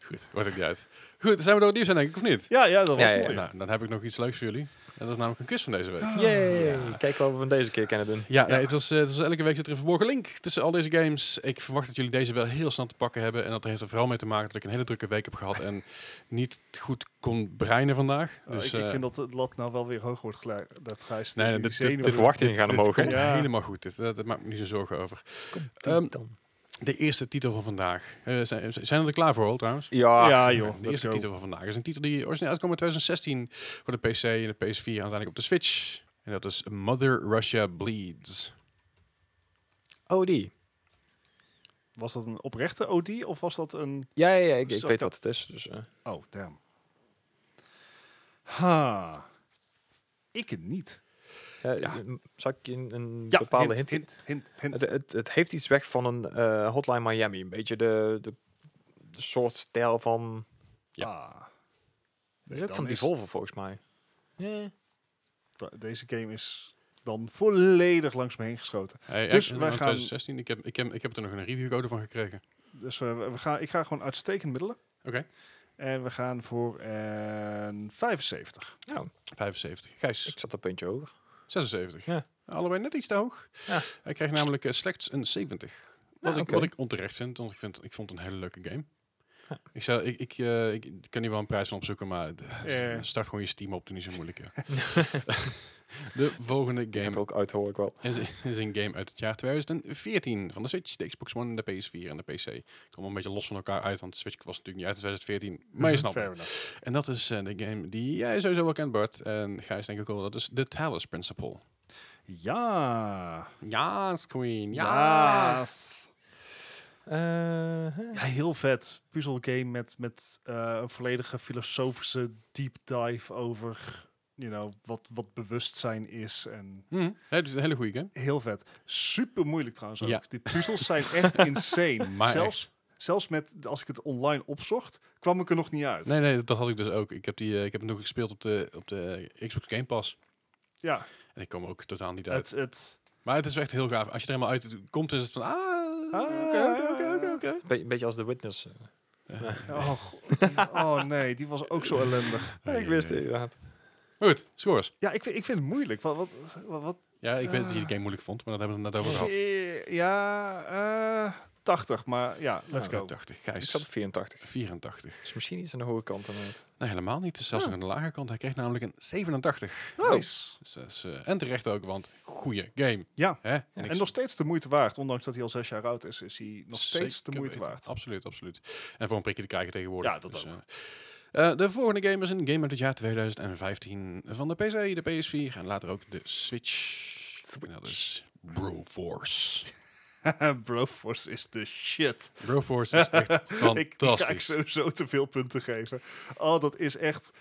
goed, wordt het niet uit. Goed, zijn we door het nieuws heen, denk ik, of niet? Ja, ja, dat was Ja, ja, mooi. Ah. Nou, dan heb ik nog iets leuks voor jullie. En dat is namelijk een quiz van deze week. Yay. Ja. Kijk wat we van deze keer kunnen doen. Ja, nee, het, was, eh, het was elke week zit er een verborgen link tussen al deze games. Ik verwacht dat jullie deze wel heel snel te pakken hebben. En dat heeft er vooral mee te maken dat ik een hele drukke week heb gehad (laughs) en niet goed kon breinen vandaag. Oh, Dus, ik, ik eh, vind dat het lat nou wel weer hoog wordt geleid. Dat Gijs, Nee, die- nee, die dit- zenuwen- dit- De verwachtingen gaan dit omhoog. hè? komt Ja. helemaal goed. Dit, dat, dat maakt me niet zo zorgen over. Ehm, dan. De eerste titel van vandaag. Eh, zijn, zijn we er klaar voor, hoor, trouwens? Ja. ja, joh. de Let's eerste go. titel van vandaag Ah, is een titel die origineel uitkwam in 2016 voor de PC en de PS4 en uiteindelijk op de Switch. En dat is Mother Russia Bleeds. Oh, die. Was dat een oprechte OD of was dat een... Ja, ja, ja ik, ik Zo weet kan- wat het is. Dus, eh. Oh, damn. Ha. Ik het niet. ja, m- Zal ik je een, een Ja, bepaalde hint? hint, hint, hint, hint. Het, het, het heeft iets weg van een eh, Hotline Miami. Een beetje de, de, de soort stijl van... Ja. Ah. Dat Nee, is ook dan van is- Devolver volgens mij. Ja. da- Deze game is dan volledig langs me heen geschoten. Hij- Dus hij- wij in gaan- 2016. Ik heb, ik, heb, ik heb er nog een reviewcode van gekregen. Dus eh, we gaan, ik ga gewoon uitstekend middelen. Oké. En we gaan voor eh, een 75. Nou, 75. Gijs, ik zat een puntje hoger. 76. Ja. Allebei net iets te hoog. Ja. Hij kreeg namelijk eh, slechts een 70. Wat, Nou, ik, oké. wat ik onterecht vind, want ik, vind, ik vond het een hele leuke game. Ja. Ik, zou, ik, ik, eh, ik ik kan hier wel een prijs van opzoeken, maar d- Eh. start gewoon je Steam op, doe niet zo moeilijk. ja. (laughs) (laughs) de volgende Ik heb game er ook uit hoor ik wel. is, is een game uit het jaar 2014 van de Switch, de Xbox One, de PS4 en de PC. Ik kom een beetje los van elkaar uit, want de Switch was natuurlijk niet uit in 2014, maar je Mhm, snapt. Fair me. enough. En dat is eh, de game die jij sowieso wel kent, Bart. En Gijs denk ik ook wel, dat is The Talos Principle. Ja. Yes, Queen, yes. Eh, Ja, heel vet. Puzzelgame met, met eh, een volledige filosofische deep dive over you know, wat, wat bewustzijn is. En Hm, hè, het is een hele goede game. heel vet. Super moeilijk trouwens ook. Ja. Die puzzels zijn (laughs) echt insane. Maar zelfs, zelfs met, als ik het online opzocht, kwam ik er nog niet uit. Nee, nee, dat- dat had ik dus ook. Ik heb, die, eh, ik heb hem nog gespeeld op de, op de eh, Xbox Game Pass. Ja, En ik kom er ook totaal niet uit. het, het, Maar het is echt heel gaaf. Als je er helemaal uit komt, is het van... Ah, Ah. oké, oké, oké, oké, oké. Een beetje- beetje als The Witness. eh. oh, god, die- oh nee, die was ook zo ellendig. Nee, ik wist nee, het nee. inderdaad. Maar goed, scores. Ja, ik, vind- ik vind het moeilijk. Wat, wat, wat, wat- Ja, ik weet dat je Ah. de game moeilijk vond, maar dat hebben we het net over gehad. Eh, ja, eh 80, maar ja, let's Oké, go. 80, Ik zat Gijs. op 84. 84. Dus misschien iets aan de hoge kant dan het. Nee, helemaal niet. Het is Ah. zelfs nog aan de lage kant. Hij kreeg namelijk een 87. Nice. Dus dat is, eh, en terecht ook, want goede game. Ja. Hè? En En nog steeds de moeite waard. Ondanks dat hij al zes jaar oud is, is hij nog steeds de Zeker moeite weten. waard. Absoluut, absoluut. En voor een prikje te krijgen tegenwoordig. Dus, Ja, dat ook. eh, eh, de volgende game is een game uit het jaar 2015 van de PC, de PS4 en later ook de Switch. En dat is (laughs) Broforce. Broforce is de shit. Broforce is echt (laughs) Ik die ga ik fantastisch. sowieso te veel punten geven. Oh, dat is echt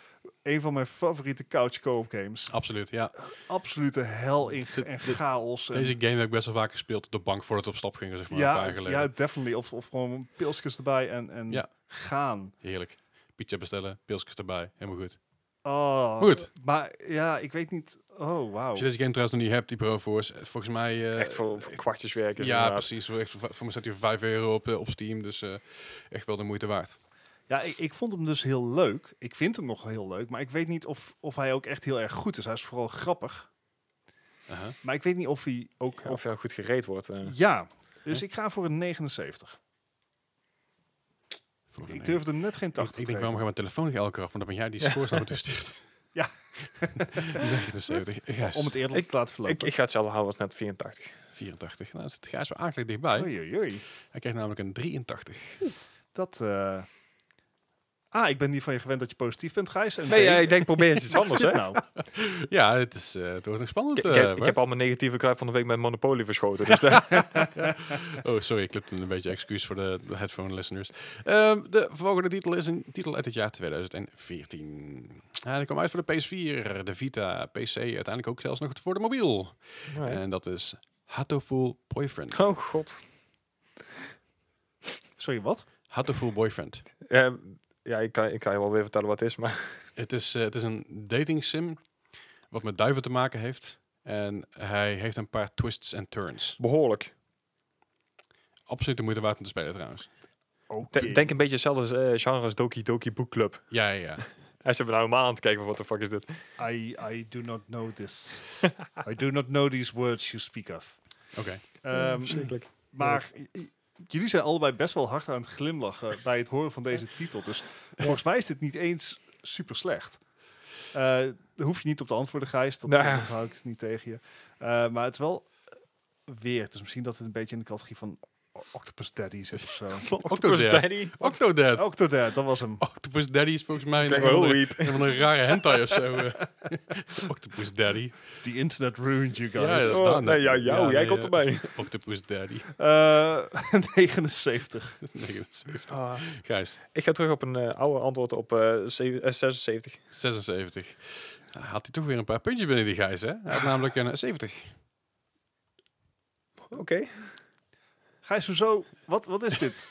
een van mijn favoriete couch co-op games. Absoluut, ja. eh, Absolute hel in ge- en chaos. en- Deze game heb ik best wel vaak gespeeld op de bank voordat we op stap gingen, zeg maar. een paar ja, jaar geleden. ja, definitely. Of, of gewoon pilsjes erbij en, en Ja. gaan. Heerlijk. Pizza bestellen, pilsjes erbij, helemaal goed. Oh, Goed. Maar ja, ik weet niet. Oh, wauw. Als je deze game trouwens nog niet hebt, die Broforce, eh, volgens mij... eh, Echt voor, voor kwartjes werken. Ja, inderdaad. precies. Voor, echt, voor, voor mij staat hij voor 5 euro op, eh, op Steam, dus eh, echt wel de moeite waard. Ja, ik, ik vond hem dus heel leuk. Ik vind hem nog heel leuk, maar ik weet niet of, of hij ook echt heel erg goed is. Hij is vooral grappig, Aha. maar ik weet niet of hij ook... Ja, of- Of je nou goed gereed wordt. eh. ja, dus ik ga voor een 79. Voor een- Ik durfde hem net geen Ik- 80 Ik denk, waarom gaan mijn telefoon niet elke keer af? Want dan ben jij die scores naar me toe stuurt. (laughs) (laughs) Ja. 79. Gijs, Om het eerlijk Ik- te laten ik, verlopen. ik ga hetzelfde houden als net 84. 84. Nou, het Gijs wel aardig dichtbij. Oei, oei, oei. Hij kreeg namelijk een 83. Dat... eh, Ah, ik ben niet van je gewend dat je positief bent, Gijs. En Nee, B, ja, ik denk probeer eens iets wat is anders. (laughs) dit Hè? nou? (laughs) Ja, het, is, eh, het wordt nog spannend. Ik, ik eh, heb, ik hoor. heb al mijn negatieve kruid van de week met Monopoly verschoten. (laughs) Dus daar- nou? (laughs) Oh, sorry, ik klipte een beetje excuus voor de de headphone listeners. Ehm, de volgende titel is een titel uit het jaar 2014. Hij die kwam uit voor de PS4, de Vita, PC, uiteindelijk ook zelfs nog voor de mobiel. En dat is Hatoful Boyfriend. Oh god. (laughs) Sorry, wat? Hatoful Boyfriend. Eh, ja, ik kan, ik kan je wel weer vertellen wat het is, maar (laughs) Het is, eh, het is een dating sim wat met duiven te maken heeft. En hij heeft een paar twists en turns. behoorlijk. Absoluut de moeite waard om te spelen trouwens. Oké. De- Denk een beetje hetzelfde als, eh, genre als Doki Doki Book Club. Ja, ja, ja. En ze hebben nou helemaal aan het kijken van wat de fuck is dit. I, I do not know this. I do not know these words you speak (laughs) of. Oké. Ehm, Verschrikkelijk. Maar j- j- jullie zijn allebei best wel hard aan het glimlachen bij het horen van deze titel. Dus volgens mij is dit niet eens super slecht. Eh, daar hoef je niet op te antwoorden, Gijs. Dat, Nou ja. dat hou ik dus niet tegen je. Eh, maar het is wel weer. Dus misschien dat het een beetje in de categorie van O- Octopus Daddy zit of zo. Octodad. Daddy. Octodad. Oh. Octodad, dat was hem. Octopus Daddy is volgens mij Kijk, een, wel van de- weep. een van een rare hentai of zo. eh. (laughs) Octopus Daddy. The internet ruined you Ja, guys. dat- Oh, dan- nee, ja, jou, jij nee, komt ja. erbij. Octopus Daddy. Eh, (laughs) 79. 79. Ah. Gijs, Ik ga terug op een eh, oude antwoord op eh, ze- eh, 76. 76. Nou, Had hij toch weer een paar puntjes binnen die Gijs, hè? Hij had namelijk een eh, 70. Oké. Gijs, hoezo? Wat, wat is dit?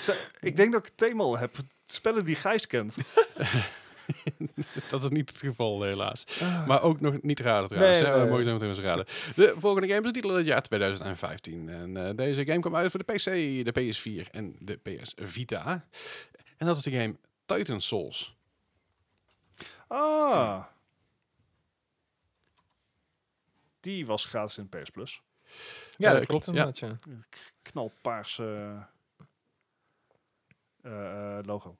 Zo- ik denk dat ik het thema al heb. Spellen die Gijs kent. Dat is niet het geval, helaas. Ah, Maar ook nog niet raden trouwens. Nee, hè? Oh, We nee, mogen nee. zo meteen eens raden. De volgende game is de titel uit het jaar 2015. En eh, deze game kwam uit voor de PC, de PS4 en de PS Vita. En dat is de game Titan Souls. Ah. Die was gratis in PS Plus. Ja, dat eh, klopt, inderdaad, ja. K- Knalpaarse eh, eh, logo.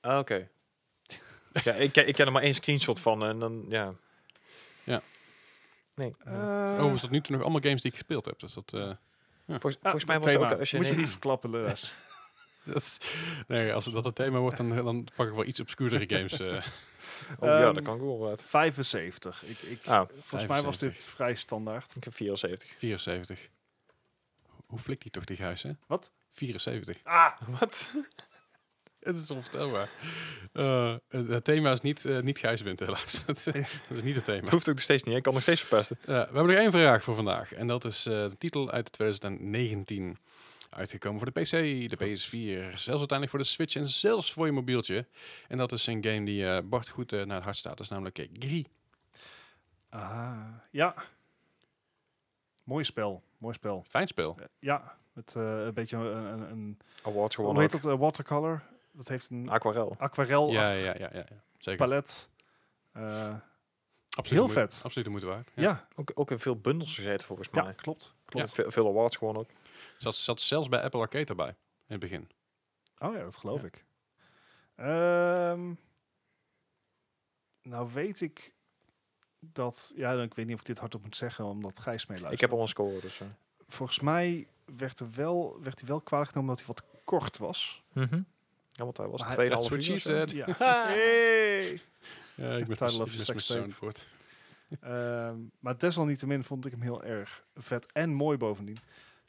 Ah, Oké. ja, ik, ken- ik ken er maar één screenshot van en dan, ja. Ja. Nee. Eh. Oh, Overigens tot nu toe nog allemaal games die ik gespeeld heb. Dus dat, eh, Volgens, Ah, volgens mij het was het thema. ook eh, als je... Moet je nee- niet verklappen, (laughs) Lewis. (laughs) dat is, nee, als dat het thema wordt, dan, dan pak ik wel iets obscuurdere games. eh. (laughs) Oh ja, Ehm, dat kan ik wel wat. 75. Ik, ik, Ah, volgens mij was 75. dit vrij standaard. ik heb 74. 74. Hoe- Hoe flikt die toch die gijs, hè? Wat? 74. (laughs) Ah, Wat? Het is onvoorstelbaar. Eh, het, het thema is niet, eh niet Gijs wint, helaas. (laughs) dat is niet het (laughs) thema. Dat hoeft ook nog steeds niet. hè? Ik kan nog steeds verpesten. Ja, we hebben nog één vraag voor vandaag. En dat is eh, de titel uit 2019. Uitgekomen voor de PC, de PS4, zelfs uiteindelijk voor de Switch en zelfs voor je mobieltje. En dat is een game die eh, Bart goed eh, naar het hart staat. Dat is namelijk eh, Gris. Ah, ja. Mooi spel, mooi spel. Fijn spel. Eh, Ja, met eh, een beetje een, een, een Award hoe gewonnen. heet dat, eh, watercolor. Dat heeft een ook. Aquarel. aquarel Ja, ja, ja, ja, ja. Zeker. palet. Eh, Absoluut heel de moeite- vet. Absoluut de moeite waard. ja, Ja. Ook, ook in veel bundels gezeten volgens ja, mij. klopt. Ja, klopt. veel, veel awards gewonnen ook. Zat, zat zelfs bij Apple Arcade erbij in het begin. Oh ja, dat geloof Ja. ik. Ehm, nou weet ik dat... Ja, ik weet niet of ik dit hardop moet zeggen, omdat Gijs mee luistert. Ik heb al een score, dus... eh. Volgens mij werd, er wel, werd hij wel kwalijk genomen dat hij wat kort was. Ja, want hij was Maar hij- 2,5 uur. that's what she of zo. said. Ja. (laughs) Ja, ik ben Title of your mis sex mijn tape. soundboard. Ehm, maar desalniettemin vond ik hem heel erg vet en mooi bovendien.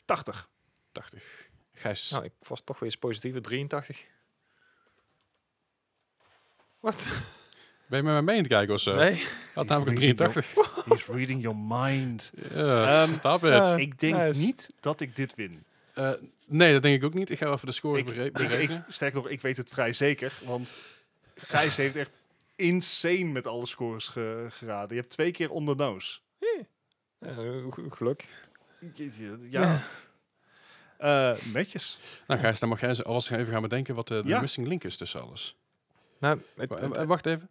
80. 80. Gijs, Nou, ik was toch weer eens positieve 83. Wat? ben je met mij mee aan het kijken of zo? Nee? Had namelijk een Reading 83. He's reading your mind. Ja, Ehm, stop it. ja. ik denk nice. niet dat ik dit win. Eh, nee, dat denk ik ook niet. Ik ga even de scores Ik, bere- ik, berekenen. ik, sterk nog, ik weet het vrij zeker. Want Gijs heeft echt insane met alle scores ge- geraden. Je hebt twee keer onder nose. Eh, g- geluk. Ja. Eh, netjes. Nou, Gijs, dan mag jij zo- alvast even gaan bedenken wat eh, de Ja. missing link is tussen alles. Nou, het- Wa- het- eh, wacht even.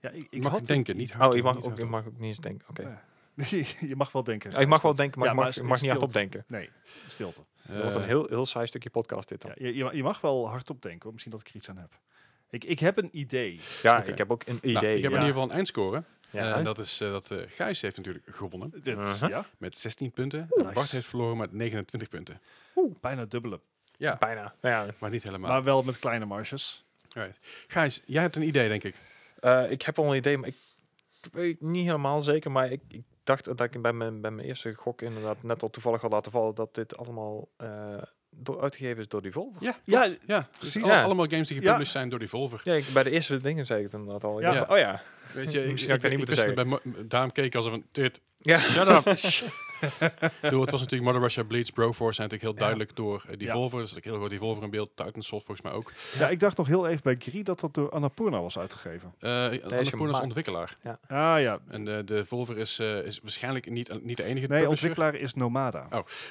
Ja, ik, Ik ik mag had denken, niet hard. oh, ik mag, niet ook, hard ik op. mag ook niet eens denken. Oké. Nee. (laughs) je mag wel denken. Ja, ik mag wel denken, maar Ja, ik mag, maar ik is- mag is niet hardop stilte. denken. Nee, stilte. Dat wordt Eh, een heel, heel saai stukje podcast dit dan. Ja, Ja, je, je ma- je mag wel hardop denken, hoor. misschien dat ik er iets aan heb. Ik, ik heb een idee. Oké. ik heb ook een idee. nou, ik heb ja. in ieder geval een eindscore. ja. Eh, en dat is eh, dat eh, Gijs heeft natuurlijk gewonnen Dit, Uh-huh. ja, met 16 punten. Oeh. en Bart Nice. heeft verloren met 29 punten. bijna dubbele. Ja, Bijna. Nou ja. maar niet helemaal. Maar wel met kleine marges. Gijs, jij hebt een idee, denk ik. Eh, ik heb al een idee, maar ik weet niet helemaal zeker. Maar ik, ik dacht dat ik bij mijn, bij mijn eerste gok inderdaad net al toevallig had laten vallen dat dit allemaal eh, door, uitgegeven is door die Volvo. Ja, Ja, klopt. ja precies. precies. Ja. Allemaal games die gepublished zijn door Devolver. Ja, ik, bij de eerste dingen zei ik het inderdaad al. Ja. Ja. oh ja. Weet je, Misschien had ik dat niet moeten wist het bij Mo- Daarom keek ik alsof een... Dit, ja. Doe, het was natuurlijk Mother Russia Bleeds, Broforce zijn natuurlijk heel Ja. duidelijk door eh, Ja. Devolver. Dus ik heel goed Devolver in beeld, Titansoft volgens mij ook. Ja, ik dacht nog heel even bij Gris dat dat door Annapurna was uitgegeven. Eh Annapurna is gemaakt. ontwikkelaar. Ah ja, En de Devolver is, eh, is waarschijnlijk niet, niet de enige nee, publisher. ontwikkelaar is Nomada.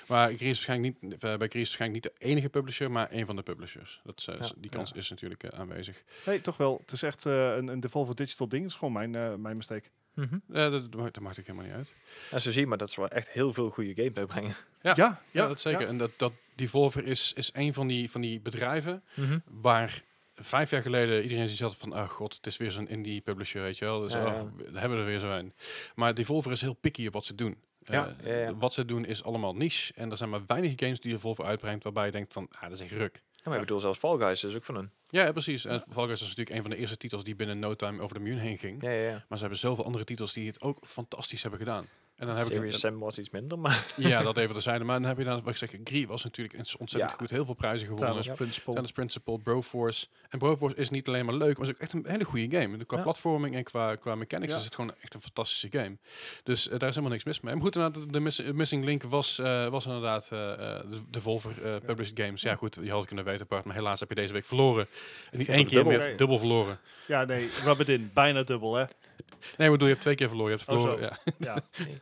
Maar Gris is waarschijnlijk niet, eh, bij Gris is waarschijnlijk niet de enige publisher, maar een van de publishers. Dat, is, eh, Ja. die kans is natuurlijk eh, aanwezig. Nee, toch wel. Het is echt eh, een, een Devolver Digital ding. Het is gewoon mijn, eh, mijn mistake. Mhm. Eh, dat, dat, maakt, dat maakt ook helemaal niet uit. En zo zie je maar dat ze wel echt heel veel goede games uitbrengen. Ja, ja, Ja, dat zeker. En dat, dat Devolver is, is een van die, van die bedrijven Mhm. waar vijf jaar geleden iedereen zoiets had van, ah god, het is weer zo'n indie publisher, weet je wel. Dus Ja, ah, ja. we daar hebben we er weer zo een. Maar Devolver is heel picky op wat ze doen. Ja, Eh, ja, ja. Wat ze doen is allemaal niche. En er zijn maar weinig games die Devolver uitbrengt waarbij je denkt van, ah, dat is echt ruk. Ja, maar ik bedoel, zelfs Fall Guys is ook van hun. Ja, ja, precies. En Fall Guys was natuurlijk een van de eerste titels die binnen no time over de muur heen ging. Ja, ja, ja. Maar ze hebben zoveel andere titels die het ook fantastisch hebben gedaan. En dan heb ik Serious Sam was iets (laughs) minder, maar... ja, dat even terzijde. Maar dan heb je dan, wat ik zeg, Gree was natuurlijk eens ontzettend Ja. goed. Heel veel prijzen gewonnen. Talos Principle. Tennis Principle, Broforce. En Broforce is niet alleen maar leuk, maar is ook echt een hele goede game. En Qua Ja. platforming en qua, qua mechanics Ja. is het gewoon echt een fantastische game. Dus eh, daar is helemaal niks mis mee. Maar goed, inderdaad, de miss- Missing Link was, eh, was inderdaad eh, eh, de, de Volver eh, Published Games. Ja goed, je had het kunnen weten, Bart. Maar helaas heb je deze week verloren. En niet Dubbel. één keer, maar je hebt Nee. dubbel verloren. Ja, nee, rub it in. Bijna dubbel, hè? Nee, maar bedoel, je hebt twee keer verloren. Je hebt Oh, verloren, ja. Ja.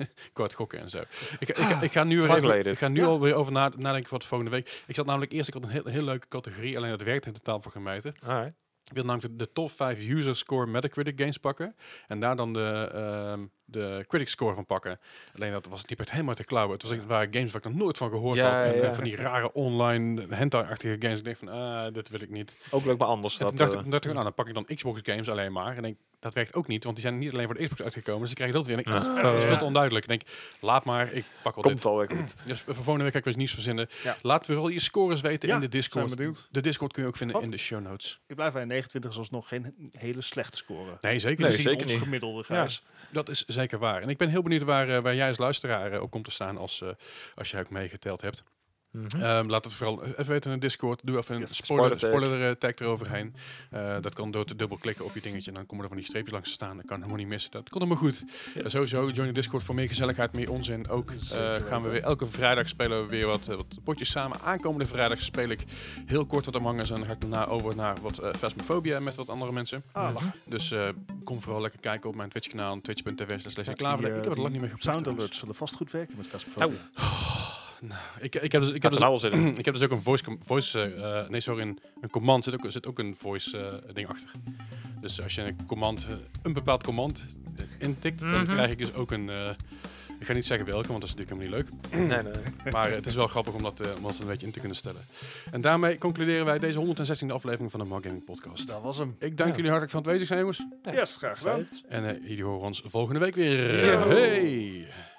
(laughs) Kort gokken en zo. Ik, ik, ik ga nu, Lang weer even, geleden. ik ga nu Ja. alweer over na, nadenken voor de volgende week. Ik zat namelijk eerst, ik had een heel, heel leuke categorie, alleen dat werkte in totaal voor geen meter. Alright. Ik wil namelijk de, de top 5 user score Metacritic games pakken. En daar dan de, ehm, de critic score van pakken. Alleen dat was niet per helemaal te klauwen. Het was echt, het waren games waar ik nog nooit van gehoord Ja, had. En, ja. en van die rare online hentai-achtige games. Ik denk van, ah, dit wil ik niet. Ook leuk, maar anders. en Dat, toen dacht, eh, ik- dacht ik, nou, dan pak ik dan Xbox games alleen maar. En denk, dat werkt ook niet, want die zijn niet alleen voor de Xbox uitgekomen. Dus ik krijg dat weer. En ik, dat is- dat is veel te onduidelijk. Ik denk, laat maar, ik pak wel nou, dit. Ah. komt alweer goed. Dus voor volgende week ga ik weer eens nieuws verzinnen. Ja. Laat vooral je scores weten Ja, in de zijn Discord. benieuwd. De Discord kun je ook vinden Wat? in de show notes. Ik blijf bij 29, is alsnog geen hele slechte score. Nee, zeker Nee, niet. Gezien zeker ons niet. gemiddelde, Gijs. Dat is zeker zeker waar. En ik ben heel benieuwd waar, eh, waar jij als luisteraar eh, op komt te staan als, eh, als jij ook meegeteld hebt. Mhm. Ehm, laat het vooral even weten in de Discord. Doe even een Hm? Yes. spoiler, Spoiler tag. spoiler eh, tag eroverheen. Eh, dat kan door te dubbelklikken op je dingetje. En dan komen er van die streepjes langs te staan. Dat kan helemaal niet missen. Dat komt helemaal goed. Eh, sowieso, join de Discord voor meer gezelligheid, meer onzin. Ook eh, Zeker gaan we weten. weer elke vrijdag spelen we weer wat, eh, wat potjes samen. Aankomende vrijdag speel ik heel kort wat Among Us. En dan ga ik daarna over naar wat eh Phasmophobia met wat andere mensen. Ah, Mhm. Dus eh, kom vooral lekker kijken op mijn Twitch-kanaal. Twitch.tv slash die, klaver. eh, Ik heb het die lang niet meer gepakt. Sound trouwens. alerts zullen vast goed werken met Vespa. Nou, Oh, Ik, ik heb dus, ik heb Laten dus we nou al zitten. (clears throat) ik heb dus ook een voice, com- voice eh, eh, nee sorry, een, een command zit ook, zit ook een voice eh, ding achter. Dus als je een command, eh, een bepaald command eh, intikt, dan Mhm. krijg ik dus ook een, eh, ik ga niet zeggen welke, want dat is natuurlijk helemaal niet Nee, nee. leuk. Maar eh, het is wel grappig om dat, eh, om dat een beetje in te kunnen stellen. En daarmee concluderen wij deze 116e aflevering van de Mark Gaming Podcast. dat Dus was hem. Ik dank Ja. jullie hartelijk voor het aanwezig zijn jongens. Ja. Yes, graag gedaan. En eh, jullie horen ons volgende week weer. Ja. Hey!